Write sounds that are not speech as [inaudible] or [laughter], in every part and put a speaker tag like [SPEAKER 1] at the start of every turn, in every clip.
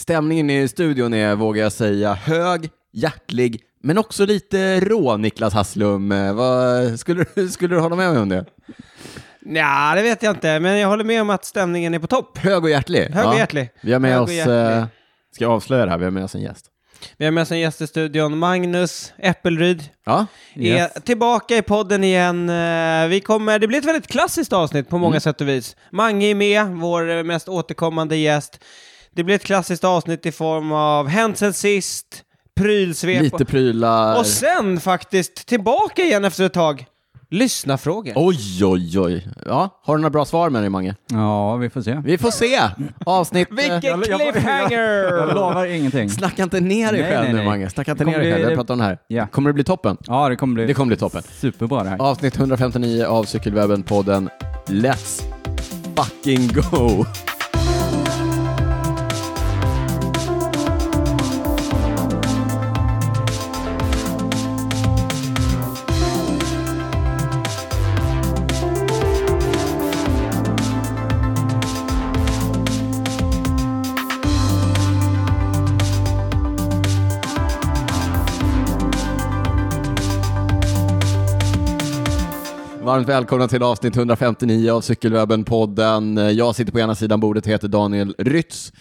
[SPEAKER 1] Stämningen i studion är, vågar jag säga, hög, hjärtlig, men också lite rå, Niklas Hasslum. Eh, Vad, skulle, du- [laughs] skulle du hålla med mig om det?
[SPEAKER 2] Nja, det vet jag inte, men jag håller med om att stämningen är på topp.
[SPEAKER 1] Hög och hjärtlig.
[SPEAKER 2] Hög och hjärtlig.
[SPEAKER 1] Vi har med
[SPEAKER 2] Hög och
[SPEAKER 1] oss,
[SPEAKER 2] hjärtlig.
[SPEAKER 1] eh, ska jag avslöja det här, vi har med oss en gäst.
[SPEAKER 2] Vi har med oss en gäst i studion, Magnus Äppelryd.
[SPEAKER 1] Ja,
[SPEAKER 2] Är tillbaka i podden igen. Eh, Vi kommer, det blir ett väldigt klassiskt avsnitt på många sätt och vis. Mange är med, vår eh, mest återkommande gäst. Det blir ett klassiskt avsnitt i form av hänt sen sist, prylsvep
[SPEAKER 1] lite prylar.
[SPEAKER 2] och sen faktiskt tillbaka igen efter ett tag. Lyssna frågor.
[SPEAKER 1] Oj, oj, oj. Ja, har du några bra svar med dig, Mange?
[SPEAKER 3] Ja, vi får se.
[SPEAKER 1] Vi får se. Avsnitt... eh,
[SPEAKER 2] Vilken
[SPEAKER 3] jag- jag- Jag
[SPEAKER 2] cliffhanger!
[SPEAKER 3] lovar ingenting.
[SPEAKER 1] Snacka inte ner dig
[SPEAKER 3] Nej,
[SPEAKER 1] själv
[SPEAKER 3] nej,
[SPEAKER 1] nu,
[SPEAKER 3] nej.
[SPEAKER 1] Mange. Snacka inte
[SPEAKER 3] Det
[SPEAKER 1] ner
[SPEAKER 3] kommer
[SPEAKER 1] dig själv.
[SPEAKER 3] bli-
[SPEAKER 1] Jag pratar om det här.
[SPEAKER 3] Ja.
[SPEAKER 1] Kommer det bli toppen?
[SPEAKER 3] Ja, det kommer bli,
[SPEAKER 1] Det kommer bli toppen.
[SPEAKER 3] superbra det här.
[SPEAKER 1] Avsnitt 159 av Cykelwebben-podden. Let's fucking go! Varmt välkomna till avsnitt 159 av Cykelwebben-podden. Jag sitter på ena sidan bordet, heter Daniel Rytz.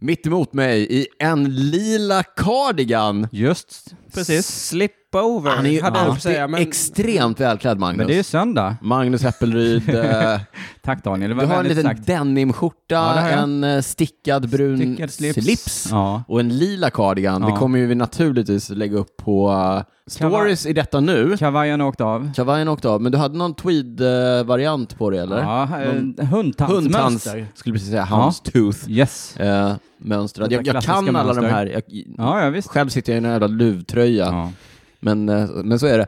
[SPEAKER 1] Mitt emot mig i en lila cardigan.
[SPEAKER 3] Just precis.
[SPEAKER 2] Slip over,
[SPEAKER 1] Han är ju
[SPEAKER 2] hade jag på att
[SPEAKER 1] alltid
[SPEAKER 2] säga. Men
[SPEAKER 1] extremt välklädd, Magnus.
[SPEAKER 3] Men det är ju söndag.
[SPEAKER 1] Magnus Äppelryd, eh,
[SPEAKER 3] Tack Daniel, det var
[SPEAKER 1] du har en
[SPEAKER 3] vänligt
[SPEAKER 1] liten
[SPEAKER 3] sagt.
[SPEAKER 1] denimskjorta,
[SPEAKER 3] Ja, det har jag.
[SPEAKER 1] en eh, stickad brun
[SPEAKER 3] Stickad slips. Ja.
[SPEAKER 1] och en lila cardigan. Det
[SPEAKER 3] Ja.
[SPEAKER 1] kommer ju vi naturligtvis lägga upp på eh, stories i detta nu.
[SPEAKER 3] Kavajen har åkt av.
[SPEAKER 1] Kavajen åkte av, men du hade någon tweed-variant på det, eller?
[SPEAKER 3] Ja, eh,
[SPEAKER 1] Hundtands,
[SPEAKER 3] hundtandsmönster.
[SPEAKER 1] skulle precis säga, hounds tooth
[SPEAKER 3] Yes.
[SPEAKER 1] eh, mönstrad.
[SPEAKER 3] Detta
[SPEAKER 1] Jag, jag
[SPEAKER 3] klassiska
[SPEAKER 1] kan alla de
[SPEAKER 3] mönster.
[SPEAKER 1] här. Jag,
[SPEAKER 3] Ja, ja visst.
[SPEAKER 1] Själv sitter jag i en jävla luvtröja,
[SPEAKER 3] Ja.
[SPEAKER 1] men, eh, men så är det.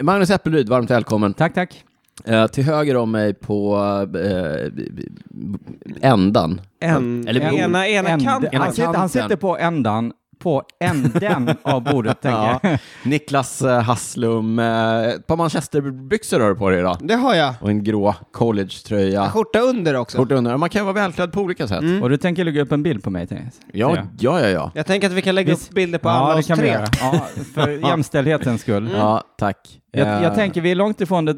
[SPEAKER 1] Magnus Äppelryd, varmt välkommen.
[SPEAKER 3] Tack, tack.
[SPEAKER 1] Eh, till höger om mig på eh, b- b- b- ändan.
[SPEAKER 2] en,
[SPEAKER 1] Eller bord.
[SPEAKER 2] ena, ena
[SPEAKER 3] Änd-
[SPEAKER 2] kanten.
[SPEAKER 1] Ena
[SPEAKER 3] han, sitter,
[SPEAKER 1] kanten.
[SPEAKER 3] han sitter på ändan, på änden av bordet tänker
[SPEAKER 1] Ja.
[SPEAKER 3] jag.
[SPEAKER 1] Niklas eh, Hasslum, eh, ett par manchesterbyxor har du på dig idag.
[SPEAKER 2] Det har jag.
[SPEAKER 1] Och en grå collegetröja.
[SPEAKER 2] Skjorta under också.
[SPEAKER 1] Skjorta under. Man kan ju vara välklädd på olika sätt.
[SPEAKER 3] [laughs] Och du tänker lägga upp en bild på mig? tänker jag.
[SPEAKER 1] Ja,
[SPEAKER 3] Ser jag.
[SPEAKER 1] ja, ja. ja.
[SPEAKER 2] Jag tänker att vi kan lägga upp bilder på
[SPEAKER 3] ja,
[SPEAKER 2] alla
[SPEAKER 3] det
[SPEAKER 2] oss
[SPEAKER 3] kan vi
[SPEAKER 2] tre.
[SPEAKER 3] göra. Ja,
[SPEAKER 1] [laughs]
[SPEAKER 3] för jämställdhetens skull.
[SPEAKER 1] Ja, tack.
[SPEAKER 3] Jag, jag
[SPEAKER 1] Eh,
[SPEAKER 3] tänker, vi är långt ifrån det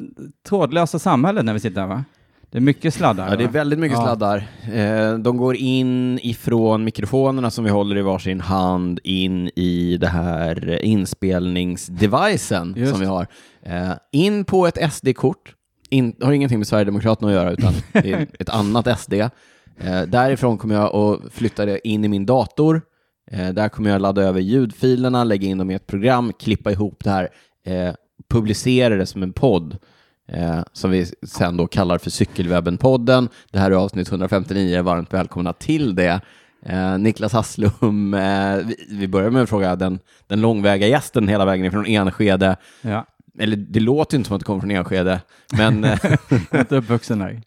[SPEAKER 3] trådlösa samhället när vi sitter här va? Det är mycket sladdar.
[SPEAKER 1] Ja, det är
[SPEAKER 3] va?
[SPEAKER 1] väldigt mycket
[SPEAKER 3] Ja.
[SPEAKER 1] sladdar. Eh, de går in ifrån mikrofonerna som vi håller i varsin hand in i det här inspelningsdevicen
[SPEAKER 3] Just.
[SPEAKER 1] som vi har. Eh, in på ett SD-kort. In, har ingenting med Sverigedemokraterna att göra, utan det är ett annat SD. Eh, därifrån kommer jag att flytta det in i min dator. Eh, där kommer jag ladda över ljudfilerna, lägga in dem i ett program, klippa ihop det här, eh, publicera det som en podd. Eh, som vi sen då kallar för Cykelwebben-podden. Det här är avsnitt 159, varmt välkomna till det. Eh, Niklas Hasslum, eh, vi, vi börjar med att fråga den, den långväga gästen hela vägen ifrån Enskede.
[SPEAKER 3] Ja,
[SPEAKER 1] Eller det låter ju inte som att du kommer från Enskede, [laughs] men eh,
[SPEAKER 3] jag är inte uppvuxen där.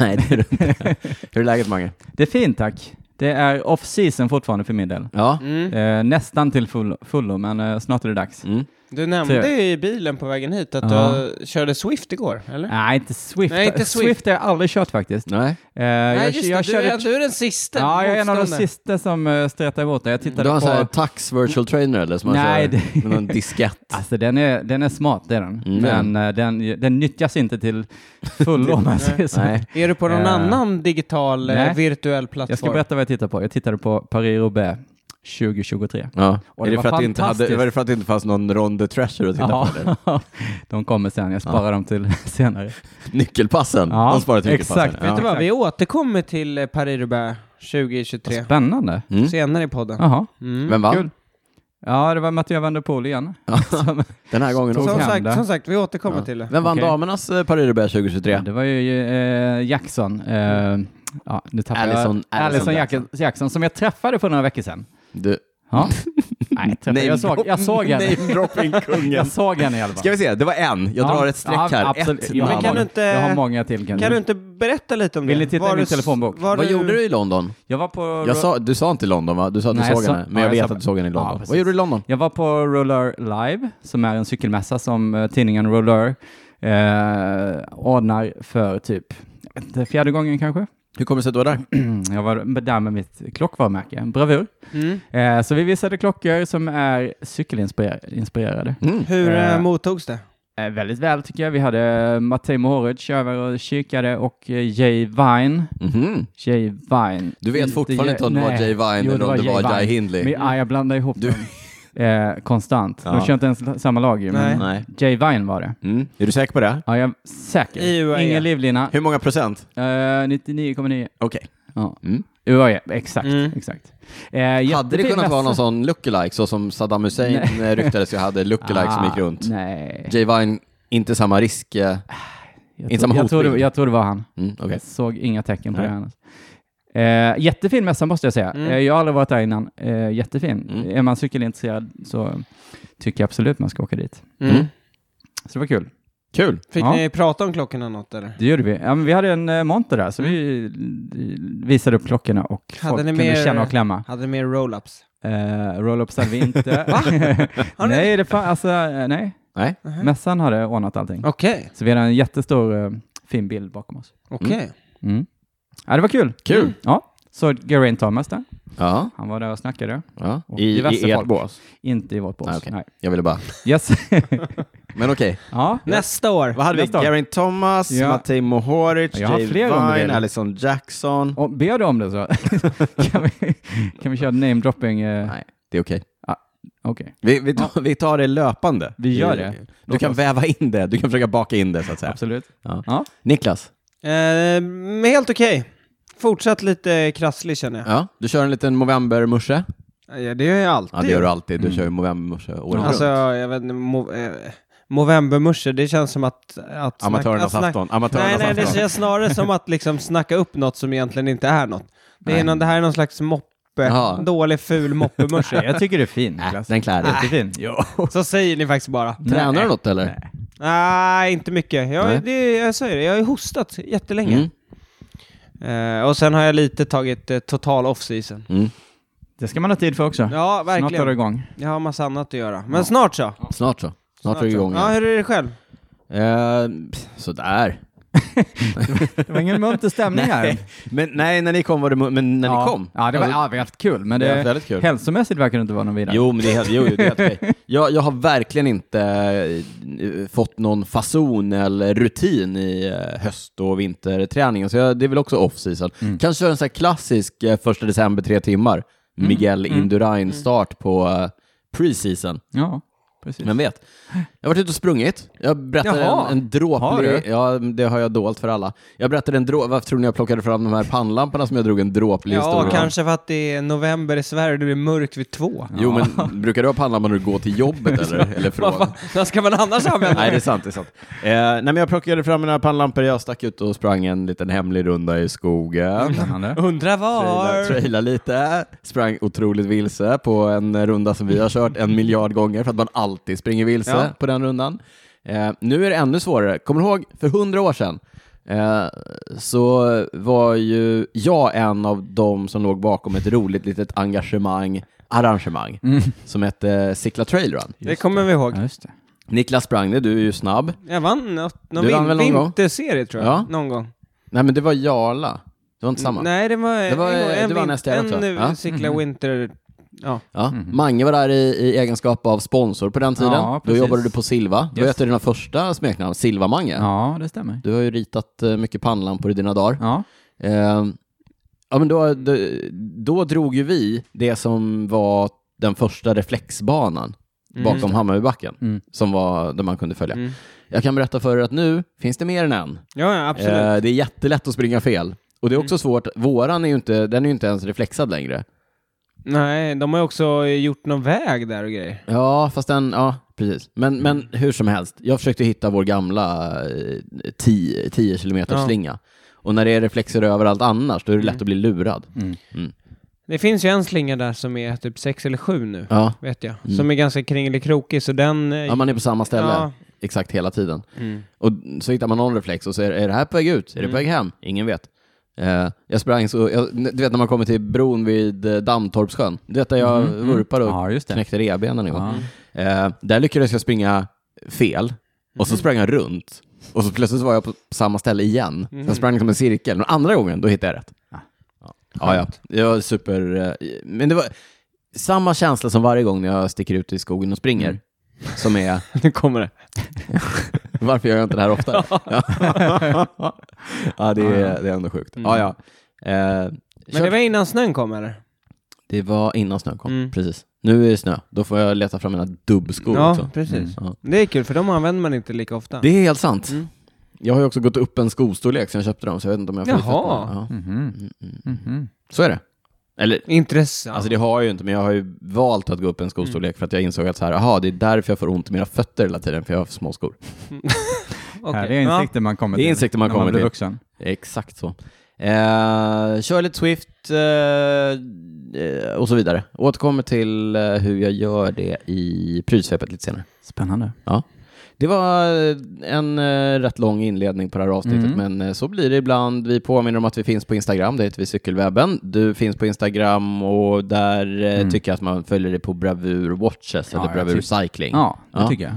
[SPEAKER 1] nej, det är du inte. [laughs] Hur är läget Mange?
[SPEAKER 3] Det är fint tack. Det är off-season fortfarande för min del.
[SPEAKER 1] Ja,
[SPEAKER 2] Mm.
[SPEAKER 3] Eh, nästan till full, fullo, men eh, snart är det dags.
[SPEAKER 1] mm.
[SPEAKER 2] Du nämnde
[SPEAKER 3] Tre.
[SPEAKER 2] i bilen på vägen hit att
[SPEAKER 3] Ja.
[SPEAKER 2] du körde Swift igår, eller?
[SPEAKER 3] Nej, inte Swift.
[SPEAKER 2] Nej, inte Swift.
[SPEAKER 3] har jag aldrig kört faktiskt.
[SPEAKER 1] nej.
[SPEAKER 3] Eh,
[SPEAKER 2] Nej,
[SPEAKER 3] jag,
[SPEAKER 2] just
[SPEAKER 3] jag
[SPEAKER 2] det. Du, är,
[SPEAKER 3] körde...
[SPEAKER 2] du är den sista
[SPEAKER 3] Ja, jag är en av de
[SPEAKER 2] motståndaren.
[SPEAKER 3] sista som uh, stretar emot det. Jag
[SPEAKER 1] Du
[SPEAKER 3] tittade
[SPEAKER 1] har en sån här
[SPEAKER 3] på...
[SPEAKER 1] tax virtual trainer eller? Som man
[SPEAKER 3] Nej,
[SPEAKER 1] kör
[SPEAKER 3] det-
[SPEAKER 1] med någon
[SPEAKER 3] [laughs]
[SPEAKER 1] diskett.
[SPEAKER 3] Alltså den är, den är smart, det är den.
[SPEAKER 1] Mm.
[SPEAKER 3] Men eh, den, den nyttjas inte till fullo om man säger
[SPEAKER 1] [laughs]
[SPEAKER 3] så.
[SPEAKER 1] Nej.
[SPEAKER 2] Är du på någon
[SPEAKER 3] Eh,
[SPEAKER 2] annan digital eh,
[SPEAKER 3] nej.
[SPEAKER 2] virtuell
[SPEAKER 3] Jag ska
[SPEAKER 2] plattform?
[SPEAKER 3] berätta vad jag tittar på. Jag tittade på Paris-Roubaix 2023.
[SPEAKER 1] Ja.
[SPEAKER 3] Och
[SPEAKER 1] är det,
[SPEAKER 3] det var
[SPEAKER 1] för att det inte hade,
[SPEAKER 3] fantastiskt.
[SPEAKER 1] var det för att det inte fanns någon Ron the Treasure att titta på? Eller?
[SPEAKER 3] Ja, [laughs] de kommer sen. Jag sparar dem till [laughs] senare.
[SPEAKER 1] Nyckelpassen.
[SPEAKER 3] Ja,
[SPEAKER 1] De sparar till
[SPEAKER 3] exakt.
[SPEAKER 1] nyckelpassen.
[SPEAKER 3] Vet
[SPEAKER 2] Vet du
[SPEAKER 1] Ja.
[SPEAKER 2] vad, vi återkommer till eh, Paris-Roubaix 2023
[SPEAKER 3] Spännande.
[SPEAKER 1] Mm.
[SPEAKER 2] senare i podden.
[SPEAKER 3] Jaha,
[SPEAKER 2] Mm.
[SPEAKER 1] Vem vann?
[SPEAKER 3] kul. Ja, det var Mattias van der Poel igen. Som,
[SPEAKER 1] Den här gången
[SPEAKER 3] Så-
[SPEAKER 1] också.
[SPEAKER 2] Som,
[SPEAKER 3] Tog hem
[SPEAKER 2] sagt,
[SPEAKER 3] det.
[SPEAKER 2] som sagt, vi återkommer till det.
[SPEAKER 1] Vem vann
[SPEAKER 3] Okej.
[SPEAKER 1] damernas eh, Paris-Roubaix 2023?
[SPEAKER 3] det var ju eh, Jackson. Eh, ja, nu tappar
[SPEAKER 1] Allison-
[SPEAKER 3] jag.
[SPEAKER 1] Allison
[SPEAKER 3] Allison Jackson, Jackson, som jag träffade för några
[SPEAKER 1] [laughs]
[SPEAKER 3] veckor sedan.
[SPEAKER 1] Du.
[SPEAKER 3] Ja. Nej, jag, träffade, jag såg, jag
[SPEAKER 1] [laughs]
[SPEAKER 3] såg henne.
[SPEAKER 1] Name-dropping-kungen.
[SPEAKER 3] Jag såg henne i alla fall.
[SPEAKER 1] Ska vi se, det var en. Jag
[SPEAKER 3] Ja,
[SPEAKER 1] drar ett streck
[SPEAKER 3] ja,
[SPEAKER 1] här.
[SPEAKER 3] Absolut.
[SPEAKER 1] Ett
[SPEAKER 3] Jag,
[SPEAKER 1] namn.
[SPEAKER 3] har
[SPEAKER 2] Men kan
[SPEAKER 3] många,
[SPEAKER 2] du inte-
[SPEAKER 3] jag har många till kanske.
[SPEAKER 2] Kan du inte berätta lite om det?
[SPEAKER 3] Vill ni titta
[SPEAKER 2] Var
[SPEAKER 3] i min
[SPEAKER 2] du s-
[SPEAKER 3] telefonbok?
[SPEAKER 2] var
[SPEAKER 1] Vad gjorde du i London?
[SPEAKER 3] Jag var på...
[SPEAKER 1] Jag sa, du sa inte London va? Du sa att du
[SPEAKER 3] Nej, jag
[SPEAKER 1] såg
[SPEAKER 3] sa-
[SPEAKER 1] henne, men
[SPEAKER 3] ja,
[SPEAKER 1] jag
[SPEAKER 3] jag
[SPEAKER 1] vet
[SPEAKER 3] sa-
[SPEAKER 1] att du såg henne i
[SPEAKER 3] Ja,
[SPEAKER 1] London.
[SPEAKER 3] precis.
[SPEAKER 1] Vad gjorde du i London?
[SPEAKER 3] Jag var på Roller Live, som är en cykelmässa som eh, tidningen Roller eh, ordnar för typ jag vet inte, fjärde gången kanske. Mm,
[SPEAKER 1] Hur kommer det sig att du var där?
[SPEAKER 3] Jag var där med mitt klockvarumärke, Bravur.
[SPEAKER 2] Mm.
[SPEAKER 3] Eh, så vi visade klockor som är cykelinspirerade.
[SPEAKER 1] Mm.
[SPEAKER 2] Hur
[SPEAKER 3] Eh,
[SPEAKER 2] eh, mottogs det?
[SPEAKER 3] Eh, väldigt väl tycker jag. Vi hade eh, Matej Mohoric över och kikade och eh, Jay Vine.
[SPEAKER 1] Mhm.
[SPEAKER 3] Jay Vine.
[SPEAKER 1] Du vet fortfarande inte om det var
[SPEAKER 3] nej.
[SPEAKER 1] Jay Vine
[SPEAKER 3] Jo, det
[SPEAKER 1] eller om det var
[SPEAKER 3] Vine.
[SPEAKER 1] Jai Hindley?
[SPEAKER 3] Men, ja, jag blandar ihop
[SPEAKER 1] Du-
[SPEAKER 3] dem eh, konstant.
[SPEAKER 1] Ja.
[SPEAKER 3] De kör inte ens samma lag ju, men
[SPEAKER 2] Nej.
[SPEAKER 1] Nej.
[SPEAKER 3] Jay Vine var det.
[SPEAKER 1] Mm. Är du säker på det?
[SPEAKER 3] Ja, jag är säker.
[SPEAKER 2] I E. UAE.
[SPEAKER 3] Ingen livlina.
[SPEAKER 1] Hur många procent?
[SPEAKER 3] Eh, 99,9.
[SPEAKER 1] Okej.
[SPEAKER 3] Ja.
[SPEAKER 1] Mm.
[SPEAKER 3] UAE, exakt.
[SPEAKER 2] Mm.
[SPEAKER 3] exakt. Eh,
[SPEAKER 1] Hade det
[SPEAKER 3] jättefin
[SPEAKER 1] kunnat vara
[SPEAKER 3] mässa.
[SPEAKER 1] någon sån lookalike, så som Saddam Hussein eh, ryktades jag hade lookalike som gick
[SPEAKER 3] Ah,
[SPEAKER 1] runt?
[SPEAKER 3] Nej.
[SPEAKER 1] Jay Vine, inte samma risk. eh,
[SPEAKER 3] Jag,
[SPEAKER 1] Inte
[SPEAKER 3] tror,
[SPEAKER 1] samma
[SPEAKER 3] jag, tror det,
[SPEAKER 1] hotbild.
[SPEAKER 3] jag tror det var han.
[SPEAKER 1] Mm, okej.
[SPEAKER 3] Jag såg inga tecken på
[SPEAKER 1] Nej.
[SPEAKER 3] det annars. Eh, jättefin mässa måste jag säga.
[SPEAKER 2] Mm.
[SPEAKER 3] Eh, jag har aldrig varit där innan. Eh, jättefin.
[SPEAKER 1] Mm.
[SPEAKER 3] Är man cykelintresserad så tycker jag absolut man ska åka dit.
[SPEAKER 2] Mm.
[SPEAKER 1] Mm.
[SPEAKER 3] Så det var kul.
[SPEAKER 1] Kul.
[SPEAKER 2] Fick
[SPEAKER 3] Ja.
[SPEAKER 2] ni prata om klockorna något eller?
[SPEAKER 3] Det gjorde vi. Ja, men vi hade en eh, monter där, så vi eh, visade upp klockorna och
[SPEAKER 2] Mm. Hade
[SPEAKER 3] folk
[SPEAKER 2] ni
[SPEAKER 3] kunde
[SPEAKER 2] mer-
[SPEAKER 3] känna och klämma.
[SPEAKER 2] Hade ni mer roll-ups?
[SPEAKER 3] Eh, Roll-ups hade vi [laughs] inte. nej, det fan, alltså, eh, nej.
[SPEAKER 1] Nej.
[SPEAKER 2] Mhm.
[SPEAKER 3] Mässan hade ordnat allting.
[SPEAKER 2] Okej,
[SPEAKER 3] Så vi hade en jättestor eh, fin bild bakom oss.
[SPEAKER 2] okej.
[SPEAKER 3] Mm. Ja, det var kul.
[SPEAKER 1] Kul.
[SPEAKER 3] Ja, så Geraint Thomas där.
[SPEAKER 1] Ja.
[SPEAKER 3] Han var där och snackade.
[SPEAKER 1] ja.
[SPEAKER 3] Och
[SPEAKER 1] I,
[SPEAKER 3] diverse
[SPEAKER 1] i ert
[SPEAKER 3] folk.
[SPEAKER 1] bås.
[SPEAKER 3] Inte i vårt bås.
[SPEAKER 1] Ah, okej.
[SPEAKER 3] Nej.
[SPEAKER 1] Jag ville bara...
[SPEAKER 3] Yes. [laughs]
[SPEAKER 1] Men okej.
[SPEAKER 3] ja.
[SPEAKER 2] Nästa år.
[SPEAKER 1] Vad hade vi?
[SPEAKER 3] Nästa.
[SPEAKER 1] Geraint Thomas,
[SPEAKER 3] Ja.
[SPEAKER 1] Matej Mohoric,
[SPEAKER 3] Jag har
[SPEAKER 1] Jay
[SPEAKER 3] fler om det
[SPEAKER 1] Vine,
[SPEAKER 3] redan.
[SPEAKER 1] Alison Jackson.
[SPEAKER 3] Om, ber du om det [laughs] så kan, vi, kan vi köra namedropping. Eh,
[SPEAKER 1] Nej, det är okej.
[SPEAKER 3] Okej.
[SPEAKER 1] Vi, vi, tar, vi tar det löpande.
[SPEAKER 3] Vi gör det.
[SPEAKER 1] Du
[SPEAKER 3] Låt
[SPEAKER 1] kan
[SPEAKER 3] oss.
[SPEAKER 1] väva in det. Du kan försöka baka in det, så att säga.
[SPEAKER 3] Absolut.
[SPEAKER 1] Ja.
[SPEAKER 3] Ja.
[SPEAKER 1] Niklas,
[SPEAKER 2] Eh, men helt okej. Fortsatt lite krasslig känner jag.
[SPEAKER 1] ja, du kör en liten Movember-morse.
[SPEAKER 2] Ja, det gör jag alltid.
[SPEAKER 1] Ja, det gör du alltid. Du
[SPEAKER 3] Mm.
[SPEAKER 1] kör ju Movember-morse året
[SPEAKER 2] Alltså,
[SPEAKER 1] runt.
[SPEAKER 2] jag vet inte, mov- eh, Movembermusche, det känns som att... att snack- att
[SPEAKER 1] Amatörernas
[SPEAKER 2] snack-
[SPEAKER 1] afton.
[SPEAKER 2] Nej,
[SPEAKER 1] Amatörernas
[SPEAKER 2] nej, det
[SPEAKER 1] afton.
[SPEAKER 2] känns snarare som att liksom snacka upp något som egentligen inte är något. Det,
[SPEAKER 1] Nej.
[SPEAKER 2] är någon, det här är någon slags moppe,
[SPEAKER 1] Ja.
[SPEAKER 2] dålig ful
[SPEAKER 1] [laughs]
[SPEAKER 3] Nej,
[SPEAKER 2] moppemusche.
[SPEAKER 3] jag tycker du är fin,
[SPEAKER 1] Nej,
[SPEAKER 3] Niklas.
[SPEAKER 1] den klär dig.
[SPEAKER 3] Jättefin. Ja.
[SPEAKER 2] Så säger ni faktiskt bara.
[SPEAKER 1] Tränar du något, eller?
[SPEAKER 3] Nej.
[SPEAKER 2] Nej, inte mycket.
[SPEAKER 1] Nej.
[SPEAKER 2] Jag, det, jag säger det, jag har ju hostat jättelänge.
[SPEAKER 1] Mm.
[SPEAKER 2] Eh, och sen har jag lite tagit eh, total off-season.
[SPEAKER 1] Mm.
[SPEAKER 3] Det ska man ha tid för också.
[SPEAKER 2] Ja,
[SPEAKER 3] Snart tar du
[SPEAKER 2] verkligen.
[SPEAKER 3] igång.
[SPEAKER 2] Jag har massa annat att göra. Men snart så.
[SPEAKER 1] Snart så. Snart är du
[SPEAKER 2] så.
[SPEAKER 1] igång
[SPEAKER 2] Ja,
[SPEAKER 1] igen.
[SPEAKER 2] hur är det själv?
[SPEAKER 1] Eh, pff, sådär.
[SPEAKER 3] Det var ingen munter stämning här.
[SPEAKER 1] Men [laughs] nej, när ni kom var det... mu- Men när
[SPEAKER 3] ja.
[SPEAKER 1] ni kom?
[SPEAKER 3] Ja, det var
[SPEAKER 1] Alltså,
[SPEAKER 3] ja, väldigt kul, men
[SPEAKER 1] det var
[SPEAKER 3] det,
[SPEAKER 1] väldigt kul.
[SPEAKER 3] hälsomässigt verkar det inte vara någon vidare.
[SPEAKER 1] Jo, men det är helt, jo, jo, det är helt okej. Jag, jag har verkligen inte eh, fått någon fason eller rutin i eh, höst och vinterträningen, så jag, det är väl också off-season. Kanske köra en sån här klassisk eh, första december tre timmar, Miguel Indurain-start på eh, pre-season.
[SPEAKER 3] Ja, precis.
[SPEAKER 1] Vem vet? Jag har varit ute och sprungit. Jag berättade
[SPEAKER 3] Jaha.
[SPEAKER 1] en, en
[SPEAKER 3] Har
[SPEAKER 1] dråplig...
[SPEAKER 3] du?
[SPEAKER 1] Ja, det har jag dolt för alla. Jag berättade en drå... Varför tror ni jag plockade fram de här pannlamporna som jag drog en dråplig
[SPEAKER 2] Ja,
[SPEAKER 1] historia om?
[SPEAKER 2] kanske för att det är november i Sverige och det blir mörkt vid två.
[SPEAKER 1] Jo, men brukar du ha pannlampor när du går till jobbet eller, eller
[SPEAKER 2] [laughs] Vad
[SPEAKER 1] från?
[SPEAKER 2] fan, vad ska man annars använda?
[SPEAKER 1] Nej, det är sant. Det är sant. Eh, nej, men jag plockade fram mina pannlampor, jag stack ut och sprang en liten hemlig runda i skogen.
[SPEAKER 3] Spännande.
[SPEAKER 2] Undrar var...
[SPEAKER 1] Traila, traila lite, sprang otroligt vilse på en runda som vi har kört en miljard gånger för att man alltid springer vilse
[SPEAKER 2] Ja.
[SPEAKER 1] på den rundan. Eh, nu är det ännu svårare. Kommer du ihåg, för hundra år sedan eh, så var ju jag en av dem som låg bakom ett roligt litet engagemang, arrangemang, som hette Cykla Trail Run.
[SPEAKER 2] Det kommer vi ihåg.
[SPEAKER 3] Ja, just det.
[SPEAKER 1] Niklas sprang det, du är ju snabb.
[SPEAKER 2] Jag vann något, någon
[SPEAKER 1] Du vann väl någon gång?
[SPEAKER 2] vinterserie tror jag.
[SPEAKER 1] Ja.
[SPEAKER 2] Någon gång.
[SPEAKER 1] Nej, men det var Jarla. Det var inte samma.
[SPEAKER 2] Nej, det var,
[SPEAKER 1] Det var- eh,
[SPEAKER 2] en, gång-
[SPEAKER 1] det
[SPEAKER 2] en,
[SPEAKER 1] var
[SPEAKER 2] vin-
[SPEAKER 1] nästa jävla, tror jag.
[SPEAKER 2] en
[SPEAKER 1] Ja.
[SPEAKER 2] cykla
[SPEAKER 1] [laughs]
[SPEAKER 2] winter... Ja.
[SPEAKER 1] Ja. Mange var där i, i egenskap av sponsor på den tiden.
[SPEAKER 3] Ja,
[SPEAKER 1] Då
[SPEAKER 3] precis.
[SPEAKER 1] jobbade du på Silva. Då
[SPEAKER 3] Just.
[SPEAKER 1] hette dina första smeknamn Silva-Mange.
[SPEAKER 3] Ja, det stämmer.
[SPEAKER 1] Du har ju ritat eh, mycket pannlampor i dina dagar.
[SPEAKER 3] Ja.
[SPEAKER 1] Eh, ja, men då, då, då drog ju vi det som var den första reflexbanan bakom Hammarbybacken,
[SPEAKER 3] Mm.
[SPEAKER 1] som var där man kunde följa.
[SPEAKER 2] Mm.
[SPEAKER 1] Jag kan berätta för er att nu finns det mer än en.
[SPEAKER 2] Ja, ja, absolut.
[SPEAKER 1] Eh, det är jättelätt att springa fel. Och det är
[SPEAKER 3] Mm.
[SPEAKER 1] också svårt, våran är ju inte, den är ju inte ens reflexad längre.
[SPEAKER 2] Nej, de har ju också gjort någon väg där och grejer.
[SPEAKER 1] Ja, fast den, ja, precis. Men, men hur som helst, jag försökte hitta vår gamla eh, 10 km
[SPEAKER 2] Ja.
[SPEAKER 1] slinga. Och när det är reflexer överallt annars, då är det lätt att bli lurad.
[SPEAKER 3] Mm.
[SPEAKER 2] Det finns ju en slinga där som är typ sex eller sju nu,
[SPEAKER 1] Ja.
[SPEAKER 2] vet jag.
[SPEAKER 1] Mm.
[SPEAKER 2] Som är ganska kringelikrokig, så den... eh,
[SPEAKER 1] ja, man är på samma ställe
[SPEAKER 2] Ja.
[SPEAKER 1] exakt hela tiden.
[SPEAKER 2] Mm.
[SPEAKER 1] Och så hittar man någon reflex och så är, är det här på väg ut? Är det på väg hem? Ingen vet. Eh, jag sprang så, jag, du vet när man kommer till bron vid eh, Dammtorpssjön, du vet där jag
[SPEAKER 3] Mm, mm.
[SPEAKER 1] vurpade och
[SPEAKER 3] Ja, just det.
[SPEAKER 1] knäckte revbenen en gång.
[SPEAKER 3] Ja.
[SPEAKER 2] Mhm.
[SPEAKER 1] Eh, där lyckades jag springa fel, och så sprang jag runt. Och så plötsligt var jag på samma ställe igen.
[SPEAKER 2] Mhm.
[SPEAKER 1] Sen sprang jag som en cirkel. Men andra gången, då hittade jag rätt.
[SPEAKER 3] Ah.
[SPEAKER 1] Ja, ja. Jag var super... eh, Men det var samma känsla som varje gång när jag sticker ut i skogen och springer.
[SPEAKER 2] Mm.
[SPEAKER 1] Som
[SPEAKER 2] [laughs]
[SPEAKER 1] är,
[SPEAKER 2] [laughs] Nu kommer det.
[SPEAKER 1] varför gör jag inte det här oftare? ja, [laughs] det är, det är ändå sjukt. Ja, ja. Eh,
[SPEAKER 2] Mm. Men det var innan snön kom eller?
[SPEAKER 1] det var innan snön kom,
[SPEAKER 2] Mm.
[SPEAKER 1] precis. Nu är det snö. Då får jag leta fram mina dubbskor
[SPEAKER 2] ja,
[SPEAKER 1] också. Mm,
[SPEAKER 2] precis.
[SPEAKER 1] Ja.
[SPEAKER 2] Det är kul för de använder man inte lika ofta.
[SPEAKER 1] Det är helt sant.
[SPEAKER 2] Mm.
[SPEAKER 1] Jag har ju också gått upp en skostorlek sen jag köpte dem, så jag vet inte om jag har flyttat
[SPEAKER 2] Jaha.
[SPEAKER 1] på dem. Ja.
[SPEAKER 3] Mhm.
[SPEAKER 1] Mm, mm.
[SPEAKER 3] Mhm.
[SPEAKER 1] Så är det. Eller,
[SPEAKER 2] Intressant.
[SPEAKER 1] alltså det har jag ju inte, men jag har ju valt att gå upp en skostorlek för att jag insåg att så här, aha, det är därför jag får ont i mina fötter hela tiden, för jag har för små skor.
[SPEAKER 2] Okej.
[SPEAKER 3] Ja, det är insikter man kommer
[SPEAKER 1] Det är
[SPEAKER 3] till
[SPEAKER 1] insikter man
[SPEAKER 3] när
[SPEAKER 1] kommer
[SPEAKER 3] man blir
[SPEAKER 1] till.
[SPEAKER 3] vuxen.
[SPEAKER 1] Exakt så. Eh, kör lite Swift eh, eh, och så vidare. Återkommer till eh, hur jag gör det i prylsvepet lite senare.
[SPEAKER 3] Spännande.
[SPEAKER 1] Det var eh, en eh, rätt lång inledning på det här avsnittet,
[SPEAKER 3] Mm.
[SPEAKER 1] men eh, så blir det ibland. Vi påminner om att vi finns på Instagram, det heter vi Cykelwebben. Du finns på Instagram och där eh,
[SPEAKER 3] Mm.
[SPEAKER 1] tycker jag att man följer det på Bravur Watches
[SPEAKER 3] Ja,
[SPEAKER 1] eller
[SPEAKER 3] jag
[SPEAKER 1] Bravur
[SPEAKER 3] tycker-
[SPEAKER 1] Cycling.
[SPEAKER 3] Ja, det
[SPEAKER 1] Ja.
[SPEAKER 3] tycker jag.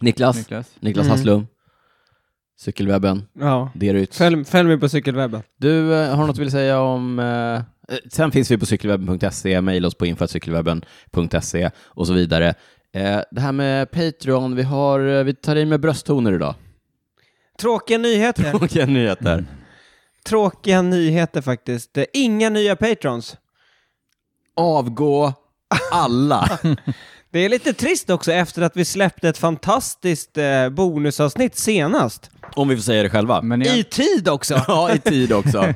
[SPEAKER 1] Niklas, Niklas,
[SPEAKER 3] Niklas.
[SPEAKER 2] Mm.
[SPEAKER 1] Hasslum, Cykelwebben,
[SPEAKER 2] Ja.
[SPEAKER 1] Derut.
[SPEAKER 2] Följ, följ mig på cykelwebben.
[SPEAKER 1] Du eh, har något du vill säga om... Eh, eh, sen finns vi på cykelwebben.se, mejla oss på info.cykelwebben.se och så vidare. Eh, det här med Patreon, vi, har, eh, vi tar in med brösttoner
[SPEAKER 3] [laughs]
[SPEAKER 1] idag.
[SPEAKER 2] Tråkiga nyheter.
[SPEAKER 1] Tråkiga nyheter.
[SPEAKER 2] Tråkiga nyheter faktiskt. Det är Inga nya patrons.
[SPEAKER 1] Avgå alla. [laughs]
[SPEAKER 2] Det är lite trist också efter att vi släppte ett fantastiskt eh, bonusavsnitt senast.
[SPEAKER 1] om vi får säga det själva.
[SPEAKER 3] Men jag,
[SPEAKER 2] I tid också!
[SPEAKER 1] Ja, i tid [laughs] också.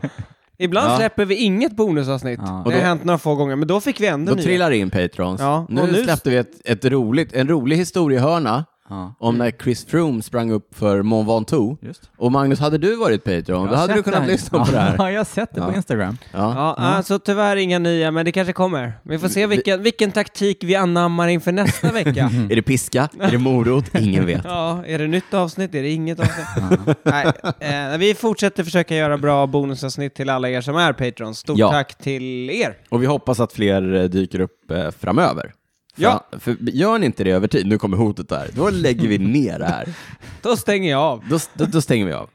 [SPEAKER 2] Ibland
[SPEAKER 1] Ja.
[SPEAKER 2] släpper vi inget bonusavsnitt.
[SPEAKER 3] Ja.
[SPEAKER 2] Det
[SPEAKER 1] Och
[SPEAKER 2] har
[SPEAKER 1] då-
[SPEAKER 2] hänt några få gånger, men då fick vi ändå
[SPEAKER 1] Då
[SPEAKER 2] nya.
[SPEAKER 1] trillar det in Patrons.
[SPEAKER 2] Ja,
[SPEAKER 1] nu,
[SPEAKER 2] och nu-
[SPEAKER 1] släppte vi ett, ett roligt, en rolig historiehörna
[SPEAKER 3] ja,
[SPEAKER 1] om när Chris Froome sprang upp för Mont Ventoux.
[SPEAKER 3] just.
[SPEAKER 1] Och Magnus, hade du varit Patreon, då
[SPEAKER 3] Jag har
[SPEAKER 1] hade du
[SPEAKER 3] sett
[SPEAKER 1] kunnat
[SPEAKER 3] här.
[SPEAKER 1] lyssna på det här.
[SPEAKER 3] [laughs] Ja, jag har sett det
[SPEAKER 1] Ja.
[SPEAKER 3] på Instagram.
[SPEAKER 1] Ja.
[SPEAKER 2] Ja, alltså tyvärr inga nya, men det kanske kommer. Vi får se vilken, vilken taktik vi anammar
[SPEAKER 1] [laughs]
[SPEAKER 2] inför nästa vecka.
[SPEAKER 1] [laughs] Är det piska? Är det morot? Ingen vet.
[SPEAKER 2] Ja, är det nytt avsnitt? Är det inget avsnitt? Nej, eh, vi fortsätter försöka göra bra bonusavsnitt till alla er som är patrons. Stort
[SPEAKER 1] Ja.
[SPEAKER 2] tack till er!
[SPEAKER 1] [laughs] Och vi hoppas att fler eh, dyker upp eh, framöver.
[SPEAKER 2] Ja.
[SPEAKER 1] Fra- För gör ni inte det över tid, nu kommer hotet där, då lägger vi ner det här.
[SPEAKER 2] Då stänger jag av.
[SPEAKER 1] Då, då, då stänger vi av.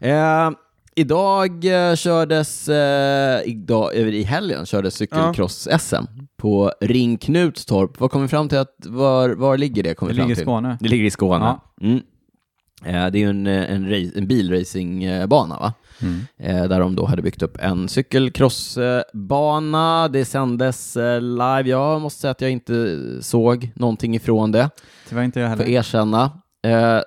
[SPEAKER 1] Eh, idag eh, kördes, eh, idag, eh, i helgen kördes cykelcross-SM på Ring Knutstorp. Vad kom vi fram till? Att, var, var ligger det? Kom
[SPEAKER 3] Det
[SPEAKER 1] vi fram
[SPEAKER 3] ligger i
[SPEAKER 1] till?
[SPEAKER 3] Skåne.
[SPEAKER 1] Det ligger i Skåne. Mm. Eh, det är ju en, eh, en, ra- en bilracingbana, va?
[SPEAKER 3] Mm.
[SPEAKER 1] Eh, där de då hade byggt upp en cykelcrossbana. Det sändes eh, live. Jag måste säga att jag inte såg någonting ifrån det
[SPEAKER 3] Tyvärr inte jag
[SPEAKER 1] får
[SPEAKER 3] heller.
[SPEAKER 1] erkänna. Eh,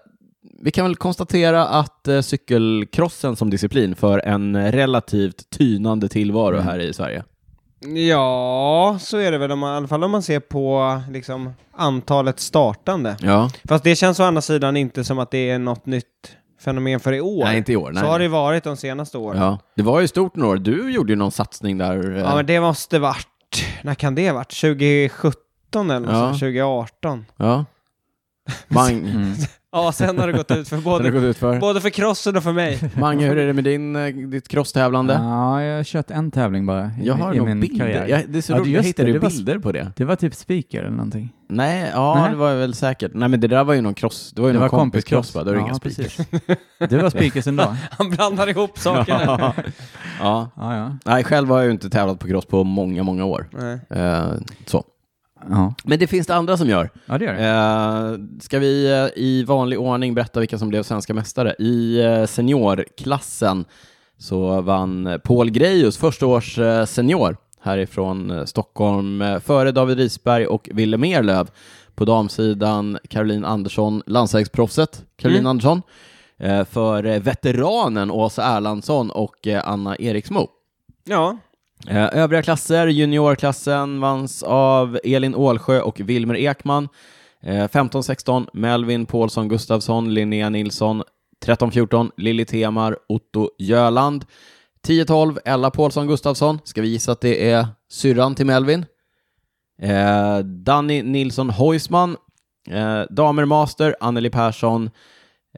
[SPEAKER 1] vi kan väl konstatera att eh, cykelkrossen som disciplin för en relativt tynande tillvaro
[SPEAKER 3] Mm.
[SPEAKER 1] här i Sverige.
[SPEAKER 2] Ja, så är det väl, om man, i alla fall om man ser på liksom, antalet startande.
[SPEAKER 1] Ja.
[SPEAKER 2] Fast det känns å andra sidan inte som att det är något nytt fenomen för i år.
[SPEAKER 1] Nej, inte i år. Nej.
[SPEAKER 2] Så har det varit de senaste åren. Ja,
[SPEAKER 1] ja. Det var ju stort några år. Du gjorde ju någon satsning där. eh,
[SPEAKER 2] men det måste varit... När kan det varit? 2017 eller
[SPEAKER 1] Ja.
[SPEAKER 2] ja. 2018? [laughs]
[SPEAKER 1] ja. Mang...
[SPEAKER 3] Mm.
[SPEAKER 2] Ja, sen har det gått ut
[SPEAKER 1] [laughs]
[SPEAKER 2] för
[SPEAKER 1] Har det
[SPEAKER 2] både,
[SPEAKER 1] gått ut för?
[SPEAKER 2] både för crossen och för mig.
[SPEAKER 1] Mange, hur är det med din, eh, ditt crosstävlande?
[SPEAKER 3] Mm. Ja, jag har kört en tävling bara i,
[SPEAKER 1] jag har
[SPEAKER 3] i
[SPEAKER 1] nog
[SPEAKER 3] min
[SPEAKER 1] bilder.
[SPEAKER 3] karriär.
[SPEAKER 1] Jag, det är så
[SPEAKER 3] Ja,
[SPEAKER 1] roligt. Jag
[SPEAKER 3] just
[SPEAKER 1] hittade
[SPEAKER 3] det,
[SPEAKER 1] ju
[SPEAKER 3] det var-
[SPEAKER 1] bilder på det.
[SPEAKER 3] Det var typ speaker eller någonting.
[SPEAKER 1] Nej, ja,
[SPEAKER 3] Nej.
[SPEAKER 1] det var väl säkert. Nej, men det där var ju någon cross. Det var ju
[SPEAKER 3] Det
[SPEAKER 1] någon
[SPEAKER 3] var
[SPEAKER 1] kompiscross,
[SPEAKER 3] kompiscross.
[SPEAKER 1] va? Det var
[SPEAKER 3] Ja,
[SPEAKER 1] inga speakers.
[SPEAKER 3] precis. [laughs] Det var speakers ändå.
[SPEAKER 2] Han blandar ihop sakerna.
[SPEAKER 1] [laughs] ja.
[SPEAKER 3] [laughs] Ja, ja.
[SPEAKER 1] Nej, själv har jag ju inte tävlat på cross på många, många år.
[SPEAKER 2] Nej.
[SPEAKER 1] Eh, så.
[SPEAKER 3] Ja,
[SPEAKER 1] Men det finns det andra som gör.
[SPEAKER 3] ja det gör det.
[SPEAKER 1] Eh, ska vi eh, i vanlig ordning berätta vilka som blev svenska mästare? I eh, seniorklassen så vann eh, Paul Grejus, första års eh, senior härifrån eh, Stockholm, eh, före David Risberg och Willem Ehrlöf. På damsidan Caroline Andersson, landsvägsproffset Caroline
[SPEAKER 2] Mm.
[SPEAKER 1] Andersson, eh, före veteranen Åsa Erlandsson och eh, Anna Eriksmo.
[SPEAKER 2] Ja,
[SPEAKER 1] Eh, Övriga klasser, juniorklassen vanns av Elin Ålsjö och Wilmer Ekman. Eh, 15-16, Melvin Paulsson Gustafsson, Linnea Nilsson. 13-14, Lilly Temar, Otto Jöland. 10-12, Ella Paulsson Gustafsson. Ska vi gissa att det är syrran till Melvin? Eh, Danny Nilsson Hoisman. Eh, damer master, Anneli Persson.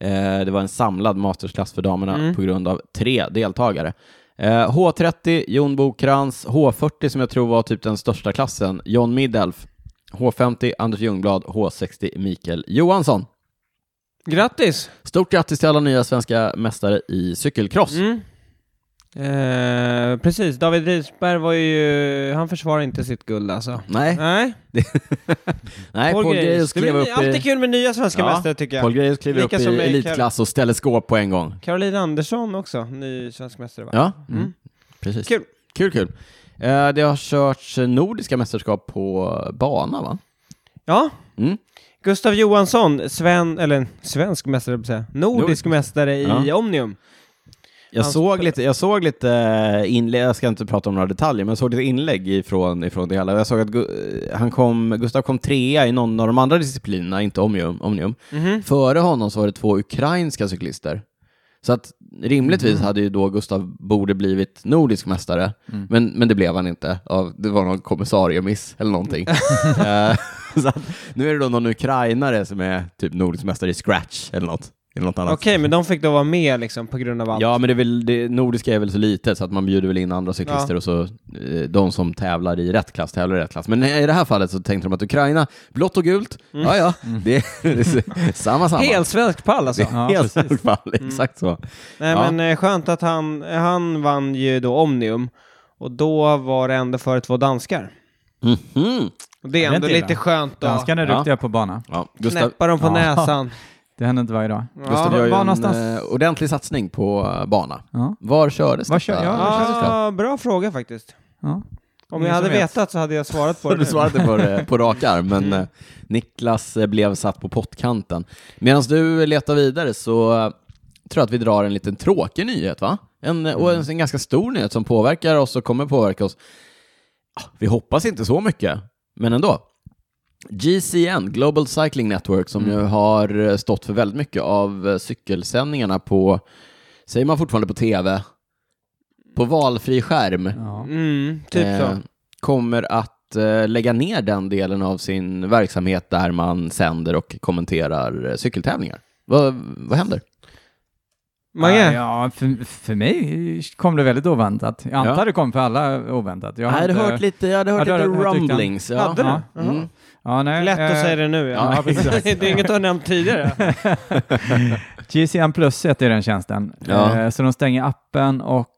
[SPEAKER 1] Eh, det var en samlad mastersklass för damerna
[SPEAKER 2] Mm.
[SPEAKER 1] på grund av tre deltagare. Eh, H30, Jon Bokrans. H40 som jag tror var typ den största klassen, John Middelf. H50, Anders Ljungblad. H60, Mikael Johansson.
[SPEAKER 2] Grattis!
[SPEAKER 1] Stort grattis till alla nya svenska mästare i cykelcross.
[SPEAKER 2] Mm. Eh, precis, David Risberg var ju... Han försvarar inte sitt guld alltså.
[SPEAKER 1] Nej,
[SPEAKER 2] Nej,
[SPEAKER 1] nej Paul Grejus
[SPEAKER 2] Det blir
[SPEAKER 1] klev upp
[SPEAKER 2] alltid
[SPEAKER 1] i,
[SPEAKER 2] kul med nya svenska
[SPEAKER 1] Ja,
[SPEAKER 2] mästare tycker jag.
[SPEAKER 1] Paul Grejus kliver upp
[SPEAKER 2] Lika
[SPEAKER 1] i
[SPEAKER 2] som mig,
[SPEAKER 1] elitklass och ställer skåp på en gång.
[SPEAKER 2] Caroline Andersson också, ny svensk mästare va?
[SPEAKER 1] Ja,
[SPEAKER 2] Mm.
[SPEAKER 1] mm. precis.
[SPEAKER 2] Kul.
[SPEAKER 1] Kul, kul. Eh, Det har körts nordiska mästerskap på bana, va?
[SPEAKER 2] Ja.
[SPEAKER 1] Mm.
[SPEAKER 2] Gustav Johansson, Sven, eller svensk mästare, höll jag på att säga. nordisk,
[SPEAKER 1] Nordisk.
[SPEAKER 2] mästare i
[SPEAKER 1] Ja.
[SPEAKER 2] Omnium.
[SPEAKER 1] Jag
[SPEAKER 2] Hans-
[SPEAKER 1] såg lite, jag såg lite eh, inlägg, jag ska inte prata om några detaljer, men jag såg lite inlägg ifrån, ifrån det hela. Jag såg att Gu- eh, han kom, Gustav kom trea i någon av de andra disciplinerna, inte Omnium. omnium.
[SPEAKER 2] Mhm.
[SPEAKER 1] Före honom så var det två ukrainska cyklister. Så att rimligtvis
[SPEAKER 2] Mm.
[SPEAKER 1] hade ju då Gustav borde blivit nordisk mästare,
[SPEAKER 2] Mm.
[SPEAKER 1] men, men det blev han inte. Av, det var någon kommissariemiss eller någonting.
[SPEAKER 2] [laughs]
[SPEAKER 1] Eh, [laughs] så att, nu är det då någon ukrainare som är typ nordisk mästare i scratch eller något, eller något annat.
[SPEAKER 2] Okej, men de fick då vara med liksom på grund av allt.
[SPEAKER 1] alltså. Ja, men det, är väl, det nordiska är väl så litet så att man bjuder väl in andra cyklister och så eh, de som tävlar i rätt klass tävlar i rätt klass. Men i det här fallet så tänkte de att Ukraina, blått och gult, ja ja, det, det är [laughs] samma samma.
[SPEAKER 2] Mm. Helt svensk pall alltså.
[SPEAKER 1] det är
[SPEAKER 3] Ja, Mm.
[SPEAKER 1] helt svensk fall, exakt så.
[SPEAKER 2] Nej
[SPEAKER 1] Ja.
[SPEAKER 2] men eh, skönt att han, eh, han vann ju då Omnium. Och då var det ändå före två danskar.
[SPEAKER 1] Mhm.
[SPEAKER 2] Och det är
[SPEAKER 3] Ja, det är
[SPEAKER 2] ändå
[SPEAKER 3] inte illa.
[SPEAKER 2] lite skönt då.
[SPEAKER 3] Danskarna är
[SPEAKER 1] Ja.
[SPEAKER 3] duktiga på bana.
[SPEAKER 1] Ja, Gustav,
[SPEAKER 2] Knäppa dem på
[SPEAKER 3] Ja.
[SPEAKER 2] näsan.
[SPEAKER 3] Det händer inte varje dag.
[SPEAKER 1] Gustav
[SPEAKER 3] var-
[SPEAKER 1] gör ju
[SPEAKER 3] var
[SPEAKER 1] en
[SPEAKER 3] någonstans?
[SPEAKER 1] eh, ordentlig satsning på eh, bana.
[SPEAKER 3] Ja.
[SPEAKER 1] Var kördes
[SPEAKER 3] Var
[SPEAKER 1] detta?
[SPEAKER 3] kör- ja, var
[SPEAKER 1] Var
[SPEAKER 3] kördes
[SPEAKER 1] kördes det?
[SPEAKER 2] Ja, bra fråga faktiskt.
[SPEAKER 1] Mm.
[SPEAKER 3] Ja.
[SPEAKER 2] Om
[SPEAKER 3] Ingen
[SPEAKER 2] jag hade
[SPEAKER 3] som vet.
[SPEAKER 2] vetat så hade jag svarat på det
[SPEAKER 1] Du
[SPEAKER 2] nu.
[SPEAKER 1] svarade på, det på rak arm, men eh, Niklas eh, blev satt på pottkanten. Medan du letar vidare så eh, tror jag att vi drar en liten tråkig nyhet, va? En, eh, och en, en ganska stor nyhet som påverkar oss och kommer påverka oss. Ah, Vi hoppas inte så mycket, men ändå. GCN, Global Cycling Network, som ju har eh, stått för väldigt mycket av eh, cykelsändningarna på, säger man fortfarande på tv, på valfri skärm
[SPEAKER 3] Ja.
[SPEAKER 2] Mm, typ
[SPEAKER 1] eh,
[SPEAKER 2] så.
[SPEAKER 1] kommer att eh, lägga ner den delen av sin verksamhet där man sänder och kommenterar eh, cykeltävlingar. Vad, vad händer?
[SPEAKER 2] Mange?
[SPEAKER 3] Ja, för, för mig kom det väldigt oväntat. Jag antar
[SPEAKER 1] Ja.
[SPEAKER 3] det kom för alla oväntat. Jag
[SPEAKER 1] Jag hade
[SPEAKER 3] inte-
[SPEAKER 1] hört lite, jag hade hört
[SPEAKER 3] Ja, du
[SPEAKER 1] lite
[SPEAKER 3] hade- jag tyckte han-
[SPEAKER 1] rumblings. Ja.
[SPEAKER 2] Hade du?
[SPEAKER 3] Ja.
[SPEAKER 2] Jaha.
[SPEAKER 1] Mm.
[SPEAKER 3] Ja, nej,
[SPEAKER 2] Lätt
[SPEAKER 3] eh,
[SPEAKER 2] att säga det nu ja.
[SPEAKER 3] ja,
[SPEAKER 2] [laughs]
[SPEAKER 3] exakt.
[SPEAKER 2] det är inget du har nämnt tidigare.
[SPEAKER 3] GCN Plus heter den tjänsten.
[SPEAKER 1] Ja.
[SPEAKER 3] Eh, så de stänger appen och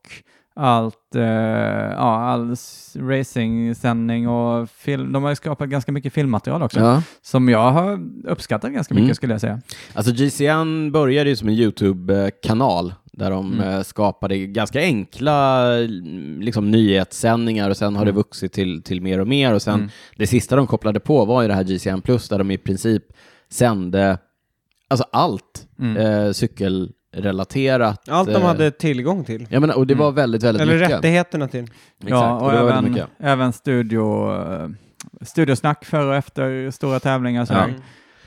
[SPEAKER 3] allt, eh, ja, all s- racingsändning och film. De har ju skapat ganska mycket filmmaterial också.
[SPEAKER 1] Ja.
[SPEAKER 3] Som jag har uppskattat ganska mycket
[SPEAKER 1] Mm.
[SPEAKER 3] skulle jag säga.
[SPEAKER 1] Alltså GCN började ju som en YouTube-kanal där de
[SPEAKER 3] Mm.
[SPEAKER 1] eh, skapade ganska enkla eh, liksom, nyhetssändningar och sen
[SPEAKER 3] Mm.
[SPEAKER 1] har det vuxit till, till mer och mer och sen det sista de kopplade på var ju det här GCN Plus där de i princip sände alltså allt
[SPEAKER 3] Mm.
[SPEAKER 1] eh, cykelrelaterat.
[SPEAKER 2] [laughs] Allt de
[SPEAKER 1] eh,
[SPEAKER 2] hade tillgång till.
[SPEAKER 1] Ja, men, och
[SPEAKER 3] Mm.
[SPEAKER 1] det var väldigt, väldigt
[SPEAKER 2] Eller
[SPEAKER 1] mycket.
[SPEAKER 2] rättigheterna till.
[SPEAKER 1] Exakt,
[SPEAKER 3] ja,
[SPEAKER 1] och
[SPEAKER 3] och
[SPEAKER 1] det var väldigt
[SPEAKER 3] även,
[SPEAKER 1] mycket.
[SPEAKER 3] även studio, eh, studiosnack före och efter stora tävlingar. Så
[SPEAKER 1] Ja.
[SPEAKER 3] där.
[SPEAKER 2] Mm.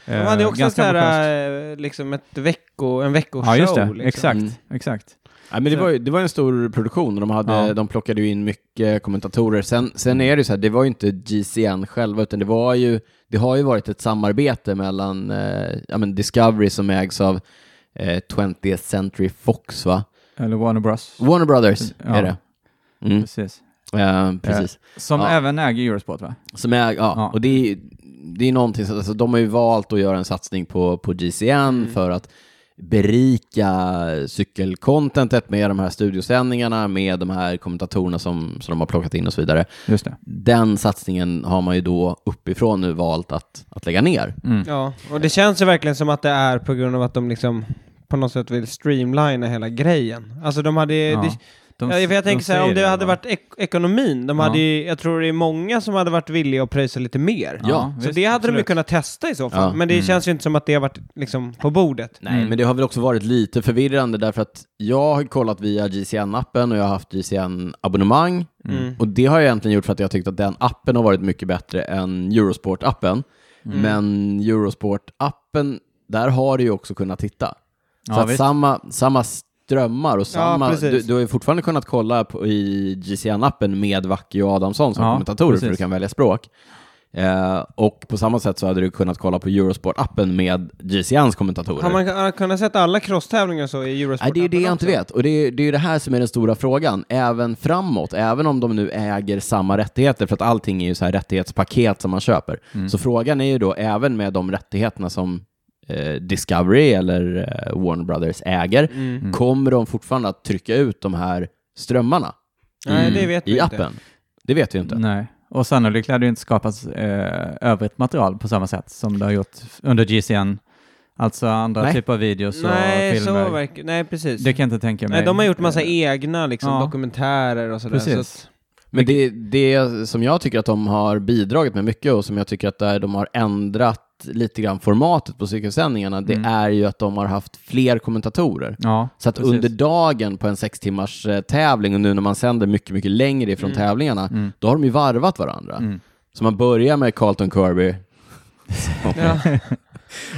[SPEAKER 2] De
[SPEAKER 3] Eh,
[SPEAKER 2] hade ju också
[SPEAKER 3] ganska
[SPEAKER 2] så
[SPEAKER 3] ambitiöst.
[SPEAKER 2] här, eh, liksom ett vecko, en veckoshow.
[SPEAKER 3] Ja, just det.
[SPEAKER 2] Liksom.
[SPEAKER 3] Exakt,
[SPEAKER 1] Mm.
[SPEAKER 3] exakt.
[SPEAKER 1] Ja, men det,
[SPEAKER 2] Så-
[SPEAKER 1] var, ju- det var en stor produktion och de, hade,
[SPEAKER 3] Ja.
[SPEAKER 1] de plockade ju in mycket kommentatorer. Sen, sen är det ju så här, det var ju inte GCN själva, utan det, var ju, det har ju varit ett samarbete mellan eh, ja, men Discovery som ägs av eh, 20th Century Fox, va?
[SPEAKER 3] Eller Warner Bros.
[SPEAKER 1] Warner Brothers
[SPEAKER 3] Ja.
[SPEAKER 1] är det. Mm.
[SPEAKER 3] Precis.
[SPEAKER 1] Eh, precis.
[SPEAKER 3] Som
[SPEAKER 1] Ja.
[SPEAKER 3] även äger Eurosport va?
[SPEAKER 1] Som är, ja,
[SPEAKER 3] Ja.
[SPEAKER 1] och det är, ju- det är någonting, som- alltså, de har ju valt att göra en satsning på, på GCN för att berika cykelcontentet med de här studiosändningarna, med de här kommentatorerna som, som de har plockat in och så vidare.
[SPEAKER 3] Just det.
[SPEAKER 1] Den satsningen har man ju då uppifrån nu valt att, att lägga ner.
[SPEAKER 3] Mm.
[SPEAKER 2] Ja, och det känns ju verkligen som att det är på grund av att de liksom på något sätt vill streamlina hela grejen. Alltså de hade...
[SPEAKER 3] Ja.
[SPEAKER 2] Det,
[SPEAKER 3] De-
[SPEAKER 2] ja, för jag
[SPEAKER 3] de
[SPEAKER 2] tänker så här, om
[SPEAKER 3] säger
[SPEAKER 2] det hade
[SPEAKER 3] va?
[SPEAKER 2] varit ek- ekonomin, de
[SPEAKER 3] Ja.
[SPEAKER 2] hade ju, jag tror det är många som hade varit villiga att pröjsa lite mer.
[SPEAKER 1] Ja,
[SPEAKER 2] Så
[SPEAKER 3] visst,
[SPEAKER 2] det hade de ju
[SPEAKER 3] absolut. Mm.
[SPEAKER 2] kunnat testa i så fall,
[SPEAKER 1] Ja.
[SPEAKER 2] men det känns ju inte som att det har varit liksom på bordet.
[SPEAKER 1] Nej, men det har väl också varit lite förvirrande därför att jag har kollat via GCN-appen och jag har haft GCN-abonnemang.
[SPEAKER 2] Mm.
[SPEAKER 1] Och det har jag egentligen gjort för att jag tyckt att den appen har varit mycket bättre än Eurosport-appen.
[SPEAKER 3] Mm.
[SPEAKER 1] Men Eurosport-appen, där har du ju också kunnat titta. Så
[SPEAKER 3] Ja,
[SPEAKER 1] att
[SPEAKER 3] visst.
[SPEAKER 1] samma, samma strömmar och samma...
[SPEAKER 2] precis.
[SPEAKER 1] du, du har ju fortfarande kunnat kolla på, i GCN-appen med Wacke och Adamsson som
[SPEAKER 3] Ja,
[SPEAKER 1] kommentatorer, för du
[SPEAKER 3] precis.
[SPEAKER 1] kan välja språk. Eh, och på samma sätt så hade du kunnat kolla på Eurosport-appen med GCNs kommentatorer.
[SPEAKER 2] Har man har man kunnat sett alla crosstävlingar så i Eurosport?
[SPEAKER 1] Nej, det är ju det jag inte
[SPEAKER 2] också?
[SPEAKER 1] vet. Och det är, det är ju det här som är den stora frågan, även framåt, även om de nu äger samma rättigheter, för att
[SPEAKER 2] Mm.
[SPEAKER 1] allting är ju så här rättighetspaket som man köper. Så frågan är ju då, även med de rättigheterna som eh, Discovery eller eh, Warner Brothers äger,
[SPEAKER 2] Mm.
[SPEAKER 1] kommer de fortfarande att trycka ut de här strömmarna Mm.
[SPEAKER 2] Nej, det vet vi
[SPEAKER 1] i
[SPEAKER 2] inte.
[SPEAKER 1] appen? Det vet vi ju inte.
[SPEAKER 3] Nej. Och sannolikt lär det ju inte skapas eh, övrigt material på samma sätt som det har gjort under GCN. Alltså andra
[SPEAKER 1] Nej.
[SPEAKER 3] typer av videos och
[SPEAKER 2] Nej, så
[SPEAKER 3] filmer.
[SPEAKER 2] verkar Nej, precis.
[SPEAKER 3] det kan jag inte tänka mig.
[SPEAKER 2] Nej, de har gjort
[SPEAKER 1] Eh,
[SPEAKER 2] massa egna liksom,
[SPEAKER 3] Ja.
[SPEAKER 2] dokumentärer och sådär.
[SPEAKER 3] Precis.
[SPEAKER 2] Så att,
[SPEAKER 1] Men det, det som jag tycker att de har bidragit med mycket och som jag tycker att där de har ändrat lite grann formatet på cykelsändningarna, det
[SPEAKER 3] Mm.
[SPEAKER 1] är ju att de har haft fler kommentatorer.
[SPEAKER 3] Ja,
[SPEAKER 1] Så att
[SPEAKER 3] Precis.
[SPEAKER 1] under dagen på en sex timmars eh, tävling och nu när man sänder mycket, mycket längre ifrån tävlingarna,
[SPEAKER 3] Mm.
[SPEAKER 1] då har de ju varvat varandra.
[SPEAKER 3] Mm.
[SPEAKER 1] Så man börjar med Carlton Kirby
[SPEAKER 2] ja.
[SPEAKER 1] [laughs]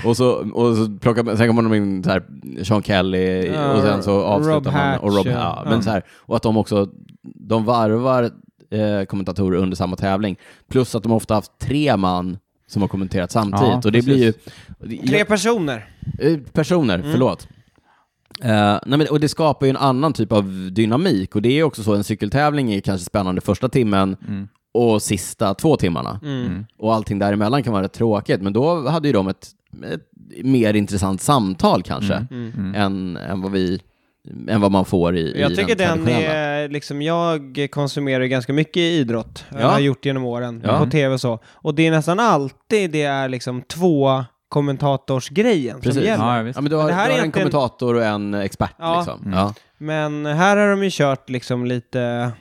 [SPEAKER 1] och så, och så plockar man, sen kommer de in så här Sean Kelly
[SPEAKER 2] Ja,
[SPEAKER 1] och sen så avslutar
[SPEAKER 2] Rob
[SPEAKER 1] man och
[SPEAKER 2] Hatch,
[SPEAKER 1] Rob
[SPEAKER 2] ja.
[SPEAKER 1] ja,
[SPEAKER 2] Ja.
[SPEAKER 1] men så här, Och att de också, de varvar eh, kommentatorer under samma tävling. Plus att de ofta haft tre man som har kommenterat samtidigt.
[SPEAKER 3] Ja,
[SPEAKER 1] och det blir ju... jag-
[SPEAKER 2] Tre personer.
[SPEAKER 1] Eh, Personer,
[SPEAKER 2] Mm.
[SPEAKER 1] förlåt. Eh, nej men, och det skapar ju en annan typ av dynamik och det är ju också så, en cykeltävling är kanske spännande första timmen
[SPEAKER 2] Mm.
[SPEAKER 1] och sista två timmarna. Och allting däremellan kan vara rätt tråkigt, men då hade ju de ett, ett mer intressant samtal kanske,
[SPEAKER 2] Mm.
[SPEAKER 1] Än, än, vad vi, än vad man får i, i
[SPEAKER 2] Jag tycker den
[SPEAKER 1] traditionella.
[SPEAKER 2] är, liksom, jag konsumerar ju ganska mycket idrott.
[SPEAKER 1] Ja.
[SPEAKER 2] Jag har gjort genom åren,
[SPEAKER 1] Ja.
[SPEAKER 2] på tv och så. Och det är nästan alltid det är liksom två kommentatorsgrejen som
[SPEAKER 1] Precis.
[SPEAKER 2] gäller.
[SPEAKER 3] ja visst.
[SPEAKER 1] Ja, men du har,
[SPEAKER 2] Men det här
[SPEAKER 1] du
[SPEAKER 2] är
[SPEAKER 1] har en
[SPEAKER 2] egentligen-
[SPEAKER 1] kommentator och en expert
[SPEAKER 2] Ja. Mm.
[SPEAKER 1] liksom. Ja.
[SPEAKER 2] Men här har de ju kört liksom lite...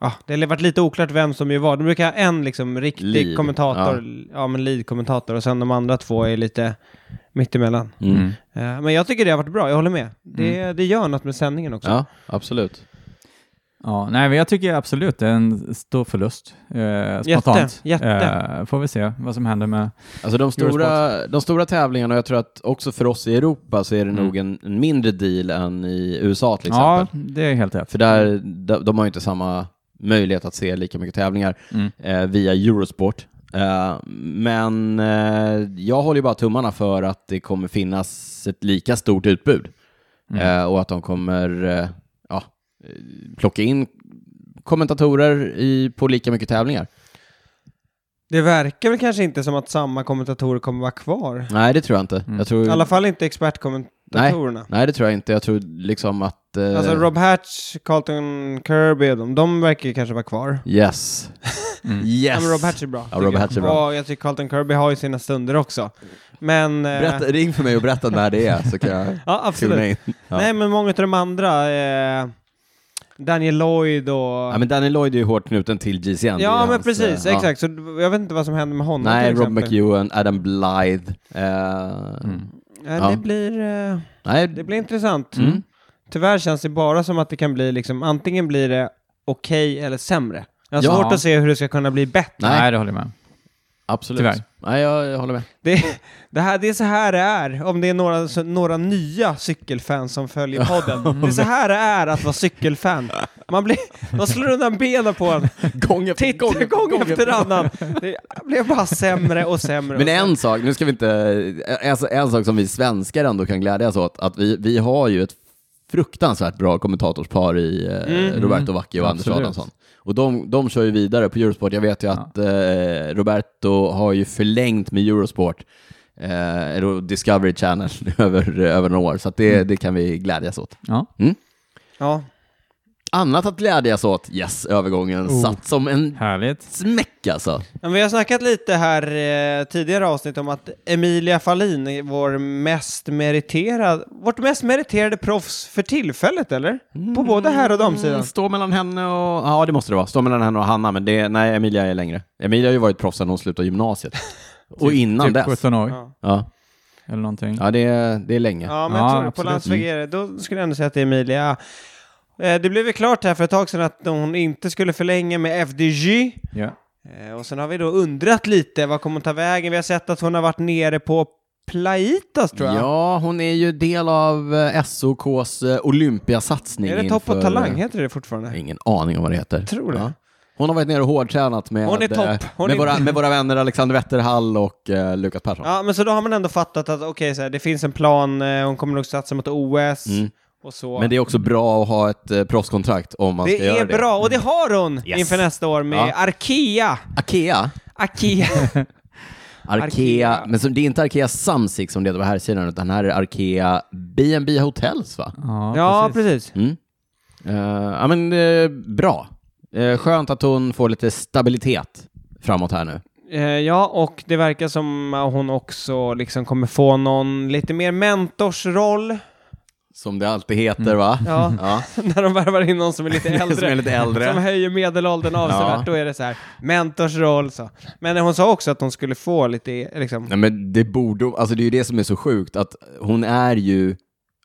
[SPEAKER 2] Ja, det har varit lite oklart vem som ju var. De brukar ha en liksom riktig
[SPEAKER 1] Lead,
[SPEAKER 2] kommentator, ja, men lead-kommentator och sen de andra två är lite mittemellan.
[SPEAKER 1] Mm.
[SPEAKER 3] Mm.
[SPEAKER 2] Eh, Men jag tycker det har varit bra, jag håller med. Det, det gör något med sändningen också.
[SPEAKER 1] ja, absolut.
[SPEAKER 3] Ja, nej, men jag tycker absolut det är en stor förlust. Eh, spontant.
[SPEAKER 2] jätte.
[SPEAKER 3] Eh, får vi se vad som händer med...
[SPEAKER 1] Alltså de stora, de stora tävlingarna, och jag tror att också för oss i Europa så är det
[SPEAKER 3] Mm.
[SPEAKER 1] nog en, en mindre deal än i USA till
[SPEAKER 3] Ja, Mm.
[SPEAKER 1] exempel.
[SPEAKER 3] det är helt rätt.
[SPEAKER 1] För där, de, de har ju inte samma möjlighet att se lika mycket tävlingar
[SPEAKER 3] Mm.
[SPEAKER 1] eh, via Eurosport. Eh, men eh, jag håller ju bara tummarna för att det kommer finnas ett lika stort utbud
[SPEAKER 3] Mm.
[SPEAKER 1] eh, och att de kommer eh, ja, eh, plocka in kommentatorer i, på lika mycket tävlingar.
[SPEAKER 2] Det verkar väl kanske inte som att samma kommentatorer kommer vara kvar.
[SPEAKER 1] Nej, det tror jag inte.
[SPEAKER 3] Mm.
[SPEAKER 1] Jag tror,
[SPEAKER 2] I alla fall inte expertkommentatorerna.
[SPEAKER 1] nej, det tror jag inte. Jag tror liksom att... eh,
[SPEAKER 2] Alltså Rob Hatch, Carlton Kirby, de, de verkar ju kanske vara kvar.
[SPEAKER 1] [laughs] Yes.
[SPEAKER 2] Ja,
[SPEAKER 3] Mm.
[SPEAKER 1] Yes.
[SPEAKER 2] men Rob Hatch är bra.
[SPEAKER 1] Ja,
[SPEAKER 2] tycker
[SPEAKER 1] Rob
[SPEAKER 2] jag.
[SPEAKER 1] Hatch är bra.
[SPEAKER 2] Och jag tycker Carlton Kirby har ju sina stunder också. Men... eh,
[SPEAKER 1] Berätta, ring för mig och berätta när det är så kan jag
[SPEAKER 2] Ja,
[SPEAKER 1] tuna
[SPEAKER 2] [laughs] absolut.
[SPEAKER 1] in. Ja.
[SPEAKER 2] Nej, men många av de andra, eh, Daniel Lloyd och...
[SPEAKER 1] Ja, men Danny Lloyd är ju hårt knuten till GCN. Det är
[SPEAKER 2] Ja, men
[SPEAKER 1] hans,
[SPEAKER 2] precis,
[SPEAKER 1] eh, ja.
[SPEAKER 2] exakt. Så jag vet inte vad som händer med honom
[SPEAKER 1] Nej,
[SPEAKER 2] till
[SPEAKER 1] Rob
[SPEAKER 2] exempel.
[SPEAKER 1] McEwen, Adam Blythe. eh,
[SPEAKER 3] Mm.
[SPEAKER 2] Ja,
[SPEAKER 1] Ja.
[SPEAKER 2] Det, blir, eh,
[SPEAKER 1] Nej,
[SPEAKER 2] det blir intressant.
[SPEAKER 1] Mm.
[SPEAKER 2] Tyvärr känns det bara som att det kan bli liksom, antingen blir det okej eller sämre. Jag har
[SPEAKER 1] Ja.
[SPEAKER 2] svårt att se hur det ska kunna bli bättre.
[SPEAKER 1] Nej.
[SPEAKER 3] Nej, det håller jag med.
[SPEAKER 1] absolut.
[SPEAKER 3] Tyvärr.
[SPEAKER 1] Nej, jag, jag håller med.
[SPEAKER 2] Det, det, här, det är så här det är, om det är några, så- några nya cykelfans som följer
[SPEAKER 1] [laughs]
[SPEAKER 2] podden. Det är så här det är att vara cykelfan. Man blir, de slår undan benen på en,
[SPEAKER 1] Gång efter
[SPEAKER 2] titt, gång, efter annan. Det blev bara sämre och sämre.
[SPEAKER 1] Men
[SPEAKER 2] och sämre.
[SPEAKER 1] en sak, nu ska vi inte, en, en sak som vi svenskar ändå kan glädjas åt, att vi, vi har ju ett fruktansvärt bra kommentatorspar i eh, Roberto Vacchi och Anders
[SPEAKER 3] Absolut.
[SPEAKER 1] Adamsson. Och de, de kör ju vidare på Eurosport. Jag vet ju att eh, Roberto har ju förlängt med Eurosport, eh, eller Discovery Channel, [laughs] över, över några år. Så att det, det kan vi glädjas åt.
[SPEAKER 3] Ja.
[SPEAKER 2] Ja.
[SPEAKER 1] Annat att glädjas åt, yes, övergången satt som en
[SPEAKER 3] Härligt.
[SPEAKER 1] smäck alltså.
[SPEAKER 2] Men vi har snackat lite här eh, tidigare avsnitt om att Emilia Fahlin är vår mest meriterad, vårt mest meriterade proffs för tillfället, eller? På både här och damsidan.
[SPEAKER 1] Stå mellan henne och... Ja, det måste det vara. Stå mellan henne och Hanna, men det... Nej, Emilia är längre. Emilia har ju varit proffs sedan hon slutade
[SPEAKER 2] [laughs]
[SPEAKER 1] gymnasiet. och innan
[SPEAKER 3] Typ
[SPEAKER 1] dess.
[SPEAKER 3] 17 år
[SPEAKER 2] Ja.
[SPEAKER 1] Ja,
[SPEAKER 3] eller någonting.
[SPEAKER 1] ja det, är, det är länge.
[SPEAKER 2] Ja, men
[SPEAKER 3] Ja,
[SPEAKER 2] jag tror på
[SPEAKER 3] absolut.
[SPEAKER 2] landsväg är det. Då skulle jag ändå säga att det är Emilia. Eh, Det blev ju klart här för ett tag sedan att hon inte skulle förlänga med FDJ.
[SPEAKER 3] Ja.
[SPEAKER 2] Eh, Och sen har vi då undrat lite, vad kommer hon ta vägen? Vi har sett att hon har varit nere på Plaitas tror jag.
[SPEAKER 1] Ja, hon är ju del av eh, SOKs eh, Olympiasatsning.
[SPEAKER 2] är det Topp och
[SPEAKER 1] inför-
[SPEAKER 2] Talang? Heter det fortfarande?
[SPEAKER 1] Jag har Ingen aning om vad det heter.
[SPEAKER 2] tror det.
[SPEAKER 1] Ja. Hon har varit nere och hårdtränat med,
[SPEAKER 2] Hon är topp.
[SPEAKER 1] eh,
[SPEAKER 2] Hon
[SPEAKER 1] med,
[SPEAKER 2] är-
[SPEAKER 1] våra, med våra vänner Alexander Wetterhall och eh, Lukas Persson.
[SPEAKER 2] Ja, men så då har man ändå fattat att okej, så här, det finns en plan, eh, hon kommer nog satsa mot OS
[SPEAKER 1] Mm.
[SPEAKER 2] och så.
[SPEAKER 1] Men det är också bra att ha ett eh, proffskontrakt om man ska
[SPEAKER 2] Det
[SPEAKER 1] göra
[SPEAKER 2] är
[SPEAKER 1] det. Mm.
[SPEAKER 2] bra, och det har hon
[SPEAKER 1] Yes.
[SPEAKER 2] inför nästa år med
[SPEAKER 1] Ja. [laughs]
[SPEAKER 2] Arkea.
[SPEAKER 1] Akea?
[SPEAKER 2] Akea.
[SPEAKER 1] Arkea,
[SPEAKER 2] Arkea.
[SPEAKER 1] men som, det är inte Arkea Samsic som det heter på här sidan utan här är Arkea B&B Hotels va?
[SPEAKER 3] Ja,
[SPEAKER 2] [laughs] Ja,
[SPEAKER 3] precis.
[SPEAKER 2] precis.
[SPEAKER 1] Mm. Eh, ja men eh, bra. Eh, skönt att hon får lite stabilitet framåt här nu.
[SPEAKER 2] Eh, ja, och det verkar som eh, hon också liksom kommer få någon lite mer mentorsroll.
[SPEAKER 1] Som det alltid heter
[SPEAKER 2] [laughs]
[SPEAKER 1] va? [laughs]
[SPEAKER 2] Ja,
[SPEAKER 1] Ja.
[SPEAKER 2] när de värvar in någon Mm. som är lite
[SPEAKER 1] [laughs]
[SPEAKER 2] äldre.
[SPEAKER 1] Som är lite äldre.
[SPEAKER 2] Som höjer medelåldern avsevärt.
[SPEAKER 1] Ja.
[SPEAKER 2] Då är det så här, mentorsroll så. Men hon sa också att hon skulle få lite, eh, liksom,
[SPEAKER 1] Nej men det borde, alltså det är ju det som är så sjukt att hon är ju,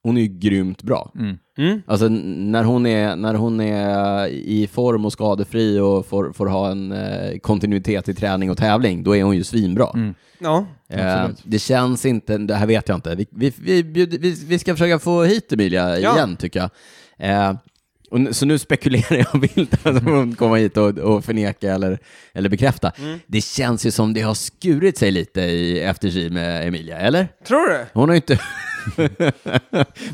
[SPEAKER 1] hon är ju grymt bra.
[SPEAKER 3] Mm.
[SPEAKER 2] mm,
[SPEAKER 1] Alltså n- när hon är, när hon är i form och skadefri och får, får ha en eh, kontinuitet i träning och tävling, då är hon ju svinbra.
[SPEAKER 3] Mm.
[SPEAKER 2] ja.
[SPEAKER 1] Eh,
[SPEAKER 3] absolut.
[SPEAKER 1] det känns inte, det här vet jag inte. Vi, vi, vi, bjud, vi, vi ska försöka få hit Emilia
[SPEAKER 2] Ja.
[SPEAKER 1] igen tycker jag. Eh, och, nu- så nu spekulerar jag [laughs] vilt att hon kommer hit och, och förneka eller, eller bekräfta.
[SPEAKER 2] Mm.
[SPEAKER 1] Det känns ju som det har skurit sig lite i FTG med Emilia, eller?
[SPEAKER 2] Tror du?
[SPEAKER 1] Hon har ju inte... [laughs]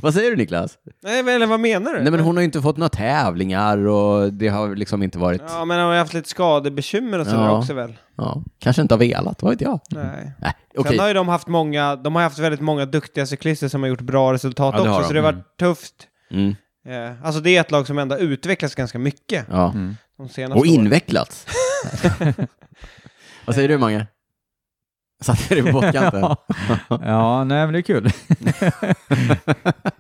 [SPEAKER 1] Vad säger du Niklas?
[SPEAKER 2] Nej, men, eller vad menar du?
[SPEAKER 1] Nej men hon har ju inte fått några tävlingar och det har liksom inte varit... Ja.
[SPEAKER 2] Ja, men hon har ju haft lite skadebekymmer och sådär
[SPEAKER 1] Ja.
[SPEAKER 2] också väl?
[SPEAKER 1] Kanske inte har velat, vad vet jag?
[SPEAKER 2] Nej.
[SPEAKER 1] Nej, okej.
[SPEAKER 2] Sen har ju de haft många, de har haft väldigt många duktiga cyklister som har gjort bra resultat
[SPEAKER 1] Ja, det har
[SPEAKER 2] också,
[SPEAKER 1] de.
[SPEAKER 2] så det har varit tufft.
[SPEAKER 1] Mm.
[SPEAKER 2] Eh, alltså det är ett lag som ändå har utvecklats ganska mycket
[SPEAKER 1] Ja.
[SPEAKER 3] Mm.
[SPEAKER 2] de senaste
[SPEAKER 1] Och
[SPEAKER 2] åren.
[SPEAKER 1] invecklats. [laughs] vad säger du Mange? Satte du på båtkanten?
[SPEAKER 3] [laughs] ja. ja, nej men det
[SPEAKER 1] [laughs]
[SPEAKER 3] är kul.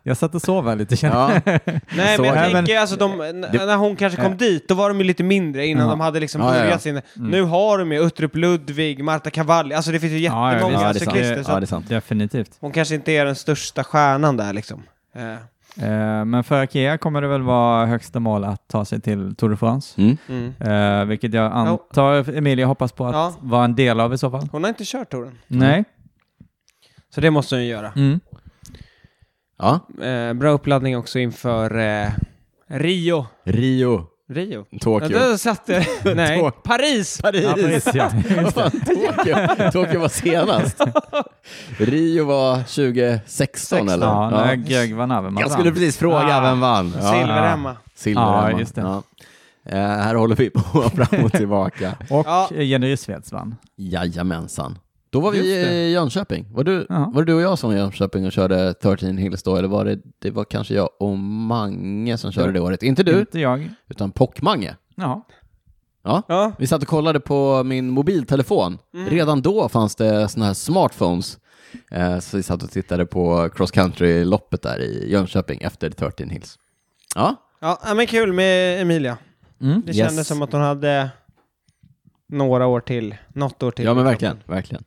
[SPEAKER 3] jag satt och sov här lite känner jag.
[SPEAKER 1] Ja.
[SPEAKER 2] Nej,
[SPEAKER 1] såg
[SPEAKER 2] men
[SPEAKER 1] det.
[SPEAKER 2] jag
[SPEAKER 3] Nej,
[SPEAKER 2] tänker alltså de, n- när hon kanske kom dit, då var de ju lite mindre innan
[SPEAKER 3] Ja.
[SPEAKER 2] de hade liksom
[SPEAKER 1] Ja, ja, ja.
[SPEAKER 2] börjat sin...
[SPEAKER 1] Mm.
[SPEAKER 2] Nu har de ju Uttrup Ludvig, Marta Cavalli, alltså det finns ju
[SPEAKER 3] Ja, ja,
[SPEAKER 2] jättemånga
[SPEAKER 3] visst.
[SPEAKER 1] Ja, det är sant.
[SPEAKER 2] cyklister. Så
[SPEAKER 1] Ja, det är
[SPEAKER 2] att
[SPEAKER 1] sant.
[SPEAKER 3] Definitivt.
[SPEAKER 2] hon kanske inte är den största stjärnan där liksom. Eh,
[SPEAKER 3] Eh, men för Akea kommer det väl vara högsta mål att ta sig till Tour de France.
[SPEAKER 1] Mm.
[SPEAKER 2] mm.
[SPEAKER 3] Eh, vilket jag antar Emilia hoppas på att
[SPEAKER 2] Ja.
[SPEAKER 3] vara en del av i så fall.
[SPEAKER 2] Hon har inte kört touren,
[SPEAKER 3] Nej.
[SPEAKER 2] så det måste hon ju göra.
[SPEAKER 3] Mm.
[SPEAKER 1] Ja.
[SPEAKER 2] Eh, bra uppladdning också inför eh, Rio.
[SPEAKER 1] Rio,
[SPEAKER 2] Rio? Ja,
[SPEAKER 1] Tokyo.
[SPEAKER 2] där satt det.
[SPEAKER 3] [laughs]
[SPEAKER 2] Nej,
[SPEAKER 1] Tokyo.
[SPEAKER 2] Paris!
[SPEAKER 3] Ja,
[SPEAKER 1] Paris.
[SPEAKER 3] precis, ja.
[SPEAKER 1] [laughs] Vad fan, Tokyo. Tokyo var senast. Rio var 2016 eller?
[SPEAKER 3] ja, när
[SPEAKER 1] Ja.
[SPEAKER 3] Greg van Avermaet
[SPEAKER 1] Jag skulle
[SPEAKER 3] vann.
[SPEAKER 1] precis fråga,
[SPEAKER 2] Ah,
[SPEAKER 1] vem vann? Ja.
[SPEAKER 2] Silverhemma.
[SPEAKER 1] Silver
[SPEAKER 3] Ja,
[SPEAKER 1] hemma.
[SPEAKER 3] just det.
[SPEAKER 1] Ja. Eh, här håller vi på fram och tillbaka.
[SPEAKER 3] Och
[SPEAKER 2] Ja.
[SPEAKER 3] Jenny Rissveds vann.
[SPEAKER 1] Jajamensan. Då var vi
[SPEAKER 2] Just det.
[SPEAKER 1] i Jönköping. Var, du,
[SPEAKER 3] Ja.
[SPEAKER 1] var det du och jag som var i Jönköping och körde 13 Hills då? Eller var det, det var kanske jag och Mange som körde det året? Inte
[SPEAKER 2] Mm.
[SPEAKER 1] du,
[SPEAKER 3] Inte jag.
[SPEAKER 1] utan Pockmange.
[SPEAKER 3] Ja.
[SPEAKER 1] Ja.
[SPEAKER 2] Ja,
[SPEAKER 1] Vi satt och kollade på min mobiltelefon.
[SPEAKER 2] Mm.
[SPEAKER 1] Redan då fanns det såna här smartphones. Eh, så vi satt och tittade på cross country-loppet där i Jönköping efter 13 Hills. Ja,
[SPEAKER 2] ja men kul med Emilia.
[SPEAKER 3] Mm.
[SPEAKER 2] Det
[SPEAKER 1] Yes.
[SPEAKER 2] kändes som att hon hade några år till, något år till. liksom.
[SPEAKER 1] Ja men verkligen, verkligen.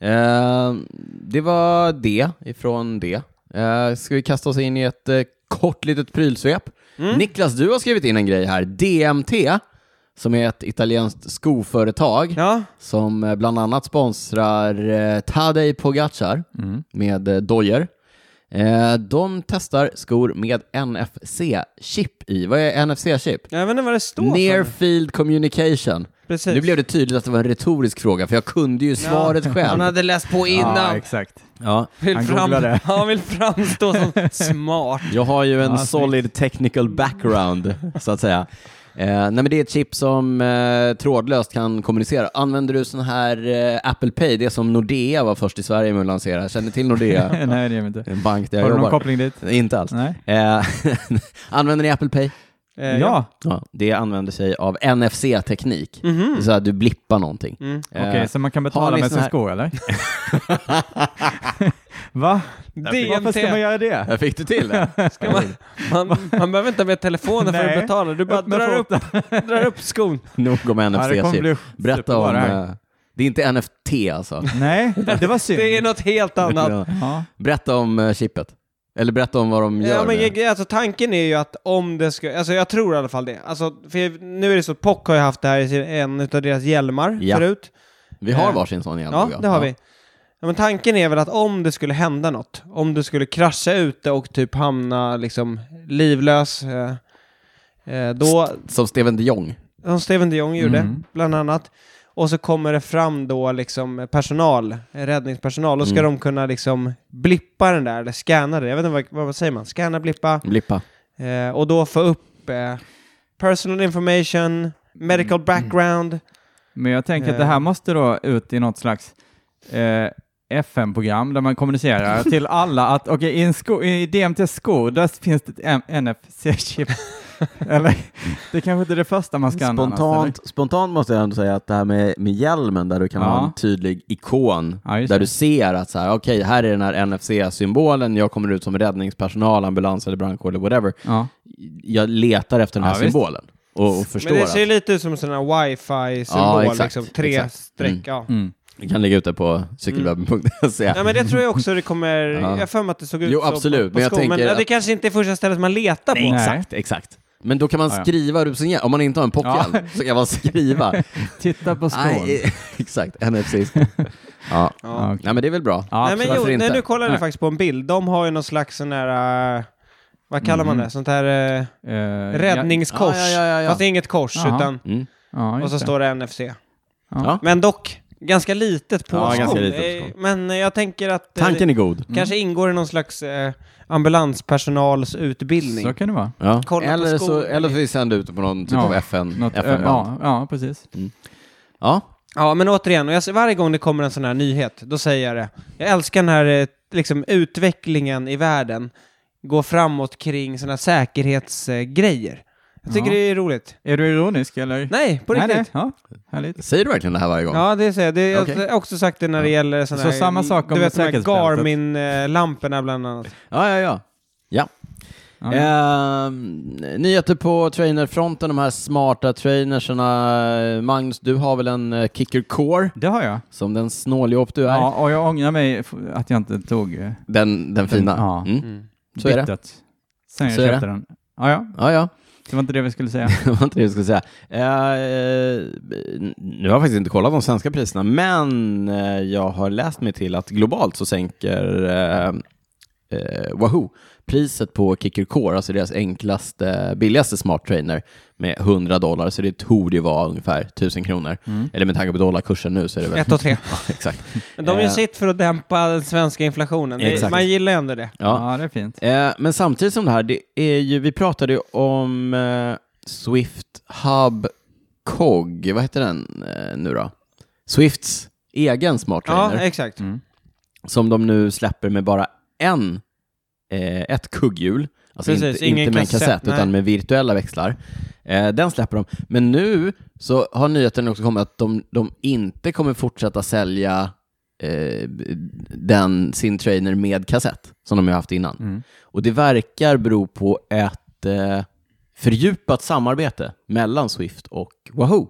[SPEAKER 1] Eh, det var det ifrån det. Eh, ska vi kasta oss in i ett eh, kort litet prylsvep?
[SPEAKER 2] Mm.
[SPEAKER 1] Niklas, du har skrivit in en grej här. DMT, som är ett italienskt skoföretag
[SPEAKER 2] Ja,
[SPEAKER 1] som eh, bland annat sponsrar eh, Tadej Pogacar med eh, dojor. Eh, de testar skor med NFC-chip i. Vad är NFC-chip?
[SPEAKER 2] jag vet inte vad det står
[SPEAKER 1] Near
[SPEAKER 2] för.
[SPEAKER 1] Field Communication.
[SPEAKER 2] Precis.
[SPEAKER 1] Nu blev det tydligt att det var en retorisk fråga, för jag kunde ju svaret
[SPEAKER 2] Han
[SPEAKER 1] själv.
[SPEAKER 2] hade läst på innan.
[SPEAKER 3] Ja, exakt.
[SPEAKER 1] Ja.
[SPEAKER 2] vill
[SPEAKER 3] han
[SPEAKER 2] fram...
[SPEAKER 3] googlade.
[SPEAKER 2] [laughs] han vill framstå som smart.
[SPEAKER 1] Jag har ju en
[SPEAKER 3] Ja, snyggt.
[SPEAKER 1] solid technical background, så att säga. Eh, nej men det är ett chip som eh, trådlöst kan kommunicera. Använder du sån här eh, Apple Pay, det som Nordea var först i Sverige med att lansera. Känner ni till Nordea?
[SPEAKER 3] [laughs] Nej, det gör vi inte.
[SPEAKER 1] en bank där jag
[SPEAKER 3] Har du någon
[SPEAKER 1] jobbar.
[SPEAKER 3] koppling dit?
[SPEAKER 1] Inte alls.
[SPEAKER 3] Nej.
[SPEAKER 1] Eh, [laughs] använder ni Apple Pay?
[SPEAKER 2] Eh,
[SPEAKER 3] Ja,
[SPEAKER 1] Ja, det använder sig av NFC-teknik.
[SPEAKER 2] Mhm.
[SPEAKER 1] Det är så att du blippar någonting.
[SPEAKER 3] Mm.
[SPEAKER 2] Mm.
[SPEAKER 1] [laughs]
[SPEAKER 3] okej,
[SPEAKER 1] Eh,
[SPEAKER 3] så man kan
[SPEAKER 1] har
[SPEAKER 3] betala
[SPEAKER 1] ni sån
[SPEAKER 3] med sin
[SPEAKER 1] här- [laughs]
[SPEAKER 3] sko eller? [laughs] Va? Varför ska man
[SPEAKER 2] DMT.
[SPEAKER 3] göra det?
[SPEAKER 1] Där fick du till
[SPEAKER 3] [laughs]
[SPEAKER 1] det.
[SPEAKER 2] Ska man, man, man behöver inte ha med telefonen för att
[SPEAKER 3] Nej.
[SPEAKER 2] betala. Du bara
[SPEAKER 3] Upp med
[SPEAKER 2] drar upp, drar upp skon.
[SPEAKER 1] Nog om
[SPEAKER 3] Ja, det kommer bli
[SPEAKER 1] NFC-chip. Berätta
[SPEAKER 3] superbra
[SPEAKER 1] om...
[SPEAKER 3] det här.
[SPEAKER 1] eh, Det är inte NFT alltså.
[SPEAKER 3] Nej, det
[SPEAKER 1] [laughs]
[SPEAKER 3] var synd.
[SPEAKER 2] Det är något helt annat.
[SPEAKER 1] Ja.
[SPEAKER 3] Ja.
[SPEAKER 1] Berätta om eh, chippet. Eller berätta om vad de gör.
[SPEAKER 2] Ja, men,
[SPEAKER 1] med det.
[SPEAKER 2] jag- alltså, tanken är ju att om det ska, alltså jag tror i alla fall det. Alltså, för jag- nu är det så att Pock har ju haft det här i sin- en av deras hjälmar
[SPEAKER 1] Ja.
[SPEAKER 2] förut.
[SPEAKER 1] Vi har
[SPEAKER 2] eh,
[SPEAKER 1] varsin sån igen.
[SPEAKER 2] Ja,
[SPEAKER 1] tror jag.
[SPEAKER 2] det har vi. Ja, men tanken är väl att om det skulle hända något, om du skulle krascha ute och typ hamna liksom livlös, eh, eh, då,
[SPEAKER 1] Som Steven de Jong.
[SPEAKER 2] som Steven de Jong gjorde,
[SPEAKER 3] Mm.
[SPEAKER 2] bland annat, och så kommer det fram då liksom personal, eh, räddningspersonal, då ska
[SPEAKER 1] Mm.
[SPEAKER 2] de kunna liksom blippa den där, eller scanna det, jag vet inte vad, vad säger man, scanna, blippa,
[SPEAKER 1] Blippa.
[SPEAKER 2] Eh, och då få upp eh, personal
[SPEAKER 1] Mm.
[SPEAKER 2] information, medical background.
[SPEAKER 3] Men jag tänker att det här måste då ut i något slags eh, FM-program där man kommunicerar till alla att okej, i, en sko- i DMT skor, där finns det ett NFC-chip. [laughs] eller, det kanske inte är det första man ska använda, alltså, eller?
[SPEAKER 1] Spontant, spontant måste jag ändå säga att det här med, med hjälmen där du kan
[SPEAKER 3] Ja.
[SPEAKER 1] ha en tydlig ikon
[SPEAKER 3] Ja, just
[SPEAKER 1] där
[SPEAKER 3] det.
[SPEAKER 1] du ser att så här, okej, här är den här NFC-symbolen, jag kommer ut som räddningspersonal, ambulans eller brandkår eller whatever.
[SPEAKER 3] Ja.
[SPEAKER 1] Jag letar efter den här
[SPEAKER 3] Ja, visst.
[SPEAKER 1] symbolen och, och förstår
[SPEAKER 2] Men det ser ju
[SPEAKER 1] att
[SPEAKER 2] lite ut som en sån här
[SPEAKER 1] Ja,
[SPEAKER 2] wifi-symbol,
[SPEAKER 1] exakt,
[SPEAKER 2] liksom. Tre
[SPEAKER 1] exakt.
[SPEAKER 2] streck,
[SPEAKER 1] Mm.
[SPEAKER 2] ja.
[SPEAKER 3] Mm.
[SPEAKER 1] vi kan lägga ut det på [laughs] cykelwebben.se.
[SPEAKER 2] Ja, men det tror jag också det kommer...
[SPEAKER 1] Ja.
[SPEAKER 2] Jag har för mig att det såg ut
[SPEAKER 1] Jo,
[SPEAKER 2] så
[SPEAKER 1] absolut,
[SPEAKER 2] på, på
[SPEAKER 1] men jag
[SPEAKER 2] skon,
[SPEAKER 1] tänker
[SPEAKER 2] men ja, det
[SPEAKER 1] att-
[SPEAKER 2] kanske inte är första stället man letar på.
[SPEAKER 3] Nej,
[SPEAKER 1] Exakt, exakt. Men då kan man
[SPEAKER 3] Ja, ja.
[SPEAKER 1] skriva det på sin hjälm. Om man inte har en pockhjälm
[SPEAKER 3] Ja.
[SPEAKER 1] så kan man skriva.
[SPEAKER 3] Titta [laughs] på skon.
[SPEAKER 1] Nej, [laughs] eh, exakt, NFC. ja.
[SPEAKER 2] Ja.
[SPEAKER 3] Ja,
[SPEAKER 1] Nej, men det är väl bra.
[SPEAKER 3] Ja,
[SPEAKER 2] Nej, men
[SPEAKER 1] absolut.
[SPEAKER 2] jo,
[SPEAKER 1] Varför
[SPEAKER 2] nej,
[SPEAKER 1] inte?
[SPEAKER 2] nu kollade jag
[SPEAKER 3] Nej.
[SPEAKER 2] faktiskt på en bild. De har ju någon slags sån här... äh, vad kallar man det? Sånt här äh,
[SPEAKER 3] Eh,
[SPEAKER 2] räddningskors.
[SPEAKER 1] Mm. Ja, ja, ja, ja.
[SPEAKER 2] Fast det är inget kors,
[SPEAKER 3] Jaha.
[SPEAKER 2] utan...
[SPEAKER 1] Mm.
[SPEAKER 3] Ja,
[SPEAKER 2] Och så
[SPEAKER 3] just det.
[SPEAKER 2] står det NFC.
[SPEAKER 1] Ja.
[SPEAKER 2] Men dock, ganska litet på
[SPEAKER 1] Ja,
[SPEAKER 2] skon.
[SPEAKER 1] ganska litet på
[SPEAKER 2] Eh,
[SPEAKER 1] skon.
[SPEAKER 2] Men eh, jag tänker att... eh,
[SPEAKER 1] Tanken är Mm. god.
[SPEAKER 2] Kanske ingår i någon slags eh, ambulanspersonalsutbildning.
[SPEAKER 3] Så kan det vara.
[SPEAKER 1] Ja.
[SPEAKER 2] Kolla på
[SPEAKER 1] Eller, så,
[SPEAKER 2] skor.
[SPEAKER 1] eller så vi sänder ut det på någon typ
[SPEAKER 3] Ja,
[SPEAKER 1] av FN,
[SPEAKER 3] Något, eh,
[SPEAKER 1] FN-band. Ja.
[SPEAKER 3] ja, ja, precis.
[SPEAKER 2] Ja, men återigen, och jag, ser- varje gång det kommer en sån här nyhet, då säger jag det. Jag älskar den här eh, liksom, utvecklingen i världen, gå framåt kring såna här säkerhetsgrejer. Jag tycker
[SPEAKER 3] Ja.
[SPEAKER 2] det är roligt.
[SPEAKER 3] Är du ironisk eller?
[SPEAKER 2] Nej, på
[SPEAKER 3] Nej,
[SPEAKER 2] riktigt.
[SPEAKER 3] nej. Ja, härligt.
[SPEAKER 1] Säger du verkligen det här varje gång?
[SPEAKER 2] Ja, det säger jag. Det,
[SPEAKER 1] Okej.
[SPEAKER 2] Jag har också sagt det när det gäller såna
[SPEAKER 3] Så
[SPEAKER 2] här,
[SPEAKER 3] samma sak om
[SPEAKER 2] du vet, de här
[SPEAKER 3] säkerhetsbältet.
[SPEAKER 2] Garmin-lamporna bland annat.
[SPEAKER 1] ja, ja. ja. ja.
[SPEAKER 3] Ja.
[SPEAKER 1] Ehm, nyheter på trainerfronten, de här smarta trainerserna. Magnus, du har väl en eh, kicker core,
[SPEAKER 3] Det har jag.
[SPEAKER 1] som den snåljåp du är.
[SPEAKER 3] Ja, och jag ångrar mig f- att jag inte tog eh,
[SPEAKER 1] Den, den fina.
[SPEAKER 3] Ja.
[SPEAKER 1] Mm.
[SPEAKER 2] Mm.
[SPEAKER 1] Så är det.
[SPEAKER 3] bytet sen jag
[SPEAKER 1] Så är det.
[SPEAKER 3] köpte den. Ja, ja,
[SPEAKER 1] Ja, ja.
[SPEAKER 3] det var inte det vi skulle säga.
[SPEAKER 1] Det var inte det jag skulle säga. Eh, nu har jag faktiskt inte kollat de svenska priserna, men eh, jag har läst mig till att globalt så sänker eh, eh, Wahoo priset på Kicker Core, alltså deras enklaste, billigaste smart trainer, med 100 dollar. Så det torde ju vara ungefär 1000 kronor. Eller med tanke på dollarkursen nu så är det väl...
[SPEAKER 2] Mm. Ett och tre.
[SPEAKER 1] Ja, exakt.
[SPEAKER 2] Men de gör
[SPEAKER 1] Eh.
[SPEAKER 2] sitt för att dämpa den svenska inflationen. Det,
[SPEAKER 1] Exakt.
[SPEAKER 2] man gillar ju ändå det.
[SPEAKER 1] Ja.
[SPEAKER 3] Ja, det är fint.
[SPEAKER 1] Eh, men samtidigt som det här, det är ju, vi pratade ju om eh, Swift Hub Cog, vad heter den eh, nu då? Swifts egen smart
[SPEAKER 2] Ja, eh.
[SPEAKER 1] trainer,
[SPEAKER 2] exakt.
[SPEAKER 3] Mm.
[SPEAKER 1] som de nu släpper med bara en, eh, ett kugghjul. Alltså
[SPEAKER 2] Precis,
[SPEAKER 1] inte,
[SPEAKER 2] ingen
[SPEAKER 1] inte med en
[SPEAKER 2] kassett,
[SPEAKER 1] kassett,
[SPEAKER 2] nej.
[SPEAKER 1] utan med virtuella växlar. Eh, den släpper de. Men nu så har nyheten också kommit att de, de inte kommer fortsätta sälja eh, den, sin trainer med kassett, som de har haft innan.
[SPEAKER 3] Mm.
[SPEAKER 1] Och det verkar bero på ett eh, fördjupat samarbete mellan Swift och Wahoo.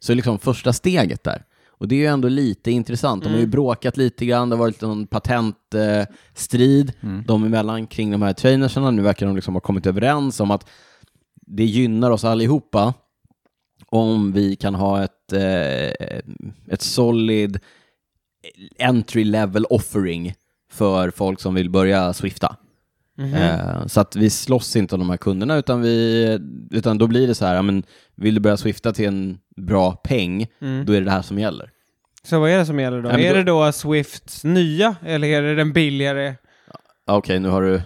[SPEAKER 1] Så liksom första steget där. Och det är ju ändå lite intressant. De har ju bråkat lite grann, det har varit någon patentstrid eh, strid de emellan kring de här trainersarna. Nu verkar de liksom ha kommit överens om att det gynnar oss allihopa om vi kan ha ett, eh, ett solid entry level offering för folk som vill börja swifta.
[SPEAKER 2] Mhm, Mm.
[SPEAKER 1] Eh, Så att vi slåss inte om de här kunderna, utan, vi, utan då blir det så här, ja, men vill du börja swifta till en bra peng,
[SPEAKER 2] Mm.
[SPEAKER 1] då är det det här som gäller.
[SPEAKER 2] Så vad är det som gäller då?
[SPEAKER 1] Nej, men
[SPEAKER 2] är
[SPEAKER 1] då-
[SPEAKER 2] det då Swifts nya eller är det den billigare?
[SPEAKER 1] Ja, Okej, nu har du...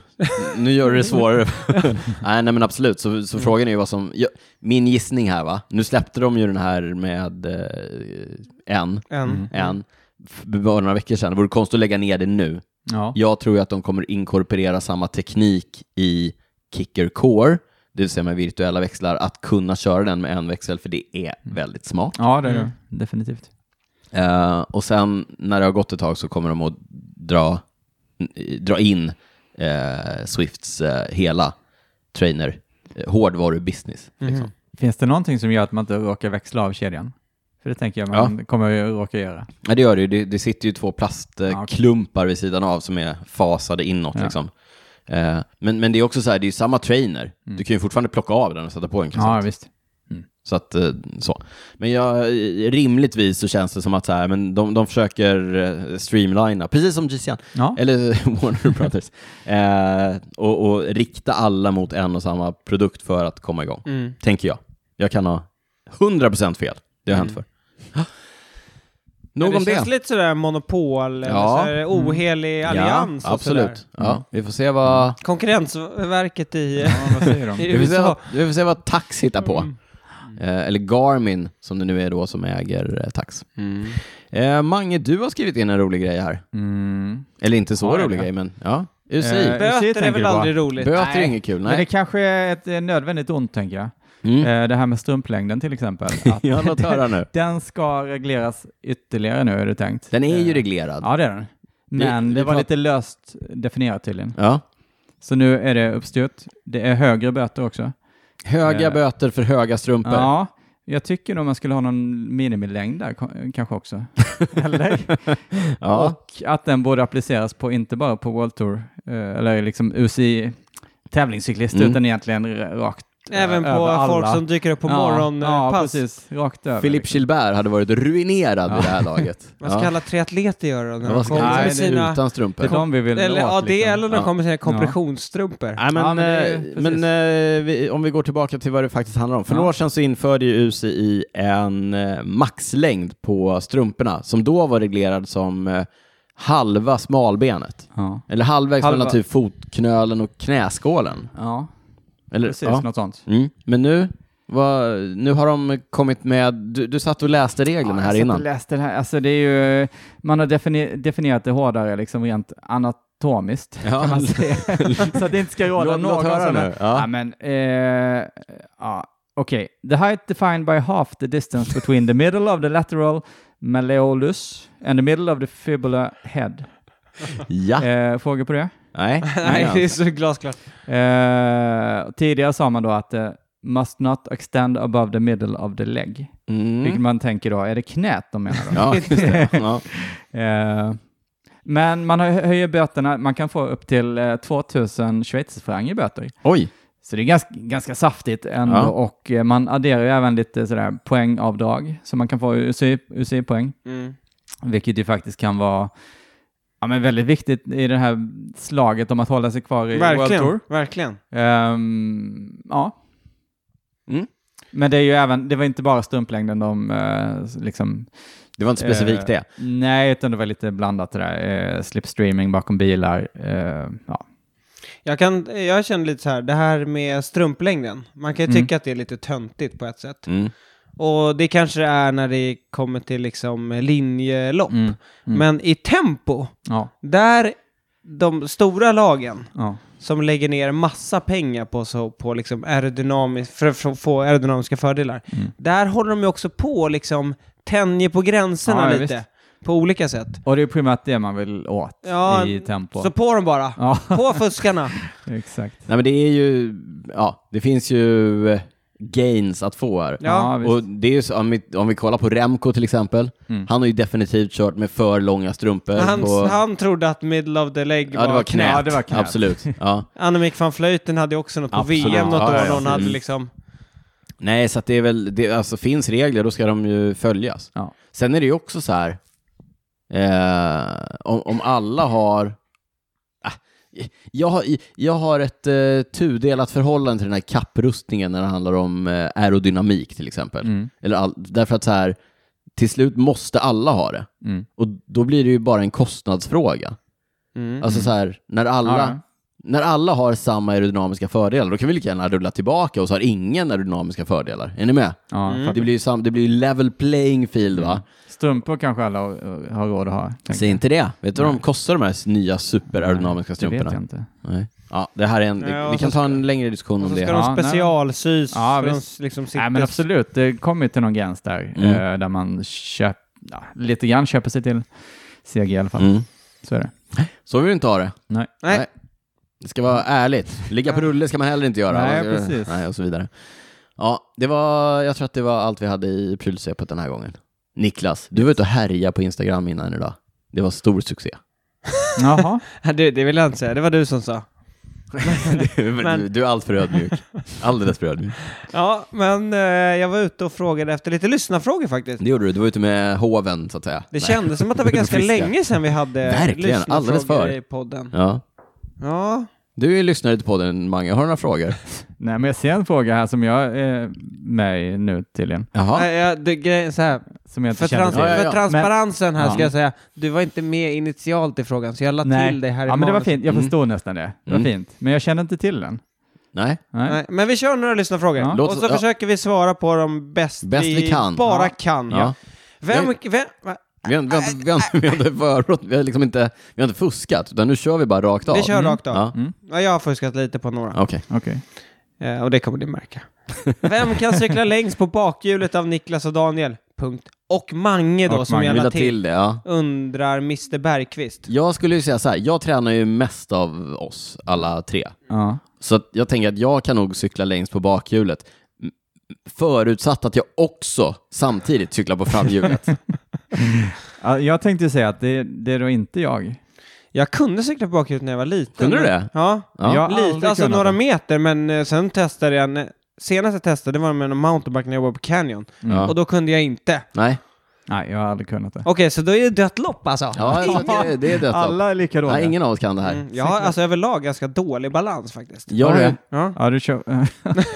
[SPEAKER 1] Nu gör du det svårare. [laughs] nej, nej, men absolut. Så, så frågan är ju vad som... ja, min gissning här, va? Nu släppte de ju den här med eh, en,
[SPEAKER 2] En.
[SPEAKER 1] en, för bara några veckor sedan. Det vore konstigt att lägga ner det nu.
[SPEAKER 3] Ja.
[SPEAKER 1] Jag tror ju att de kommer inkorporera samma teknik i Kicker Core, det vill säga med virtuella växlar, att kunna köra den med en växel, för det
[SPEAKER 3] Mm.
[SPEAKER 1] är väldigt smart.
[SPEAKER 3] ja, det är
[SPEAKER 2] Mm.
[SPEAKER 3] det. Definitivt.
[SPEAKER 1] Eh, och sen när det har gått ett tag så kommer de att dra, dra in eh, Swifts eh, hela trainer, eh, hårdvarubusiness. Liksom.
[SPEAKER 3] Finns det någonting som gör att man inte råkar växla av kedjan? För det tänker jag man kommer ju råka göra.
[SPEAKER 1] Ja, det gör det ju. Det, det sitter ju två
[SPEAKER 3] Ja, okej.
[SPEAKER 1] plastklumpar vid sidan av som är fasade inåt.
[SPEAKER 3] Ja.
[SPEAKER 1] Liksom. Eh, men, men det är också så här, det är ju samma trainer. Du kan ju fortfarande plocka av den och sätta på en kassett.
[SPEAKER 3] Mm. Ja, visst.
[SPEAKER 1] Så att, eh, så. Men jag, rimligtvis så känns det som att så här, men de, de försöker eh, streamlina, precis som GCN,
[SPEAKER 3] Ja.
[SPEAKER 1] eller [laughs] Warner
[SPEAKER 2] [laughs]
[SPEAKER 1] Brothers, eh, och, och rikta alla mot en och samma produkt för att komma igång,
[SPEAKER 2] Mm.
[SPEAKER 1] tänker jag. Jag kan ha 100% fel, det har hänt för. Nog
[SPEAKER 2] Mm. det
[SPEAKER 1] om det.
[SPEAKER 2] känns lite sådär monopol, eller
[SPEAKER 1] Ja. Mm.
[SPEAKER 2] så här ohelig allians
[SPEAKER 1] ja,
[SPEAKER 2] och sådär. Mm.
[SPEAKER 1] absolut. Ja, vi får se vad...
[SPEAKER 2] Konkurrensverket i...
[SPEAKER 1] Mm.
[SPEAKER 2] eh,
[SPEAKER 3] Ja, vad säger
[SPEAKER 1] [laughs]
[SPEAKER 3] de?
[SPEAKER 1] Vi får, se vad,
[SPEAKER 2] USA. Mm.
[SPEAKER 1] vi får se vad Tax hittar på. Eh, eller Garmin, som det nu är då, som äger eh, Tax. Eh, Mange, du har skrivit in en rolig grej här.
[SPEAKER 3] Mm.
[SPEAKER 1] Eller inte så
[SPEAKER 3] Har jag
[SPEAKER 1] rolig
[SPEAKER 3] det?
[SPEAKER 1] grej, men ja. UCI.
[SPEAKER 3] Eh, Precis,
[SPEAKER 2] Böter är
[SPEAKER 3] tänker
[SPEAKER 2] väl
[SPEAKER 3] du på.
[SPEAKER 2] aldrig roligt?
[SPEAKER 1] Böter är
[SPEAKER 3] nej.
[SPEAKER 1] inget kul,
[SPEAKER 3] Men det
[SPEAKER 1] nej.
[SPEAKER 3] kanske är ett eh, nödvändigt ont, tänker jag.
[SPEAKER 1] Mm.
[SPEAKER 3] Eh, Det här med strumplängden till exempel. Att
[SPEAKER 1] [laughs] Ja, låt höra nu.
[SPEAKER 3] den ska regleras ytterligare nu, är det tänkt.
[SPEAKER 1] Den är ju
[SPEAKER 3] Eh,
[SPEAKER 1] reglerad.
[SPEAKER 3] Ja, det är den.
[SPEAKER 1] Vi-
[SPEAKER 3] Men
[SPEAKER 1] vi
[SPEAKER 3] det var
[SPEAKER 1] prat-
[SPEAKER 3] lite löst definierat tydligen.
[SPEAKER 1] Ja.
[SPEAKER 3] Så nu är det uppstyrt. Det är högre böter också.
[SPEAKER 1] Höga
[SPEAKER 3] Eh.
[SPEAKER 1] böter för höga strumpor.
[SPEAKER 3] Ja, jag tycker nog man skulle ha någon minimilängd där ko-
[SPEAKER 1] [laughs]
[SPEAKER 3] kanske också. Eller?
[SPEAKER 1] Ja.
[SPEAKER 3] Och att den borde appliceras på inte bara på World Tour, eh, eller liksom UCI tävlingscyklister,
[SPEAKER 1] Mm.
[SPEAKER 3] utan egentligen r- rakt
[SPEAKER 2] Även på
[SPEAKER 3] eh, över alla.
[SPEAKER 2] folk som dyker upp på
[SPEAKER 3] Ja, ja,
[SPEAKER 2] morgonpass.
[SPEAKER 3] precis. Rakt över.
[SPEAKER 1] Filip Gilbert hade varit ruinerad vid det här
[SPEAKER 3] [laughs]
[SPEAKER 1] laget.
[SPEAKER 2] vad ska
[SPEAKER 1] ja.
[SPEAKER 2] alla triatleter göra när
[SPEAKER 1] Ja,
[SPEAKER 2] de
[SPEAKER 1] vad ska
[SPEAKER 2] kommer
[SPEAKER 1] nej,
[SPEAKER 2] med sina...
[SPEAKER 1] utan
[SPEAKER 3] Det är
[SPEAKER 1] strumpor?
[SPEAKER 3] de vi vill
[SPEAKER 2] Eller,
[SPEAKER 3] åt,
[SPEAKER 2] ja, det
[SPEAKER 3] liksom.
[SPEAKER 2] eller när de
[SPEAKER 1] Ja.
[SPEAKER 2] kommer med sina kompressionsstrumpor.
[SPEAKER 1] Nej, men,
[SPEAKER 3] Ja, men det är-
[SPEAKER 1] eh,
[SPEAKER 3] precis.
[SPEAKER 1] men, eh, vi, om vi går tillbaka till vad det faktiskt handlar om. För
[SPEAKER 3] Ja.
[SPEAKER 1] några år sedan så införde ju UCI en eh, maxlängd på strumporna som då var reglerad som eh, halva smalbenet.
[SPEAKER 3] Ja,
[SPEAKER 1] Eller halvvägs
[SPEAKER 3] Halva.
[SPEAKER 1] mellan typ fotknölen och knäskålen.
[SPEAKER 3] ja
[SPEAKER 1] Eller,
[SPEAKER 3] precis.
[SPEAKER 1] ja.
[SPEAKER 3] Något sånt.
[SPEAKER 1] Mm. Men nu, vad, nu har de kommit med, du, du satt och läste reglerna
[SPEAKER 3] Ja,
[SPEAKER 1] här
[SPEAKER 3] jag satt
[SPEAKER 1] innan.
[SPEAKER 3] och läste det här. Alltså, det är ju, man har defini- definierat det hårdare liksom rent anatomiskt.
[SPEAKER 1] Ja.
[SPEAKER 3] Kan
[SPEAKER 1] [laughs]
[SPEAKER 3] man säga. Så att det inte ska råda
[SPEAKER 1] Låt-
[SPEAKER 3] någon
[SPEAKER 1] låt höra
[SPEAKER 3] sån här-
[SPEAKER 1] nu. Ja.
[SPEAKER 3] Ja, men, eh, ja, okej. The height defined by half the distance between the middle of the lateral malleolus and the middle of the fibula head.
[SPEAKER 1] Ja,
[SPEAKER 3] Eh, frågor på det?
[SPEAKER 1] nej.
[SPEAKER 3] [laughs]
[SPEAKER 1] alltså.
[SPEAKER 2] Nej, det är så glasklart.
[SPEAKER 3] Eh, tidigare sa man då att eh, must not extend above the middle of the leg. Vilket
[SPEAKER 1] Mm.
[SPEAKER 3] man tänker då, är det knät de menar då?
[SPEAKER 1] Ja, just det. Ja.
[SPEAKER 3] Eh, men man hö- höjer böterna, man kan få upp till eh, 2000 schweizerfranc i böter.
[SPEAKER 1] Oj.
[SPEAKER 3] Så det är ganska, ganska saftigt ändå
[SPEAKER 1] Ja.
[SPEAKER 3] och eh, man adderar ju även lite sådär poängavdrag så man kan få UCI UCI-poäng,
[SPEAKER 2] Mm.
[SPEAKER 3] vilket ju faktiskt kan vara ja, men väldigt viktigt i det här slaget om att hålla sig kvar i World Tour.
[SPEAKER 2] Verkligen, verkligen.
[SPEAKER 3] Ehm, ja.
[SPEAKER 1] Mm.
[SPEAKER 3] Men det är ju även, det var inte bara stumplängden de eh, liksom
[SPEAKER 1] Det var inte specifikt
[SPEAKER 3] Eh,
[SPEAKER 1] det.
[SPEAKER 3] Nej, utan det var lite blandat det där. Eh, slipstreaming bakom bilar. Eh, ja.
[SPEAKER 2] Jag, kan, jag känner lite så här, det här med strumplängden. Man kan ju
[SPEAKER 3] Mm.
[SPEAKER 2] tycka att det är lite töntigt på ett sätt.
[SPEAKER 1] Mm.
[SPEAKER 2] Och det kanske det är när det kommer till liksom linjelopp.
[SPEAKER 3] Mm. Mm.
[SPEAKER 2] Men i tempo,
[SPEAKER 3] Ja,
[SPEAKER 2] där de stora lagen
[SPEAKER 3] ja.
[SPEAKER 2] som lägger ner massa pengar på, så, på liksom aerodynamisk, för, för att få aerodynamiska fördelar,
[SPEAKER 3] Mm.
[SPEAKER 2] där håller de ju också på och liksom tänjer på gränserna
[SPEAKER 3] Ja, ja,
[SPEAKER 2] lite. På olika sätt.
[SPEAKER 3] Och det är primärt det man vill åt
[SPEAKER 2] Ja,
[SPEAKER 3] i tempo.
[SPEAKER 2] Så på dem bara.
[SPEAKER 3] Ja,
[SPEAKER 2] På fuskarna.
[SPEAKER 3] exakt.
[SPEAKER 1] Nej men det är ju, ja, det finns ju eh, gains att få här.
[SPEAKER 2] Ja,
[SPEAKER 3] visst.
[SPEAKER 1] Och det är ju så, om vi, om vi kollar på Remco till exempel,
[SPEAKER 3] Mm.
[SPEAKER 1] han har ju definitivt kört med för långa strumpor.
[SPEAKER 2] Han,
[SPEAKER 1] på,
[SPEAKER 2] han trodde att middle of the leg
[SPEAKER 1] ja, det var knät.
[SPEAKER 3] Ja, det var knät.
[SPEAKER 1] Absolut. Ja.
[SPEAKER 2] Annemiek van Vleuten hade ju också något på
[SPEAKER 1] Absolut.
[SPEAKER 2] VM något
[SPEAKER 1] Ja,
[SPEAKER 2] år.
[SPEAKER 1] ja, ja.
[SPEAKER 2] Någon hade
[SPEAKER 1] Mm.
[SPEAKER 2] liksom...
[SPEAKER 1] Nej, så att det är väl, det, alltså finns regler, då ska de ju följas.
[SPEAKER 3] Ja.
[SPEAKER 1] Sen är det ju också så här, eh, om, om alla har, Ah, jag har, jag har ett eh, tudelat förhållande till den här kapprustningen när det handlar om eh, aerodynamik till exempel.
[SPEAKER 3] Mm.
[SPEAKER 1] Eller all, därför att så här, till slut måste alla ha det.
[SPEAKER 3] Mm.
[SPEAKER 1] Och då blir det ju bara en kostnadsfråga.
[SPEAKER 2] Mm.
[SPEAKER 1] Alltså så här, när alla,
[SPEAKER 3] Ja,
[SPEAKER 1] när alla har samma aerodynamiska fördelar, då kan vi lika gärna rulla tillbaka och så har ingen aerodynamiska fördelar. Är ni med?
[SPEAKER 3] ja,
[SPEAKER 2] Mm.
[SPEAKER 3] fattar.
[SPEAKER 1] Det blir ju sam, det blir ju level playing field va?
[SPEAKER 3] Strumpor kanske alla har har råd att ha. tänker
[SPEAKER 1] Säg
[SPEAKER 3] jag.
[SPEAKER 1] inte det. Vet du vad de
[SPEAKER 3] Nej.
[SPEAKER 1] kostar de här nya superaerodynamiska
[SPEAKER 3] Det vet
[SPEAKER 1] strumporna?
[SPEAKER 3] jag inte.
[SPEAKER 1] Nej. Ja, det här är en,
[SPEAKER 2] Ja,
[SPEAKER 1] det,
[SPEAKER 2] och
[SPEAKER 1] vi
[SPEAKER 2] så
[SPEAKER 1] kan ta
[SPEAKER 2] ska-
[SPEAKER 1] en längre diskussion
[SPEAKER 2] Och
[SPEAKER 1] om
[SPEAKER 2] så
[SPEAKER 1] det.
[SPEAKER 2] ska
[SPEAKER 3] Ja,
[SPEAKER 2] de
[SPEAKER 3] nej.
[SPEAKER 2] specialsys.
[SPEAKER 3] Ja,
[SPEAKER 2] för de
[SPEAKER 3] visst.
[SPEAKER 2] liksom sitter
[SPEAKER 3] Nej, men absolut. Det kommer ju till någon gräns där,
[SPEAKER 1] Mm.
[SPEAKER 3] eh, där man köp, ja, lite grann köper sig till CG i alla fall.
[SPEAKER 1] Mm.
[SPEAKER 3] Så är det.
[SPEAKER 1] Så vill vi inte ha det.
[SPEAKER 3] Nej.
[SPEAKER 2] Nej.
[SPEAKER 1] Nej. Det ska vara ärligt. Ligga på rulle ska man heller inte göra.
[SPEAKER 3] Nej,
[SPEAKER 1] Man ska-
[SPEAKER 3] precis.
[SPEAKER 1] Nej, och så vidare. Ja, det var, jag tror att det var allt vi hade i prylsvepet den här gången. Niklas, du var ute och härjade på Instagram innan idag. Det var stor
[SPEAKER 2] [laughs]
[SPEAKER 1] succé.
[SPEAKER 3] Jaha.
[SPEAKER 2] Det, det vill jag inte säga. Det var du som sa.
[SPEAKER 1] du,
[SPEAKER 2] Men-
[SPEAKER 1] du är allt för ödmjuk. Alldeles för ödmjuk.
[SPEAKER 2] Ja, men eh, jag var ute och frågade efter lite lyssnarfrågor faktiskt.
[SPEAKER 1] Det gjorde du. Du var ute med hoven, så att säga.
[SPEAKER 2] Det kändes som att
[SPEAKER 1] [laughs]
[SPEAKER 2] det var ganska
[SPEAKER 1] Friska.
[SPEAKER 2] länge sedan vi hade
[SPEAKER 1] Verkligen,
[SPEAKER 2] lyssnarfrågor
[SPEAKER 1] alldeles för.
[SPEAKER 2] i podden.
[SPEAKER 1] Ja.
[SPEAKER 2] Ja,
[SPEAKER 1] Du är lyssnare till podden, Mange. Har du några frågor?
[SPEAKER 3] Nej, men jag ser en fråga här som jag är med i nu tydligen.
[SPEAKER 1] Jaha.
[SPEAKER 2] Nej, jag- det, grejen, är så här,
[SPEAKER 3] Som jag inte
[SPEAKER 2] för,
[SPEAKER 3] kände
[SPEAKER 2] trans
[SPEAKER 3] till.
[SPEAKER 1] Ja, ja, ja.
[SPEAKER 2] för transparensen här
[SPEAKER 3] Men-
[SPEAKER 2] ska jag säga, du var inte med initialt i frågan så jag la till dig här i
[SPEAKER 3] ja, men det var
[SPEAKER 2] manuset.
[SPEAKER 3] fint. Jag
[SPEAKER 1] Mm.
[SPEAKER 3] förstod nästan det. Det var
[SPEAKER 1] Mm.
[SPEAKER 3] fint. Men jag kände inte till den.
[SPEAKER 1] Nej.
[SPEAKER 3] Nej.
[SPEAKER 2] Nej, men vi kör några lyssnarfrågor.
[SPEAKER 3] Ja.
[SPEAKER 1] Låt
[SPEAKER 2] Och
[SPEAKER 1] oss-
[SPEAKER 2] så
[SPEAKER 1] ja.
[SPEAKER 2] försöker vi svara på dem bäst,
[SPEAKER 1] Bäst vi kan.
[SPEAKER 2] bara
[SPEAKER 1] Ja.
[SPEAKER 2] kan.
[SPEAKER 1] Ja.
[SPEAKER 2] Ja. Vem, vem, va?
[SPEAKER 1] Vi har, vi, har, inte- vi, har, inte- vi, har, inte förberett- vi, har liksom inte, vi har inte fuskat, utan nu kör vi bara rakt av.
[SPEAKER 2] Vi kör rakt av.
[SPEAKER 1] Ja.
[SPEAKER 2] Ja, jag har fuskat lite på några.
[SPEAKER 1] Okej.
[SPEAKER 3] Okej.
[SPEAKER 2] Eh, och det kommer ni märka. Vem kan
[SPEAKER 1] [laughs]
[SPEAKER 2] cykla längst på bakhjulet av Niklas och Daniel? Punkt. Och Mange då,
[SPEAKER 3] Och
[SPEAKER 2] som
[SPEAKER 3] Mange.
[SPEAKER 2] jag
[SPEAKER 1] Vi
[SPEAKER 2] la
[SPEAKER 1] la
[SPEAKER 2] till,
[SPEAKER 1] till det, ja.
[SPEAKER 2] undrar Mr Bergqvist.
[SPEAKER 1] Jag skulle ju säga så här, jag tränar ju mest av oss alla tre.
[SPEAKER 3] Ja.
[SPEAKER 1] Så att jag tänker att jag kan nog cykla längst på bakhjulet. M- Förutsatt att jag också samtidigt cyklar på
[SPEAKER 3] [laughs]
[SPEAKER 1] framhjulet.
[SPEAKER 3] Ja, Jag tänkte ju säga att det, det är då inte jag.
[SPEAKER 2] Jag kunde cykla på bakhjulet när jag var liten.
[SPEAKER 1] Kunde du
[SPEAKER 2] men-
[SPEAKER 1] det?
[SPEAKER 2] Ja,
[SPEAKER 1] Ja.
[SPEAKER 3] Jag har aldrig
[SPEAKER 2] lite, alltså
[SPEAKER 3] kunnat
[SPEAKER 2] några
[SPEAKER 3] det.
[SPEAKER 2] meter, men eh, sen testade jag, en- senast jag testade det var med en mountainbike när jag var på Canyon.
[SPEAKER 1] Ja.
[SPEAKER 2] Och då kunde jag inte.
[SPEAKER 1] Nej,
[SPEAKER 3] Nej, jag har aldrig kunnat det.
[SPEAKER 2] Okej, så då är det dött lopp alltså.
[SPEAKER 1] ja, jag tror att det, det är dött lopp.
[SPEAKER 3] Alla är lika dåliga.
[SPEAKER 1] Nej, ingen av oss kan det här.
[SPEAKER 2] Mm, jag har alltså överlag ganska dålig balans faktiskt.
[SPEAKER 1] Jag, har
[SPEAKER 3] Har
[SPEAKER 1] ju-
[SPEAKER 3] du-
[SPEAKER 2] Ja.
[SPEAKER 3] Ja, du kör... [laughs]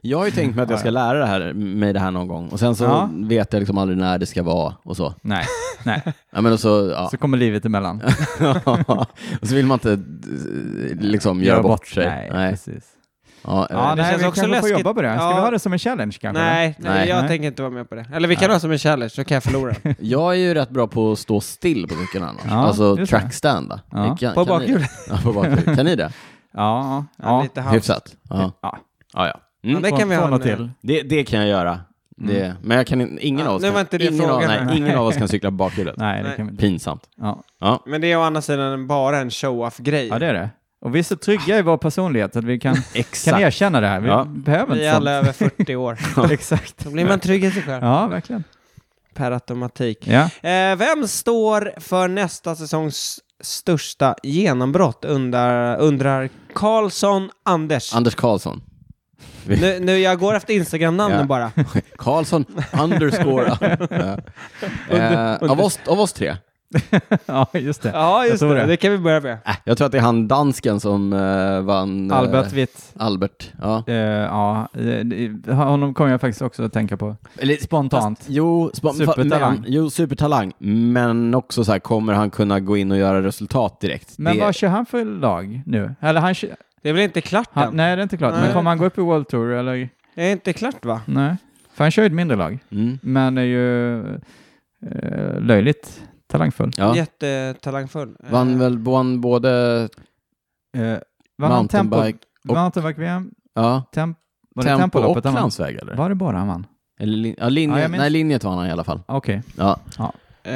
[SPEAKER 1] jag har ju tänkt mig att jag ska lära det här, mig det här någon gång. Och sen så
[SPEAKER 3] Ja.
[SPEAKER 1] vet jag liksom aldrig när det ska vara och så.
[SPEAKER 3] Nej, nej.
[SPEAKER 1] Ja, men och så, ja.
[SPEAKER 3] Så kommer livet emellan.
[SPEAKER 1] [laughs] och så vill man inte eh, liksom göra bort sig.
[SPEAKER 3] Nej, precis.
[SPEAKER 1] Ja, eh,
[SPEAKER 3] Ja,
[SPEAKER 2] det
[SPEAKER 3] nej,
[SPEAKER 2] känns
[SPEAKER 3] vi
[SPEAKER 2] också
[SPEAKER 3] kanske får
[SPEAKER 2] läskigt.
[SPEAKER 3] jobba på det. Ska
[SPEAKER 2] Ja.
[SPEAKER 3] vi ha det som en challenge kanske?
[SPEAKER 2] Nej, nej,
[SPEAKER 1] Nej.
[SPEAKER 2] jag
[SPEAKER 3] Nej.
[SPEAKER 2] tänker inte vara med på det. Eller vi kan ha som en challenge, så kan jag
[SPEAKER 3] [laughs]
[SPEAKER 2] förlora.
[SPEAKER 1] Jag är ju rätt bra på att stå still på cykeln annars.
[SPEAKER 3] Ja,
[SPEAKER 1] alltså
[SPEAKER 3] just
[SPEAKER 1] trackstanda.
[SPEAKER 3] Ja.
[SPEAKER 1] Ni Kan,
[SPEAKER 2] På
[SPEAKER 1] kan ni det?
[SPEAKER 2] bakhjulet.
[SPEAKER 1] [laughs] Ja, på bakhjulet. Kan ni det?
[SPEAKER 3] Ja,
[SPEAKER 2] Ja,
[SPEAKER 3] ja.
[SPEAKER 2] lite halvt.
[SPEAKER 1] Hyfsat? Ja.
[SPEAKER 3] Ja.
[SPEAKER 1] Ja, ja.
[SPEAKER 2] Ja, Mm. det
[SPEAKER 3] Få-
[SPEAKER 2] kan vi
[SPEAKER 3] Mm. få
[SPEAKER 2] ha eh,
[SPEAKER 3] något
[SPEAKER 2] nu.
[SPEAKER 3] till.
[SPEAKER 1] Det, det kan jag göra. Det, men jag kan, in- ingen,
[SPEAKER 2] Ja,
[SPEAKER 1] av oss
[SPEAKER 2] nu var
[SPEAKER 1] kan,
[SPEAKER 2] inte det
[SPEAKER 1] ingen, av,
[SPEAKER 2] frågan.
[SPEAKER 1] nej, ingen av oss kan cykla på bakhjulet.
[SPEAKER 3] Nej, det
[SPEAKER 2] Nej.
[SPEAKER 3] kan vi inte.
[SPEAKER 1] Pinsamt.
[SPEAKER 3] Ja.
[SPEAKER 1] Ja.
[SPEAKER 2] Men det är å andra sidan bara en show-off-grej.
[SPEAKER 3] ja, det är det. Och vi är så trygga i vår personlighet att vi kan, kan
[SPEAKER 1] Exakt.
[SPEAKER 3] erkänna det här. Vi
[SPEAKER 1] Ja.
[SPEAKER 3] behöver
[SPEAKER 2] vi
[SPEAKER 3] inte
[SPEAKER 2] är alla
[SPEAKER 3] sånt.
[SPEAKER 2] över 40
[SPEAKER 3] [laughs]
[SPEAKER 2] år. [laughs]
[SPEAKER 3] Exakt.
[SPEAKER 2] Då blir man trygg i sig själv.
[SPEAKER 3] Ja, verkligen.
[SPEAKER 2] Per automatik.
[SPEAKER 3] Ja.
[SPEAKER 2] Eh, vem står för nästa säsongs största genombrott? Undrar, undrar Karlsson Anders.
[SPEAKER 1] Anders Karlsson.
[SPEAKER 2] nu, nu, jag går efter Instagram-namnen
[SPEAKER 1] Ja.
[SPEAKER 3] [laughs]
[SPEAKER 2] bara.
[SPEAKER 1] Karlsson underscore. Ja. eh, av, oss, av oss tre.
[SPEAKER 3] [laughs] ja, just det.
[SPEAKER 2] Ja, just
[SPEAKER 3] tror
[SPEAKER 2] det.
[SPEAKER 3] det.
[SPEAKER 2] Det kan vi börja med.
[SPEAKER 1] Äh, jag tror att det är han dansken som eh, vann. eh,
[SPEAKER 3] Albert Witt.
[SPEAKER 1] Albert. Ja.
[SPEAKER 3] Eh, ja, eh, det- honom kommer jag faktiskt också att tänka på.
[SPEAKER 1] Eller
[SPEAKER 3] Spontant.
[SPEAKER 1] Jo, spa-
[SPEAKER 3] Supertalang.
[SPEAKER 1] Men, jo, supertalang. Men också så här, kommer han kunna gå in och göra resultat direkt?
[SPEAKER 3] Men
[SPEAKER 1] det,
[SPEAKER 3] vad kör han för lag nu? Eller han, kö-
[SPEAKER 2] Det är väl inte klart
[SPEAKER 3] han
[SPEAKER 2] än?
[SPEAKER 3] Nej, det är inte klart.
[SPEAKER 2] Nej.
[SPEAKER 3] Men kommer han gå upp i World Tour eller?
[SPEAKER 2] Det är inte klart va?
[SPEAKER 3] Nej. För han kör ju ett mindre lag.
[SPEAKER 1] mm,
[SPEAKER 3] Men är ju eh, löjligt talangfull.
[SPEAKER 1] ja.
[SPEAKER 2] Jättetalangfull. Eh,
[SPEAKER 1] Vann väl vann både
[SPEAKER 3] Eh, vann han tempo,
[SPEAKER 1] mountainbike och-
[SPEAKER 3] mountainbike-VM?
[SPEAKER 1] ja,
[SPEAKER 3] Temp, var det
[SPEAKER 1] tempo och
[SPEAKER 3] tempoloppet han vann?
[SPEAKER 1] landsväg? Eller?
[SPEAKER 3] Var det bara han vann?
[SPEAKER 1] Eller, lin- ja, linje,
[SPEAKER 3] Ja, jag minns-
[SPEAKER 1] nej, linjet vann han i alla fall.
[SPEAKER 3] Okej.
[SPEAKER 1] Ja.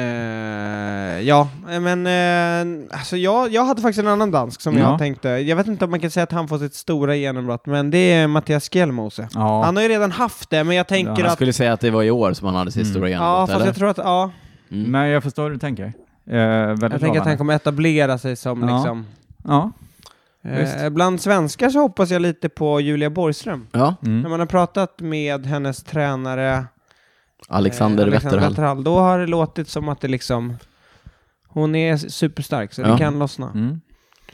[SPEAKER 2] Eh, ja, eh, men eh, alltså jag, jag hade faktiskt en annan dansk som jag
[SPEAKER 3] Ja.
[SPEAKER 2] tänkte. Jag vet inte om man kan säga att han får sitt stora genombrott, men det är Mattias Kjellmose.
[SPEAKER 3] Ja.
[SPEAKER 2] Han har ju redan haft det, men jag tänker
[SPEAKER 1] Jag
[SPEAKER 2] att...
[SPEAKER 1] skulle säga att det var i år som han hade sitt
[SPEAKER 3] Mm.
[SPEAKER 1] stora
[SPEAKER 2] Ja,
[SPEAKER 1] genombrott,
[SPEAKER 2] fast
[SPEAKER 1] eller?
[SPEAKER 2] jag tror att... Ja,
[SPEAKER 1] Mm.
[SPEAKER 3] Men jag förstår hur du tänker. Eh,
[SPEAKER 2] jag
[SPEAKER 3] väldigt
[SPEAKER 2] tänker att han
[SPEAKER 3] lovande.
[SPEAKER 2] kommer etablera sig som
[SPEAKER 3] Ja.
[SPEAKER 2] liksom...
[SPEAKER 3] Ja. Mm. Visst.
[SPEAKER 2] Eh, bland svenskar så hoppas jag lite på Julia Borgström.
[SPEAKER 1] Ja,
[SPEAKER 2] När
[SPEAKER 3] Mm.
[SPEAKER 2] man har pratat med hennes tränare
[SPEAKER 1] Alexander,
[SPEAKER 2] eh,
[SPEAKER 1] Wetterhall.
[SPEAKER 2] Wetterhall, då har det låtit som att det liksom... Hon är superstark, så
[SPEAKER 1] Ja.
[SPEAKER 2] det kan lossna.
[SPEAKER 3] Mm.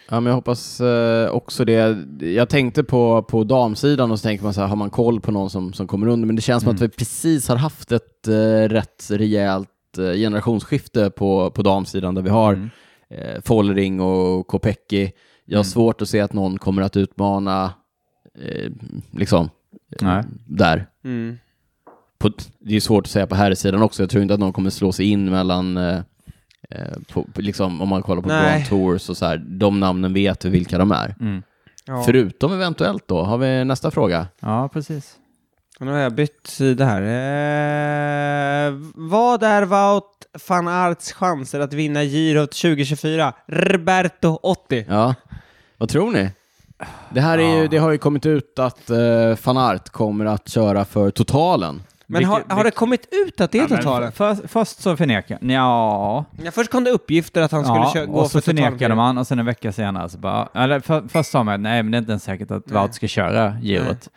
[SPEAKER 1] Ja, men jag hoppas eh, också det. Jag tänkte på, på damsidan och så tänker man så här, har man koll på någon som, som kommer under? Men det känns som
[SPEAKER 3] Mm.
[SPEAKER 1] att vi precis har haft ett eh, rätt rejält eh, generationsskifte på, på damsidan där vi har
[SPEAKER 3] Mm.
[SPEAKER 1] eh, Follering och Kopecky. Jag har
[SPEAKER 3] Mm.
[SPEAKER 1] svårt att se att någon kommer att utmana eh, liksom eh,
[SPEAKER 3] Nej.
[SPEAKER 1] där.
[SPEAKER 2] Mm.
[SPEAKER 1] På, det är svårt att säga på här sidan också. Jag tror inte att någon kommer slå sig in mellan eh, eh, på, på, liksom, om man kollar på
[SPEAKER 2] Nej.
[SPEAKER 1] Grand Tours och så här, de namnen vet vi vilka de är.
[SPEAKER 3] Mm.
[SPEAKER 2] Ja.
[SPEAKER 1] Förutom eventuellt då, har vi nästa fråga.
[SPEAKER 3] Ja, precis.
[SPEAKER 2] Nu har jag bytt sida här. Eh, vad är Wout van Aerts chanser att vinna Girot 2024? Roberto 80.
[SPEAKER 1] Ja. Vad tror ni? Det här är ju,
[SPEAKER 3] Ja.
[SPEAKER 1] det har ju kommit ut att eh, van Aert kommer att köra för totalen.
[SPEAKER 2] Men har, har det kommit ut att det är totalen?
[SPEAKER 3] Först, först så förnekar Ja.
[SPEAKER 2] Ja, först kom det uppgifter att han skulle
[SPEAKER 3] ja,
[SPEAKER 2] kö- gå
[SPEAKER 3] och
[SPEAKER 2] för
[SPEAKER 3] så förnekade
[SPEAKER 2] totalen.
[SPEAKER 3] man och sen en vecka senare så bara, eller för, först sa man nej men det är inte ens säkert att
[SPEAKER 2] Nej.
[SPEAKER 3] Wout ska köra girot.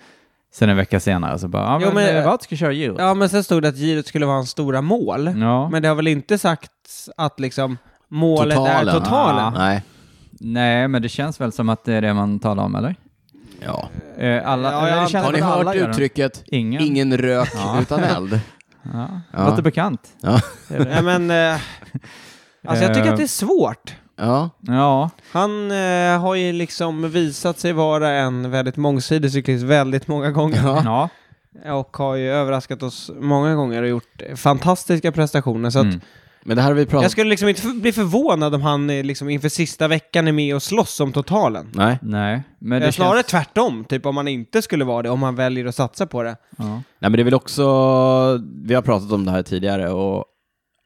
[SPEAKER 3] Sen en vecka senare så bara, ja
[SPEAKER 2] Jo,
[SPEAKER 3] men,
[SPEAKER 2] men-
[SPEAKER 3] eh, Wout ska köra girot.
[SPEAKER 2] Ja, men sen stod det att Girot skulle vara hans stora mål.
[SPEAKER 3] Ja.
[SPEAKER 2] Men det har väl inte sagts att liksom målet
[SPEAKER 1] Totalen.
[SPEAKER 2] är totalen?
[SPEAKER 3] Ja.
[SPEAKER 1] Nej.
[SPEAKER 3] Nej men det känns väl som att det är det man talar om eller?
[SPEAKER 1] Ja.
[SPEAKER 3] Eh, alla,
[SPEAKER 2] Ja, jag
[SPEAKER 3] eller det
[SPEAKER 2] antar-
[SPEAKER 3] känns
[SPEAKER 1] Har ni
[SPEAKER 3] som att alla
[SPEAKER 1] hört
[SPEAKER 3] gör det.
[SPEAKER 1] uttrycket
[SPEAKER 3] Ingen.
[SPEAKER 1] ”ingen rök utan eld”?
[SPEAKER 3] [laughs] Ja.
[SPEAKER 1] Ja.
[SPEAKER 3] Låter bekant.
[SPEAKER 1] Ja.
[SPEAKER 3] [laughs]
[SPEAKER 2] Ja, men, eh, alltså jag tycker att det är svårt.
[SPEAKER 1] Ja,
[SPEAKER 3] Ja,
[SPEAKER 2] Han eh, har ju liksom visat sig vara en väldigt mångsidig cyklist väldigt många gånger.
[SPEAKER 1] ja.
[SPEAKER 3] ja.
[SPEAKER 2] Och har ju överraskat oss många gånger och gjort fantastiska prestationer. Så att
[SPEAKER 3] Mm.
[SPEAKER 1] men det här har vi pratat
[SPEAKER 2] jag skulle liksom inte f- bli förvånad om han eh, liksom inför sista veckan är med och slåss om totalen.
[SPEAKER 1] Nej.
[SPEAKER 3] Nej, men
[SPEAKER 2] Eh,
[SPEAKER 3] det
[SPEAKER 2] Snarare
[SPEAKER 3] känns...
[SPEAKER 2] tvärtom, typ om han inte skulle vara det, om han väljer att satsa på det.
[SPEAKER 3] Ja.
[SPEAKER 1] Nej, men det är väl också, vi har pratat om det här tidigare, och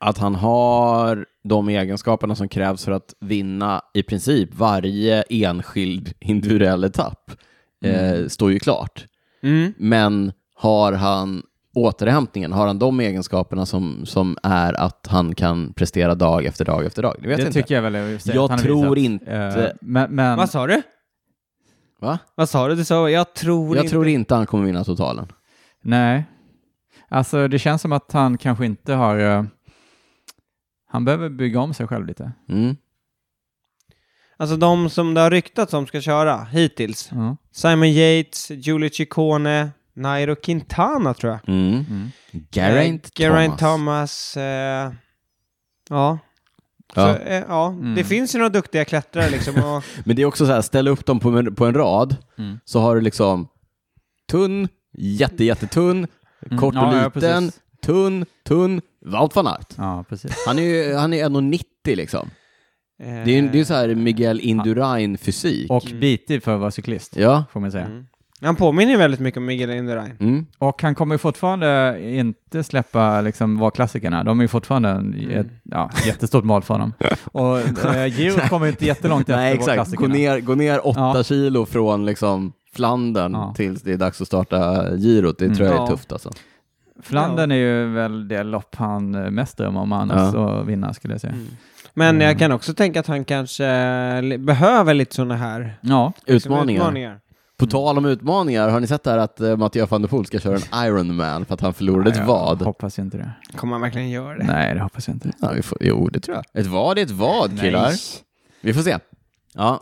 [SPEAKER 1] att han har de egenskaperna som krävs för att vinna i princip varje enskild individuell etapp, eh, står ju klart.
[SPEAKER 2] Mm.
[SPEAKER 1] Men har han återhämtningen, har han de egenskaperna som, som är att han kan prestera dag efter dag efter dag? Det vet
[SPEAKER 3] Det
[SPEAKER 1] jag inte.
[SPEAKER 3] tycker jag väl är
[SPEAKER 1] Jag tror inte-
[SPEAKER 3] eh, men, men...
[SPEAKER 2] Vad sa du?
[SPEAKER 1] Va?
[SPEAKER 2] Vad sa du? Du sa jag tror
[SPEAKER 1] Jag
[SPEAKER 2] inte...
[SPEAKER 1] tror inte han kommer vinna totalen.
[SPEAKER 3] Nej. Alltså det känns som att han kanske inte har... eh, han behöver bygga om sig själv lite.
[SPEAKER 1] Mm.
[SPEAKER 2] Alltså de som det har ryktats om ska köra hittills.
[SPEAKER 3] Ja. Mm.
[SPEAKER 2] Simon Yates, Giulio Ciccone, Nairo Quintana tror jag.
[SPEAKER 1] Mm.
[SPEAKER 3] Mm.
[SPEAKER 1] Geraint,
[SPEAKER 2] Eh, Geraint
[SPEAKER 1] Thomas.
[SPEAKER 2] Thomas. eh,
[SPEAKER 1] Ja.
[SPEAKER 2] ja. Så, eh, ja. Det finns ju några duktiga klättrare liksom. Och,
[SPEAKER 1] Men det är också så här, ställ upp dem på en, på en rad,
[SPEAKER 3] Mm.
[SPEAKER 1] så har du liksom tunn, jätte, jättetunn, kort och
[SPEAKER 3] Mm. ja, ja,
[SPEAKER 1] liten,
[SPEAKER 3] precis.
[SPEAKER 1] tunn, tunn, Wout van Aert.
[SPEAKER 3] Ja, precis.
[SPEAKER 1] Han är ju han är 1,90 liksom. [laughs] Det är ju det är ju så här Miguel Indurain-fysik.
[SPEAKER 3] Eh, Och bitig för att vara cyklist,
[SPEAKER 1] Mm. Ja.
[SPEAKER 3] får man säga.
[SPEAKER 2] mm. Han påminner ju väldigt mycket om Miguel Indurain.
[SPEAKER 1] Mm.
[SPEAKER 3] Och han kommer ju fortfarande inte släppa liksom vara klassikerna. De är ju fortfarande en, ett
[SPEAKER 1] Mm.
[SPEAKER 3] ja, jättestort mål för dem. Och
[SPEAKER 1] [laughs]
[SPEAKER 3] eh, Giro kommer ju inte jättelångt efter
[SPEAKER 1] Nej,
[SPEAKER 3] Nej,
[SPEAKER 1] exakt. Gå
[SPEAKER 3] klassikerna.
[SPEAKER 1] ner, gå ner 8
[SPEAKER 3] Ja.
[SPEAKER 1] kilo från liksom Flandern
[SPEAKER 3] Ja. Mm.
[SPEAKER 1] tills det är dags att starta girot. Det tror jag är
[SPEAKER 2] Ja.
[SPEAKER 1] tufft alltså.
[SPEAKER 3] Flandern är ju väl det lopp han eh, mest drömmer om annars att vinna skulle jag säga.
[SPEAKER 2] Mm. Men
[SPEAKER 1] Mm.
[SPEAKER 2] jag kan också tänka att han kanske eh, li- behöver lite sådana här
[SPEAKER 3] Ja,
[SPEAKER 2] liksom,
[SPEAKER 1] Utmaningar. På tal om utmaningar, har ni sett där att eh, Mattias van der Poel ska köra en Ironman för att han förlorade ett
[SPEAKER 3] jag
[SPEAKER 1] vad?
[SPEAKER 3] hoppas ju inte det.
[SPEAKER 2] Kommer han verkligen göra det?
[SPEAKER 3] Nej, det hoppas jag inte.
[SPEAKER 1] Ja, vi får, jo, det tror jag. Ett vad är ett vad, killar. Vi får se. Ja.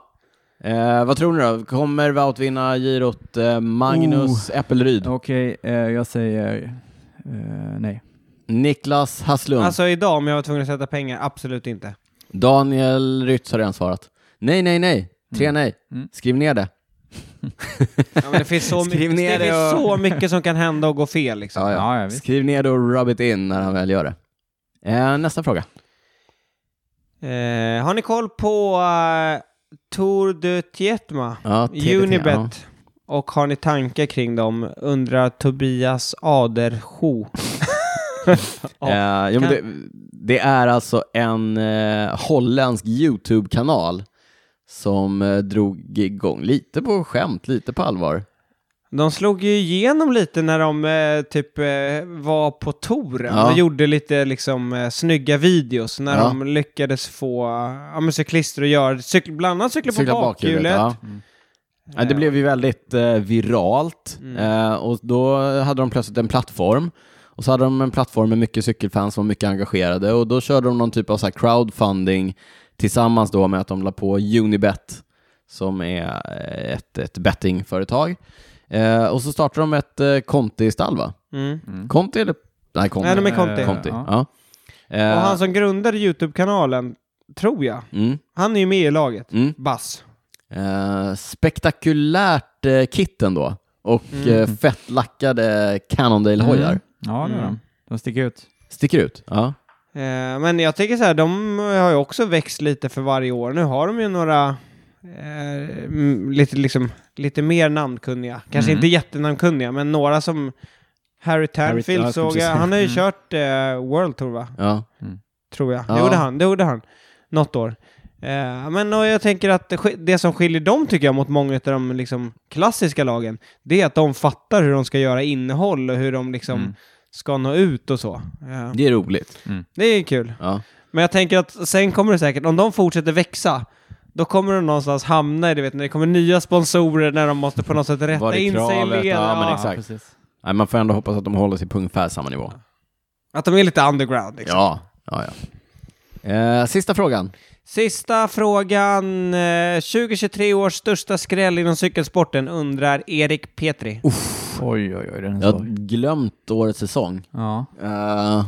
[SPEAKER 1] Eh, vad tror ni då? Kommer Wout vinna girot eh, Magnus Äppelryd?
[SPEAKER 3] Okej, eh, jag säger eh, nej.
[SPEAKER 1] Niklas Hasslund?
[SPEAKER 2] Alltså idag om jag var tvungen att sätta pengar, absolut inte.
[SPEAKER 1] Daniel Rytz har redan svarat. Nej, nej, nej. Tre nej.
[SPEAKER 3] Mm.
[SPEAKER 1] Skriv ner det.
[SPEAKER 2] Ja, men det finns,
[SPEAKER 1] [laughs]
[SPEAKER 2] så,
[SPEAKER 1] Skriv
[SPEAKER 2] mycket,
[SPEAKER 1] ner
[SPEAKER 2] det
[SPEAKER 1] det
[SPEAKER 2] finns
[SPEAKER 1] och-
[SPEAKER 2] så mycket som kan hända och gå
[SPEAKER 1] [laughs]
[SPEAKER 2] fel liksom.
[SPEAKER 1] Ja, ja.
[SPEAKER 3] Ja, ja, visst.
[SPEAKER 1] Skriv ner det och rub it in när han väl gör det. Eh, nästa fråga.
[SPEAKER 2] Eh, har ni koll på eh, Tour de Tietma?
[SPEAKER 1] Ja, TBT, ja.
[SPEAKER 2] Unibet. Och har ni tankar kring dem? Undrar Tobias Adersho.
[SPEAKER 1] Eh, jo, men det, det är alltså en eh, holländsk YouTube-kanal som eh, drog igång lite på skämt, lite på allvar.
[SPEAKER 2] De slog ju igenom lite när de eh, typ eh, var på touren
[SPEAKER 1] Ja.
[SPEAKER 2] och gjorde lite liksom eh, snygga videos när
[SPEAKER 1] Ja.
[SPEAKER 2] de lyckades få ja, men cyklister att göra, cyk- bland annat cykla på
[SPEAKER 1] Cykla
[SPEAKER 2] bakhjulet.
[SPEAKER 1] ja. Ja, det blev ju väldigt eh, viralt
[SPEAKER 2] Mm.
[SPEAKER 1] eh, och då hade de plötsligt en plattform och så hade de en plattform med mycket cykelfans som var mycket engagerade och då körde de någon typ av så här crowdfunding tillsammans då med att de la på Unibet som är eh, ett, ett bettingföretag. Eh, och så startade de ett eh, Conti-stall va?
[SPEAKER 2] Mm.
[SPEAKER 1] Conti eller? Nej, Conti.
[SPEAKER 2] Nej, de är Conti.
[SPEAKER 3] Eh,
[SPEAKER 1] Conti.
[SPEAKER 3] ja.
[SPEAKER 1] Ja. Eh,
[SPEAKER 2] Och han som grundade YouTube-kanalen, tror jag,
[SPEAKER 1] mm,
[SPEAKER 2] han är ju med i laget.
[SPEAKER 1] mm.
[SPEAKER 2] Bass.
[SPEAKER 1] Eh, spektakulärt eh, kit ändå. Och
[SPEAKER 2] Mm.
[SPEAKER 1] eh, fett lackade Cannondale-hojar.
[SPEAKER 3] Mm. Ja, det är de. De sticker ut.
[SPEAKER 1] Sticker ut. Ja.
[SPEAKER 2] Eh, men jag tänker så här, de har ju också växt lite för varje år. Nu har de ju några eh, m- lite, liksom, lite mer namnkunniga. Kanske
[SPEAKER 3] Mm.
[SPEAKER 2] inte jättenamnkunniga, men några som Harry Tanfield
[SPEAKER 1] ja, jag skulle
[SPEAKER 2] såg jag.
[SPEAKER 1] precis
[SPEAKER 2] Han har ju
[SPEAKER 3] Mm.
[SPEAKER 2] kört eh, World Tour, va?
[SPEAKER 1] ja.
[SPEAKER 2] Tror jag.
[SPEAKER 1] Ja.
[SPEAKER 2] Det gjorde han. Det gjorde han. Något år. Eh, men och jag tänker att det sk- det som skiljer dem tycker jag mot många av de liksom, klassiska lagen, det är att de fattar hur de ska göra innehåll och hur de liksom
[SPEAKER 3] Mm.
[SPEAKER 2] ska nå ut och så. Eh,
[SPEAKER 1] Det är roligt.
[SPEAKER 2] det är kul.
[SPEAKER 1] Ja.
[SPEAKER 2] Men jag tänker att sen kommer det säkert, om de fortsätter växa, då kommer de någonstans hamna i det, vet ni, det kommer nya sponsorer när de måste på något sätt
[SPEAKER 1] Var
[SPEAKER 2] rätta
[SPEAKER 1] det
[SPEAKER 2] in sig i
[SPEAKER 1] kravet?
[SPEAKER 2] leden.
[SPEAKER 1] Ja, men
[SPEAKER 2] ja.
[SPEAKER 1] exakt.
[SPEAKER 3] precis.
[SPEAKER 1] Nej, man får ändå hoppas att de håller sig på ungefär samma nivå.
[SPEAKER 2] Att de är lite underground. Liksom.
[SPEAKER 1] Ja. ja, ja. Eh, sista frågan.
[SPEAKER 2] Sista frågan. eh, 2023 års största skräll inom cykelsporten undrar Erik Petri.
[SPEAKER 3] Oj, oj, oj, den är
[SPEAKER 1] Jag har
[SPEAKER 3] svår.
[SPEAKER 1] glömt årets säsong.
[SPEAKER 3] Ja.
[SPEAKER 1] Eh,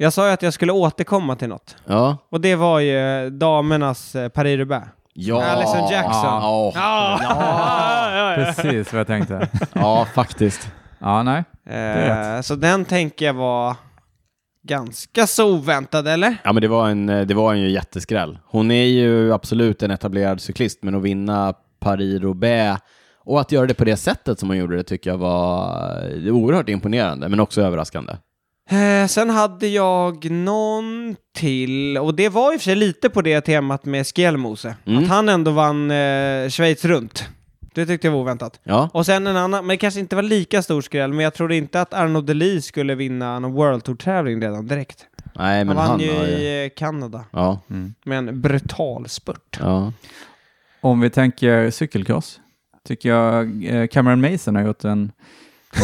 [SPEAKER 2] Jag sa ju att jag skulle återkomma till något.
[SPEAKER 1] Ja.
[SPEAKER 2] Och det var ju damernas eh, Paris Roubaix.
[SPEAKER 1] Ja.
[SPEAKER 2] Alison Jackson.
[SPEAKER 1] Ja,
[SPEAKER 2] Ja, ja, ja.
[SPEAKER 3] Precis vad jag tänkte.
[SPEAKER 1] ja faktiskt.
[SPEAKER 3] Ja, nej.
[SPEAKER 2] Eh, så den tänker jag var ganska så oväntad, eller?
[SPEAKER 1] Ja, men det var, en, eh, det var en ju jätteskräll. Hon är ju absolut en etablerad cyklist, men att vinna Paris-Roubaix och att göra det på det sättet som hon gjorde det tycker jag var eh, oerhört imponerande, men också överraskande.
[SPEAKER 2] Eh, sen hade jag någon till, och det var i och för sig lite på det temat med Skjelmose.
[SPEAKER 1] Mm.
[SPEAKER 2] Att han ändå vann eh, Schweiz runt. Det tyckte jag var oväntat.
[SPEAKER 1] Ja,
[SPEAKER 2] Och sen en annan, men det kanske inte var lika stor skräll, men jag trodde inte att Arnaud Delis skulle vinna någon World Tour-tävling redan direkt.
[SPEAKER 1] nej men
[SPEAKER 2] han vann
[SPEAKER 1] han
[SPEAKER 2] ju
[SPEAKER 1] har ju...
[SPEAKER 2] i eh, Kanada
[SPEAKER 1] Ja,
[SPEAKER 2] med en brutal spurt. [laughs]
[SPEAKER 1] ja.
[SPEAKER 3] Om vi tänker cykelcross, tycker jag eh, Cameron Mason har gjort en...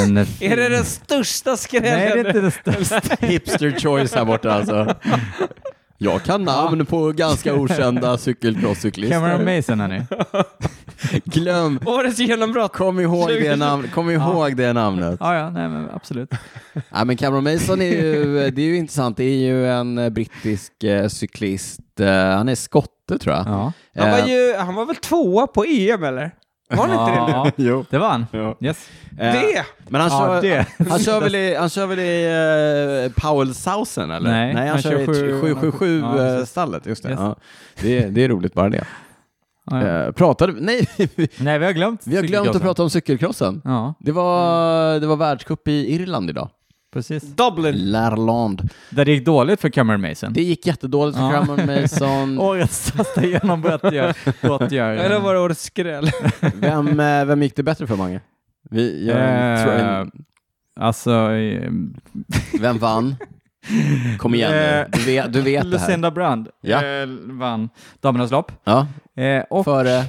[SPEAKER 3] en
[SPEAKER 2] Är det den största skrällen?
[SPEAKER 3] Nej, det är inte det största.
[SPEAKER 1] Hipster choice här borta alltså. Jag kan namn på ganska okända cykelcrosscyklister.
[SPEAKER 3] Cameron Mason, hörni.
[SPEAKER 1] Glöm,
[SPEAKER 2] [laughs] Årets genombrott!
[SPEAKER 1] kom ihåg det, namn, kom ihåg det namnet.
[SPEAKER 3] Ja, ja, nej, men absolut.
[SPEAKER 1] Ja, men Cameron Mason är ju, [laughs] det är ju intressant, det är ju en eh, brittisk eh, cyklist. Eh, han är skotte tror jag.
[SPEAKER 3] Ja.
[SPEAKER 2] Han var,
[SPEAKER 1] Eh,
[SPEAKER 2] ju, han var väl tvåa på EM, eller? Var han inte det?
[SPEAKER 3] Ja,
[SPEAKER 1] Jo.
[SPEAKER 3] det var han.
[SPEAKER 1] Ja.
[SPEAKER 3] Yes.
[SPEAKER 1] Eh,
[SPEAKER 2] Det!
[SPEAKER 1] Men han
[SPEAKER 3] Ja,
[SPEAKER 1] kör,
[SPEAKER 3] det.
[SPEAKER 1] Han, kör väl i, han kör väl i eh, Powell-sausen eller?
[SPEAKER 3] Nej,
[SPEAKER 1] han,
[SPEAKER 3] han
[SPEAKER 1] kör i
[SPEAKER 3] kör sju-
[SPEAKER 1] 777
[SPEAKER 3] ja, precis.
[SPEAKER 1] eh, stallet, just det.
[SPEAKER 3] Yes.
[SPEAKER 1] Ja. Det, är- det är roligt bara det.
[SPEAKER 3] Ja, ja.
[SPEAKER 1] Eh, pratade vi- Nej,
[SPEAKER 3] Nej, vi har glömt
[SPEAKER 1] vi har glömt att
[SPEAKER 3] cykelcrossen.
[SPEAKER 1] prata om cykelkrossen.
[SPEAKER 3] Ja,
[SPEAKER 1] Det
[SPEAKER 3] Mm.
[SPEAKER 1] var, det var världscup i Irland idag.
[SPEAKER 3] precis.
[SPEAKER 2] Dublin.
[SPEAKER 1] Lärland.
[SPEAKER 3] Där det gick dåligt för Cameron Mason.
[SPEAKER 1] Det gick jättedåligt för
[SPEAKER 3] Ja.
[SPEAKER 1] Cameron
[SPEAKER 3] [laughs]
[SPEAKER 1] Mason.
[SPEAKER 3] Årets största genombrott gör... brott gör-
[SPEAKER 1] Eh.
[SPEAKER 2] Eller var det årets skräll?
[SPEAKER 1] Vem, eh, vem gick det bättre för, Mange? Vi, jag,
[SPEAKER 3] Eh,
[SPEAKER 1] tror en,
[SPEAKER 3] Alltså, eh,
[SPEAKER 1] vem vann? Kom igen nu.
[SPEAKER 3] Eh,
[SPEAKER 1] Du vet, du vet det här.
[SPEAKER 3] Lucinda Brand
[SPEAKER 1] Ja.
[SPEAKER 3] eh, vann damernas lopp.
[SPEAKER 1] Ja,
[SPEAKER 3] Eh, och
[SPEAKER 1] före...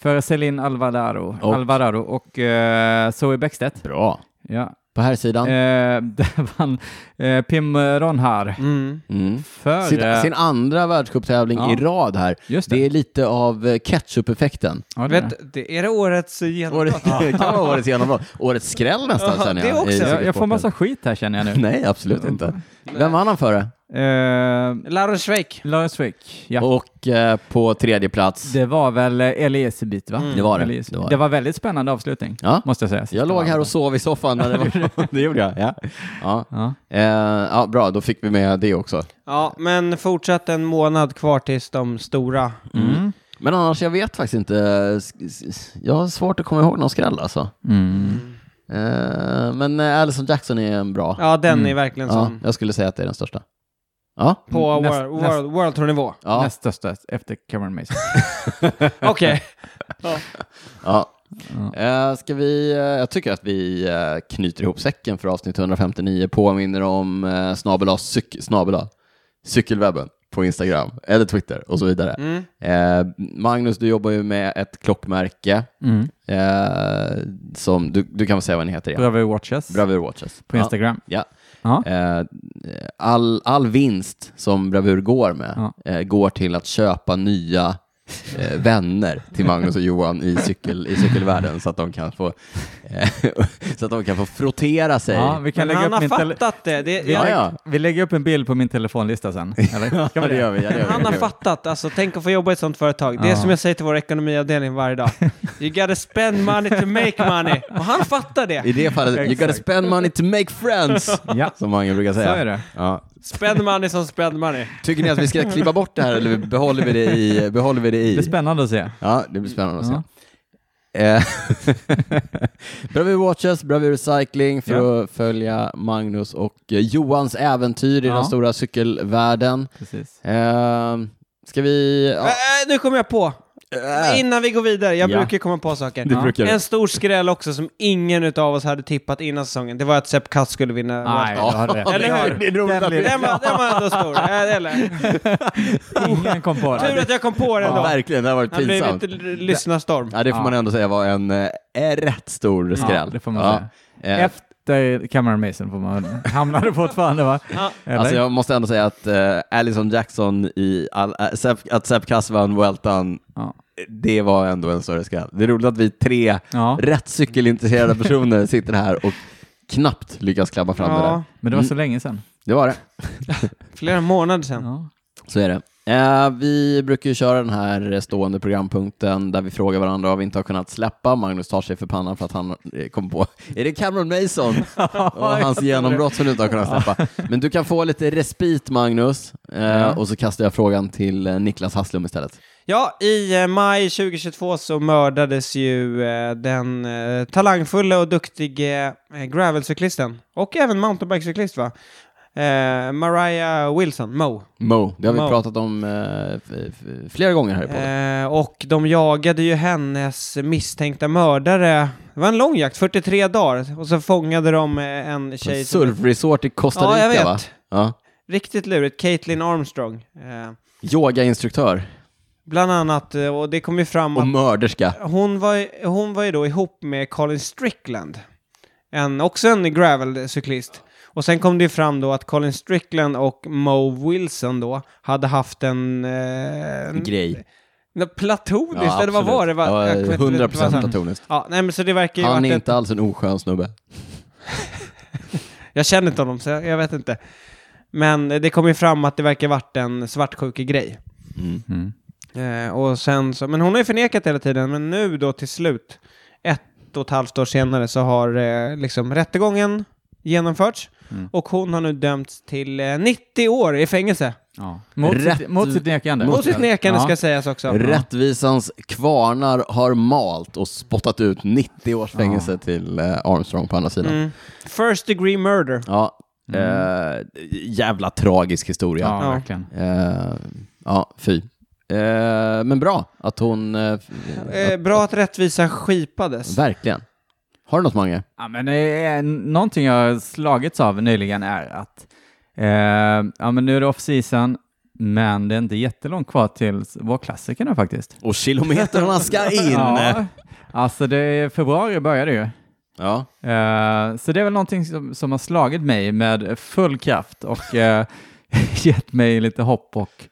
[SPEAKER 3] för Celine Alvarado
[SPEAKER 1] Och-
[SPEAKER 3] och, Alvarado och eh, Zoe Bäckstedt.
[SPEAKER 1] Bra.
[SPEAKER 3] Ja.
[SPEAKER 1] På här sidan.
[SPEAKER 3] Eh, [laughs] där vann eh, Pim Ronhar
[SPEAKER 2] Mm.
[SPEAKER 1] Mm.
[SPEAKER 3] för...
[SPEAKER 1] Sin,
[SPEAKER 3] eh,
[SPEAKER 1] sin andra världscuptävling
[SPEAKER 3] Ja.
[SPEAKER 1] i rad här.
[SPEAKER 3] just det.
[SPEAKER 1] Det är lite av eh, ketchup-effekten.
[SPEAKER 3] ja, det är det.
[SPEAKER 2] Vet, det, är det årets genombrott?
[SPEAKER 1] Årets- Det [laughs] kan vara årets genombrott. Årets skräll nästan,
[SPEAKER 2] Ja,
[SPEAKER 1] känner
[SPEAKER 2] det
[SPEAKER 1] jag. i
[SPEAKER 2] också.
[SPEAKER 3] jag, jag får
[SPEAKER 1] cykelsporten.
[SPEAKER 3] massa Mm. skit här känner jag nu.
[SPEAKER 1] Nej, absolut inte. Vem vann han före?
[SPEAKER 3] Eh,
[SPEAKER 2] Lauren Schweik.
[SPEAKER 3] Lars Frick, ja.
[SPEAKER 1] Och eh, på tredje plats.
[SPEAKER 3] Det var väl eh, Eli Esebit, va?
[SPEAKER 1] Mm, Det var det.
[SPEAKER 3] Eli Esebit.
[SPEAKER 1] Det var det.
[SPEAKER 3] Mm. det var väldigt spännande avslutning,
[SPEAKER 1] Ja.
[SPEAKER 3] måste jag säga.
[SPEAKER 1] Jag låg här och sov i soffan när det
[SPEAKER 3] [laughs]
[SPEAKER 1] var... [laughs] det gjorde jag. Ja. Ja.
[SPEAKER 3] Ja.
[SPEAKER 1] Eh, ja, bra, då fick vi med det också.
[SPEAKER 2] Ja, men fortsatt en månad kvar tills de stora.
[SPEAKER 3] Mm.
[SPEAKER 1] Men annars, jag vet faktiskt inte. S- s- Jag har svårt att komma ihåg någon skräll alltså.
[SPEAKER 3] Mm.
[SPEAKER 1] Eh, men eh, Allison Jackson är en bra.
[SPEAKER 2] Ja, den är verkligen
[SPEAKER 1] Ja,
[SPEAKER 2] sån.
[SPEAKER 1] jag skulle säga att det är den största. Ja.
[SPEAKER 2] På
[SPEAKER 3] Näst-
[SPEAKER 2] world, world, world Tour-nivå.
[SPEAKER 1] Ja.
[SPEAKER 3] Näst största efter Cameron Mason.
[SPEAKER 2] [laughs] Okej.
[SPEAKER 1] Ja. Eh, Ska vi, eh, jag tycker att vi eh, knyter ihop säcken för avsnitt 159, påminner om eh, snabel A cyk, snabel A, cykelwebben på Instagram eller Twitter och så vidare.
[SPEAKER 2] Mm.
[SPEAKER 1] Eh, Magnus, du jobbar ju med ett klockmärke
[SPEAKER 3] Mm.
[SPEAKER 1] eh, som, du, du kan väl säga vad ni heter? Ja.
[SPEAKER 3] Bravo Watches
[SPEAKER 1] Bravur Watches.
[SPEAKER 3] på Instagram.
[SPEAKER 1] Ja.
[SPEAKER 3] Ja.
[SPEAKER 1] Eh, all, all vinst som Bravur går med
[SPEAKER 3] Ja.
[SPEAKER 1] eh, går till att köpa nya eh, vänner till Magnus och Johan i, cykel, i cykelvärlden så att de kan få, eh, [laughs] så att de kan få frottera sig.
[SPEAKER 3] Ja, vi kan
[SPEAKER 2] Men
[SPEAKER 3] lägga
[SPEAKER 2] han
[SPEAKER 3] upp
[SPEAKER 2] har
[SPEAKER 3] min tele-
[SPEAKER 2] fattat det. det
[SPEAKER 1] ja,
[SPEAKER 2] jag,
[SPEAKER 1] ja.
[SPEAKER 3] vi lägger upp en bild på min telefonlista sen. Eller? Ska
[SPEAKER 1] [laughs] ja,
[SPEAKER 3] vi
[SPEAKER 1] det
[SPEAKER 3] det?
[SPEAKER 1] gör vi. Ja, det gör vi.
[SPEAKER 2] Han har fattat. Alltså, tänk att få jobba i ett sånt företag. Det är
[SPEAKER 3] Ja.
[SPEAKER 2] som jag säger till vår ekonomiavdelning varje dag. You gotta spend money to make money. Och han fattar
[SPEAKER 1] I
[SPEAKER 2] det.
[SPEAKER 1] det fallet, you gotta
[SPEAKER 3] Exakt.
[SPEAKER 1] spend money to make friends, [laughs]
[SPEAKER 3] Ja,
[SPEAKER 1] som Mange brukar
[SPEAKER 3] så
[SPEAKER 1] säga.
[SPEAKER 3] är det.
[SPEAKER 1] Ja.
[SPEAKER 2] Spend money som spend money.
[SPEAKER 1] Tycker ni att vi ska klippa bort det här eller behåller vi det i? Behåller vi det
[SPEAKER 3] Det är
[SPEAKER 1] i?
[SPEAKER 3] spännande att se.
[SPEAKER 1] Ja, det blir spännande att se.
[SPEAKER 3] Ja.
[SPEAKER 1] Eh, [laughs] Bravur Watches, Bravur Cycling för
[SPEAKER 3] Ja.
[SPEAKER 1] att följa Magnus och eh, Johans äventyr i
[SPEAKER 3] Ja.
[SPEAKER 1] den stora cykelvärlden.
[SPEAKER 3] Precis.
[SPEAKER 1] Eh, ska vi... Ja,
[SPEAKER 2] Äh, nu kommer jag på.
[SPEAKER 1] eh,
[SPEAKER 2] Innan vi går vidare, jag
[SPEAKER 1] Ja.
[SPEAKER 2] brukar komma på saker.
[SPEAKER 1] det
[SPEAKER 3] Ja.
[SPEAKER 1] brukar du.
[SPEAKER 2] En stor skräll också som ingen av oss hade tippat innan säsongen, det var att Sepp Kass skulle vinna.
[SPEAKER 3] Nej, du har rätt.
[SPEAKER 2] Eller hur?
[SPEAKER 1] Det är roligt att vi...
[SPEAKER 2] Den var, den var ändå stor. Äh, eller.
[SPEAKER 3] [laughs] Ingen kom på
[SPEAKER 2] Tur
[SPEAKER 3] det.
[SPEAKER 2] att jag kom på den
[SPEAKER 1] Ja,
[SPEAKER 2] då.
[SPEAKER 1] verkligen, det har varit
[SPEAKER 2] Han blev
[SPEAKER 1] pinsamt.
[SPEAKER 2] inte l- lyssnarstorm.
[SPEAKER 1] Ja, det får man ändå säga var en eh, är rätt stor skräll.
[SPEAKER 3] Ja, det får man
[SPEAKER 1] Ja.
[SPEAKER 3] säga.
[SPEAKER 1] Eh,
[SPEAKER 3] Efter Cameron Mason får man [laughs] hamnade fortfarande va?
[SPEAKER 2] Ja.
[SPEAKER 3] Eller?
[SPEAKER 1] Alltså jag måste ändå säga att eh, Allison Jackson i all, eh, Sepp- att Sepp Kass vann Vueltan,
[SPEAKER 3] Ja.
[SPEAKER 1] det var ändå en större skräll. Det är roligt att vi tre
[SPEAKER 3] Ja.
[SPEAKER 1] rätt cykelintresserade personer sitter här och knappt lyckats klabba fram det där.
[SPEAKER 2] Ja,
[SPEAKER 3] Men det var så länge sedan.
[SPEAKER 1] Det var det.
[SPEAKER 2] flera månader sedan.
[SPEAKER 3] Ja.
[SPEAKER 1] Så är det. Eh, vi brukar ju köra den här stående programpunkten där vi frågar varandra vad vi inte har kunnat släppa. Magnus tar sig för pannan för att han eh, kom på, [laughs] är det Cameron
[SPEAKER 2] [laughs]
[SPEAKER 1] Mason och hans genombrott som du inte har kunnat släppa? Men du kan få lite respit Magnus eh,
[SPEAKER 3] Ja.
[SPEAKER 1] och så kastar jag frågan till eh, Niklas Hasslum istället.
[SPEAKER 2] Ja, i eh, maj 2022 så mördades ju eh, den eh, talangfulla och duktige eh, gravelcyklisten och även mountainbikecyklist va? Eh, Mariah Wilson, Mo.
[SPEAKER 1] Mo, det har vi
[SPEAKER 2] Mo.
[SPEAKER 1] pratat om eh, f- f- flera gånger här i podden.
[SPEAKER 2] Eh, och de jagade ju hennes misstänkta mördare. Det var en lång jakt, 43 dagar. Och så fångade de eh, en
[SPEAKER 1] På en
[SPEAKER 2] tjej som...
[SPEAKER 1] surfresort i Costa
[SPEAKER 2] Ja,
[SPEAKER 1] Rica
[SPEAKER 2] jag vet.
[SPEAKER 1] va? Ja.
[SPEAKER 2] Riktigt lurigt, Caitlin Armstrong. Eh,
[SPEAKER 1] Yogainstruktör
[SPEAKER 2] bland annat, eh, och det kom ju fram att
[SPEAKER 1] och mörderska.
[SPEAKER 2] hon var, ju- hon var ju då ihop med Colin Strickland, en, också en gravelcyklist. Och sen kom det ju fram då att Colin Strickland och Mo Wilson då hade haft en... Eh, en
[SPEAKER 1] Grej.
[SPEAKER 2] en platoniskt, eller vad
[SPEAKER 1] absolut.
[SPEAKER 2] var det? Va- jag kommer
[SPEAKER 1] Ja,
[SPEAKER 2] inte- det
[SPEAKER 1] 100%
[SPEAKER 2] var så här-
[SPEAKER 1] platoniskt.
[SPEAKER 2] Ja, nej men så det verkar ju
[SPEAKER 1] Han
[SPEAKER 2] varit
[SPEAKER 1] är
[SPEAKER 2] ett-
[SPEAKER 1] inte alls en oskön snubbe.
[SPEAKER 2] Jag känner inte honom, så jag jag vet inte. Men eh, det kom ju fram att det verkar varit en svartsjukegrej.
[SPEAKER 3] Mm.
[SPEAKER 2] Eh, och sen så, men hon har ju förnekat hela tiden, men nu då till slut, ett och ett halvt år senare, så har eh, liksom rättegången genomförts.
[SPEAKER 3] Mm.
[SPEAKER 2] Och hon har nu dömts till eh, 90 år i fängelse.
[SPEAKER 3] Ja. Mot,
[SPEAKER 1] Rätt-
[SPEAKER 3] sitt, mot sitt nekande.
[SPEAKER 2] Mot sitt nekande ska sägas också.
[SPEAKER 1] Rättvisans kvarnar har malt och spottat ut 90 års fängelse till eh, Armstrong på andra sidan.
[SPEAKER 2] Mm. First degree murder.
[SPEAKER 1] Ja, eh, jävla tragisk historia.
[SPEAKER 3] Ja,
[SPEAKER 2] Ja.
[SPEAKER 3] verkligen.
[SPEAKER 1] Eh, ja fy. Eh, men bra att hon... Eh, f-
[SPEAKER 2] Eh, bra att rättvisa skipades.
[SPEAKER 1] verkligen. Har du något Mange?
[SPEAKER 3] Ja, men det är någonting jag slagits av nyligen är att eh, ja, men nu är det off-season, men det är inte jättelångt kvar till vårklassikerna faktiskt.
[SPEAKER 1] Och kilometrarna
[SPEAKER 2] [laughs]
[SPEAKER 1] ska in!
[SPEAKER 3] Ja, alltså det är februari börjar det ju.
[SPEAKER 1] Ja.
[SPEAKER 3] Eh, så det är väl någonting som, som har slagit mig med full kraft och eh, [laughs] gett mig lite hopp och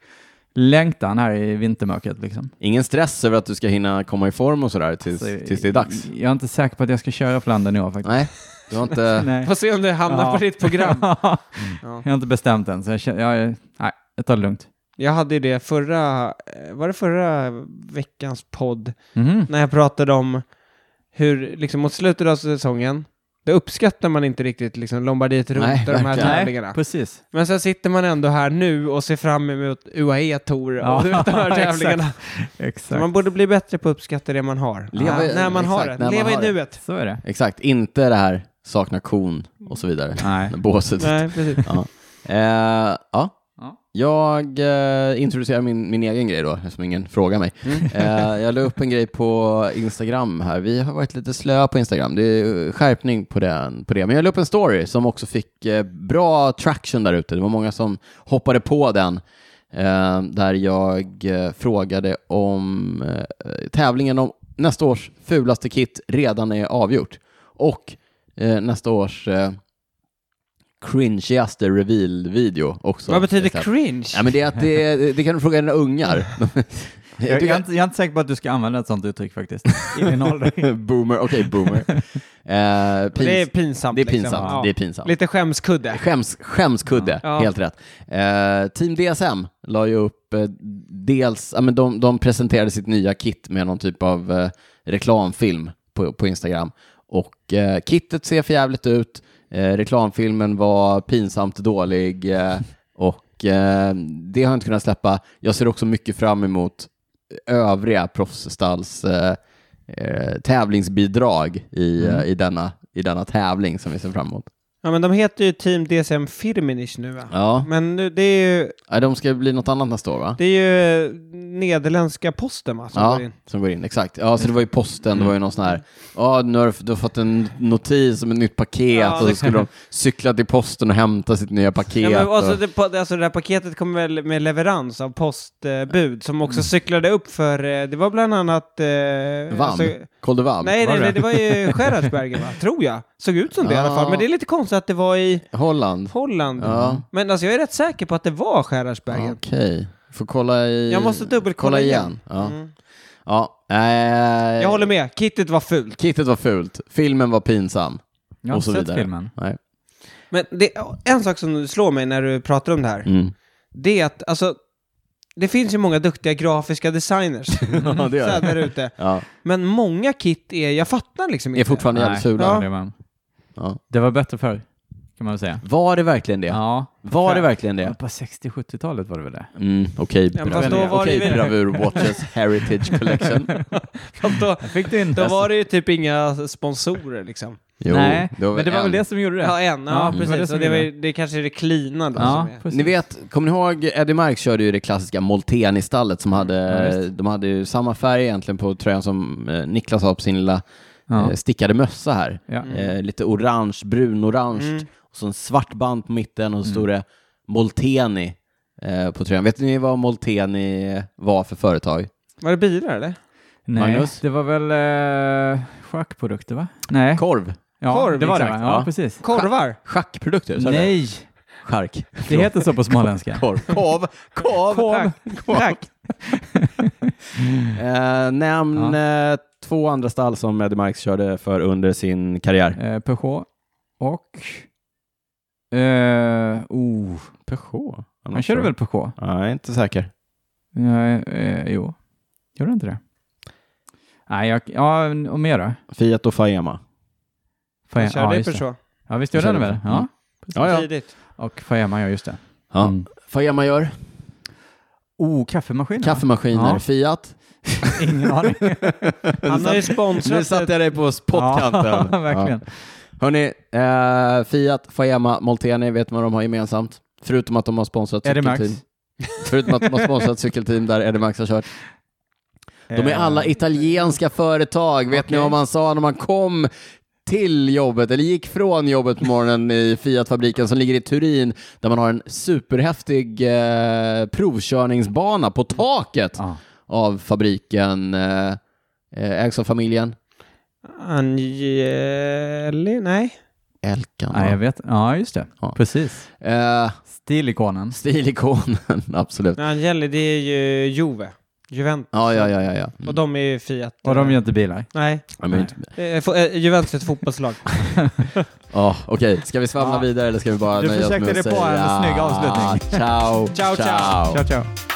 [SPEAKER 3] längtan här i vintermörkret. Liksom.
[SPEAKER 1] Ingen stress över att du ska hinna komma i form och sådär tills,
[SPEAKER 2] Alltså,
[SPEAKER 3] Så-
[SPEAKER 1] tills det är dags?
[SPEAKER 3] Jag är inte säker på att jag ska köra Flandern i år faktiskt.
[SPEAKER 1] Nej, du har inte...
[SPEAKER 3] Nej.
[SPEAKER 2] Får se om det hamnar
[SPEAKER 3] Ja.
[SPEAKER 2] på ditt
[SPEAKER 3] [laughs]
[SPEAKER 2] program.
[SPEAKER 3] jag har inte bestämt än, så jag, känner, jag, nej, jag tar det lugnt.
[SPEAKER 2] Jag hade ju det förra, eh, var det förra veckans podd?
[SPEAKER 3] Mhm.
[SPEAKER 2] när jag pratade om hur, liksom mot slutet av säsongen, då uppskattar man inte riktigt liksom Lombardiet runt
[SPEAKER 1] Nej,
[SPEAKER 2] och de här
[SPEAKER 1] verkligen.
[SPEAKER 2] tävlingarna.
[SPEAKER 3] precis.
[SPEAKER 2] Men sen sitter man ändå här nu och ser fram emot UAE Tour och
[SPEAKER 3] Ja,
[SPEAKER 2] [laughs] de här
[SPEAKER 3] [laughs] exakt.
[SPEAKER 2] tävlingarna. Så
[SPEAKER 3] Exakt.
[SPEAKER 2] man borde bli bättre på att uppskatta det man har.
[SPEAKER 1] Leva i-
[SPEAKER 2] när man har
[SPEAKER 1] exakt, när
[SPEAKER 2] det.
[SPEAKER 1] man
[SPEAKER 2] Leva i
[SPEAKER 1] har det.
[SPEAKER 2] nuet.
[SPEAKER 3] Så är det.
[SPEAKER 1] Exakt, inte det här sakna kon och så vidare.
[SPEAKER 3] Nej.
[SPEAKER 1] Båset.
[SPEAKER 2] Nej, precis.
[SPEAKER 1] Eh, ja.
[SPEAKER 3] Ja.
[SPEAKER 1] Jag eh, introducerar min, min egen grej då, eftersom ingen frågar mig.
[SPEAKER 2] Mm.
[SPEAKER 1] [laughs] Eh, jag la upp en grej på Instagram här. Vi har varit lite slöa på Instagram. Det är eh, skärpning på, den, på det. Men jag la upp en story som också fick eh, bra traction där ute. Det var många som hoppade på den. Eh, där jag eh, frågade om eh, tävlingen om nästa års fulaste kit redan är avgjort. Och eh, nästa års eh, cringigaste reveal-video också.
[SPEAKER 2] Vad
[SPEAKER 1] [laughs]
[SPEAKER 2] betyder
[SPEAKER 1] Så här-
[SPEAKER 2] cringe?
[SPEAKER 1] Ja, men det, är att det, det kan du fråga dina ungar.
[SPEAKER 3] Jag,
[SPEAKER 1] Jag tycker
[SPEAKER 3] är inte, jag är inte säker på att du ska använda ett sånt uttryck
[SPEAKER 2] [laughs]
[SPEAKER 3] faktiskt. I din ålder.
[SPEAKER 1] att- [laughs] boomer, okej boomer. Eh, pins,
[SPEAKER 2] det är pinsamt.
[SPEAKER 1] det är pinsamt.
[SPEAKER 2] Liksom. Ja.
[SPEAKER 1] Det är pinsamt.
[SPEAKER 2] Lite skämskudde.
[SPEAKER 1] Äh, Skäms, skämskudde,
[SPEAKER 2] Ja.
[SPEAKER 1] helt rätt. Eh, Team DSM la ju upp eh, dels, ja, men de, de presenterade sitt nya kit med någon typ av eh, reklamfilm på, på Instagram. Och eh, kittet ser för jävligt ut, eh, reklamfilmen var pinsamt dålig eh, och eh, det har jag inte kunnat släppa. Jag ser också mycket fram emot övriga proffsstalls eh, eh, tävlingsbidrag i,
[SPEAKER 2] Mm.
[SPEAKER 1] eh, i, denna, i denna tävling som vi ser fram emot.
[SPEAKER 2] Ja, men de heter ju Team DSM Firmenich nu va?
[SPEAKER 1] Ja.
[SPEAKER 2] Men nu, det är ju,
[SPEAKER 1] Nej, de ska bli något annat nästa år, va?
[SPEAKER 2] det är ju eh, nederländska posten va, som
[SPEAKER 1] ja,
[SPEAKER 2] går in. Mm.
[SPEAKER 1] som går in. Exakt. Ja, så det var ju posten, det var ju någon sån här, ja, nu har du, du har fått en notis om ett nytt paket
[SPEAKER 2] Ja,
[SPEAKER 1] och
[SPEAKER 2] det-
[SPEAKER 1] så skulle de cykla till posten och hämta sitt nya paket.
[SPEAKER 2] Ja, men alltså,
[SPEAKER 1] och,
[SPEAKER 2] det, pa- alltså det här paketet kom väl med leverans av postbud som
[SPEAKER 1] Mm.
[SPEAKER 2] också cyklade upp för, eh, det var bland annat... Eh,
[SPEAKER 1] VAM?
[SPEAKER 2] alltså-
[SPEAKER 1] Kolde VAM?
[SPEAKER 2] nej,
[SPEAKER 3] Var
[SPEAKER 2] nej,
[SPEAKER 3] det?
[SPEAKER 2] nej, det
[SPEAKER 1] [laughs]
[SPEAKER 2] var ju Gerhardsbergen va, tror jag. Såg ut som det i alla fall,
[SPEAKER 1] Ja.
[SPEAKER 2] men det är lite konstigt att det var i
[SPEAKER 1] Holland?
[SPEAKER 2] Holland.
[SPEAKER 1] Ja.
[SPEAKER 2] Men alltså jag är rätt säker på att det var
[SPEAKER 1] Okej.
[SPEAKER 2] Gerhardsbergen.
[SPEAKER 1] Får kolla i...
[SPEAKER 2] Jag måste dubbelkolla
[SPEAKER 1] kolla igen.
[SPEAKER 2] igen.
[SPEAKER 1] Ja.
[SPEAKER 2] Mm.
[SPEAKER 1] ja. Eh,
[SPEAKER 2] Jag håller med, kittet var fult.
[SPEAKER 1] Kittet var fult, filmen var pinsam.
[SPEAKER 3] Jag har
[SPEAKER 1] och så
[SPEAKER 3] inte sett
[SPEAKER 1] vidare.
[SPEAKER 3] filmen.
[SPEAKER 1] Nej.
[SPEAKER 2] Men det, en sak som slår mig när du pratar om det här, [laughs]
[SPEAKER 1] Mm.
[SPEAKER 2] det är att alltså, det finns ju många duktiga grafiska designers
[SPEAKER 1] ja, det
[SPEAKER 2] så
[SPEAKER 1] gör det.
[SPEAKER 2] här där ute.
[SPEAKER 1] Ja.
[SPEAKER 2] Men många kit är, jag fattar liksom inte.
[SPEAKER 1] Är fortfarande
[SPEAKER 3] Nej.
[SPEAKER 1] jävligt fula.
[SPEAKER 2] Ja.
[SPEAKER 3] Det, var,
[SPEAKER 1] Ja.
[SPEAKER 3] det var bättre förr, kan man väl säga.
[SPEAKER 1] Var det verkligen det?
[SPEAKER 3] Ja.
[SPEAKER 1] Var det verkligen det?
[SPEAKER 3] På 60-70-talet var det väl det?
[SPEAKER 1] Mm, Okej,
[SPEAKER 2] Ja,
[SPEAKER 1] bra.
[SPEAKER 2] fast då var det
[SPEAKER 1] Okej,
[SPEAKER 2] ju-
[SPEAKER 1] Bravur
[SPEAKER 2] [laughs]
[SPEAKER 1] Watches Heritage Collection.
[SPEAKER 2] Fast [laughs] Då,
[SPEAKER 3] Fick du inte?
[SPEAKER 2] då var det ju typ inga sponsorer liksom.
[SPEAKER 1] Jo,
[SPEAKER 3] Nej, men det var väl
[SPEAKER 1] en.
[SPEAKER 3] det som gjorde det?
[SPEAKER 2] Ja, en. Ja,
[SPEAKER 3] Ja,
[SPEAKER 2] precis.
[SPEAKER 3] det var det
[SPEAKER 2] Det,
[SPEAKER 3] som
[SPEAKER 2] och det, var,
[SPEAKER 3] gjorde
[SPEAKER 2] ju- det kanske är det cleana då
[SPEAKER 3] Ja,
[SPEAKER 2] som är.
[SPEAKER 3] precis.
[SPEAKER 1] Ni vet, kommer ni ihåg Eddie Marks körde ju det klassiska Molteni-stallet som hade,
[SPEAKER 3] Mm. Ja,
[SPEAKER 1] de hade ju samma färg egentligen på tröjan som eh, Niklas har på sin lilla
[SPEAKER 3] Ja. Mm.
[SPEAKER 1] eh, stickade mössa här.
[SPEAKER 3] Ja.
[SPEAKER 1] Eh, lite orange, brunorange
[SPEAKER 2] Mm.
[SPEAKER 1] och så en svart band på mitten
[SPEAKER 3] Mm.
[SPEAKER 1] och så stod det Molteni eh, på tröjan. Vet ni vad Molteni var för företag?
[SPEAKER 2] Var det bilar eller?
[SPEAKER 3] Nej,
[SPEAKER 1] Magnus?
[SPEAKER 3] det var väl eh, schackprodukter va? Nej.
[SPEAKER 1] Korv.
[SPEAKER 3] ja,
[SPEAKER 2] korv,
[SPEAKER 3] det var det. va?
[SPEAKER 2] exakt.
[SPEAKER 3] Ja,
[SPEAKER 1] Ja.
[SPEAKER 3] precis.
[SPEAKER 2] Korvar?
[SPEAKER 1] Schackprodukter? sa du det?
[SPEAKER 3] Nej,
[SPEAKER 1] Chark.
[SPEAKER 3] det heter så
[SPEAKER 1] [laughs]
[SPEAKER 3] på småländska.
[SPEAKER 1] Korv.
[SPEAKER 3] [laughs]
[SPEAKER 1] Korv. Korv.
[SPEAKER 3] Korv.
[SPEAKER 2] Tack.
[SPEAKER 1] Eh, nämn eh, två andra stall som Eddie Marks körde för under sin karriär.
[SPEAKER 3] Eh, Peugeot och... Eh, oh,
[SPEAKER 1] Peugeot?
[SPEAKER 3] han körde väl Peugeot?
[SPEAKER 1] Nej, jag är inte säker.
[SPEAKER 3] Ja, eh, jo, gjorde han inte det? Nej, jag, ja, och mer då?
[SPEAKER 1] Fiat och Faema.
[SPEAKER 3] Fae-
[SPEAKER 2] Jag körde
[SPEAKER 3] ja,
[SPEAKER 2] ju
[SPEAKER 3] just det.
[SPEAKER 2] Peugeot.
[SPEAKER 3] Ja, visst gjorde han det
[SPEAKER 1] körde
[SPEAKER 3] väl?
[SPEAKER 1] Peugeot.
[SPEAKER 3] Ja.
[SPEAKER 1] Ja, ja.
[SPEAKER 2] Tidigt.
[SPEAKER 3] Och Faema, ja just det.
[SPEAKER 1] ja.
[SPEAKER 3] Mm.
[SPEAKER 1] Faema gör
[SPEAKER 3] Oh, kaffemaskinen.
[SPEAKER 1] kaffemaskiner.
[SPEAKER 3] Ja.
[SPEAKER 1] Fiat. [laughs]
[SPEAKER 3] Ingen aning.
[SPEAKER 2] Han har ju
[SPEAKER 1] Nu
[SPEAKER 2] sponsrat
[SPEAKER 1] satte jag dig på spottkanten.
[SPEAKER 3] Ja, [laughs] verkligen.
[SPEAKER 1] Hörni, eh, Fiat, Faema, Molteni, vet ni vad de har gemensamt? Förutom att de har sponsrat
[SPEAKER 3] Är det Max?
[SPEAKER 1] cykelteam. Förutom att de har sponsrat cykelteam där Eddie Max har kört. De är
[SPEAKER 3] Eh,
[SPEAKER 1] alla italienska företag. Vet ni vad man sa när man kom till jobbet, eller gick från jobbet på morgonen i Fiat-fabriken som ligger i Turin, där man har en superhäftig eh, provkörningsbana på taket
[SPEAKER 3] Ja.
[SPEAKER 1] av fabriken. Eh, eh, ägs av familjen
[SPEAKER 2] Angeli? Nej.
[SPEAKER 1] Elkan.
[SPEAKER 3] Ja, jag
[SPEAKER 1] va?
[SPEAKER 3] vet. Ja, just det.
[SPEAKER 1] Ja.
[SPEAKER 3] Precis.
[SPEAKER 1] Eh,
[SPEAKER 3] Stilikonen.
[SPEAKER 1] stilikonen, [laughs] absolut.
[SPEAKER 2] Angeli, det är ju Juve. Juventus.
[SPEAKER 1] Ja, ja, ja, Mm. ja. ja.
[SPEAKER 2] Och de är ju Fiat.
[SPEAKER 3] Och de gör inte bilar.
[SPEAKER 2] Nej.
[SPEAKER 1] ja men inte-
[SPEAKER 2] Eh, fo- eh, Juventus är ett
[SPEAKER 3] [laughs]
[SPEAKER 2] fotbollslag.
[SPEAKER 1] Ja, Okej, ska vi svamla
[SPEAKER 3] Ja.
[SPEAKER 1] vidare eller ska vi bara
[SPEAKER 3] Du
[SPEAKER 1] nöja oss med
[SPEAKER 3] försökte
[SPEAKER 1] att Ah,
[SPEAKER 3] dig på en snygg avslutning.
[SPEAKER 1] Ciao,
[SPEAKER 2] Ciao, ciao.
[SPEAKER 3] Ciao, ciao.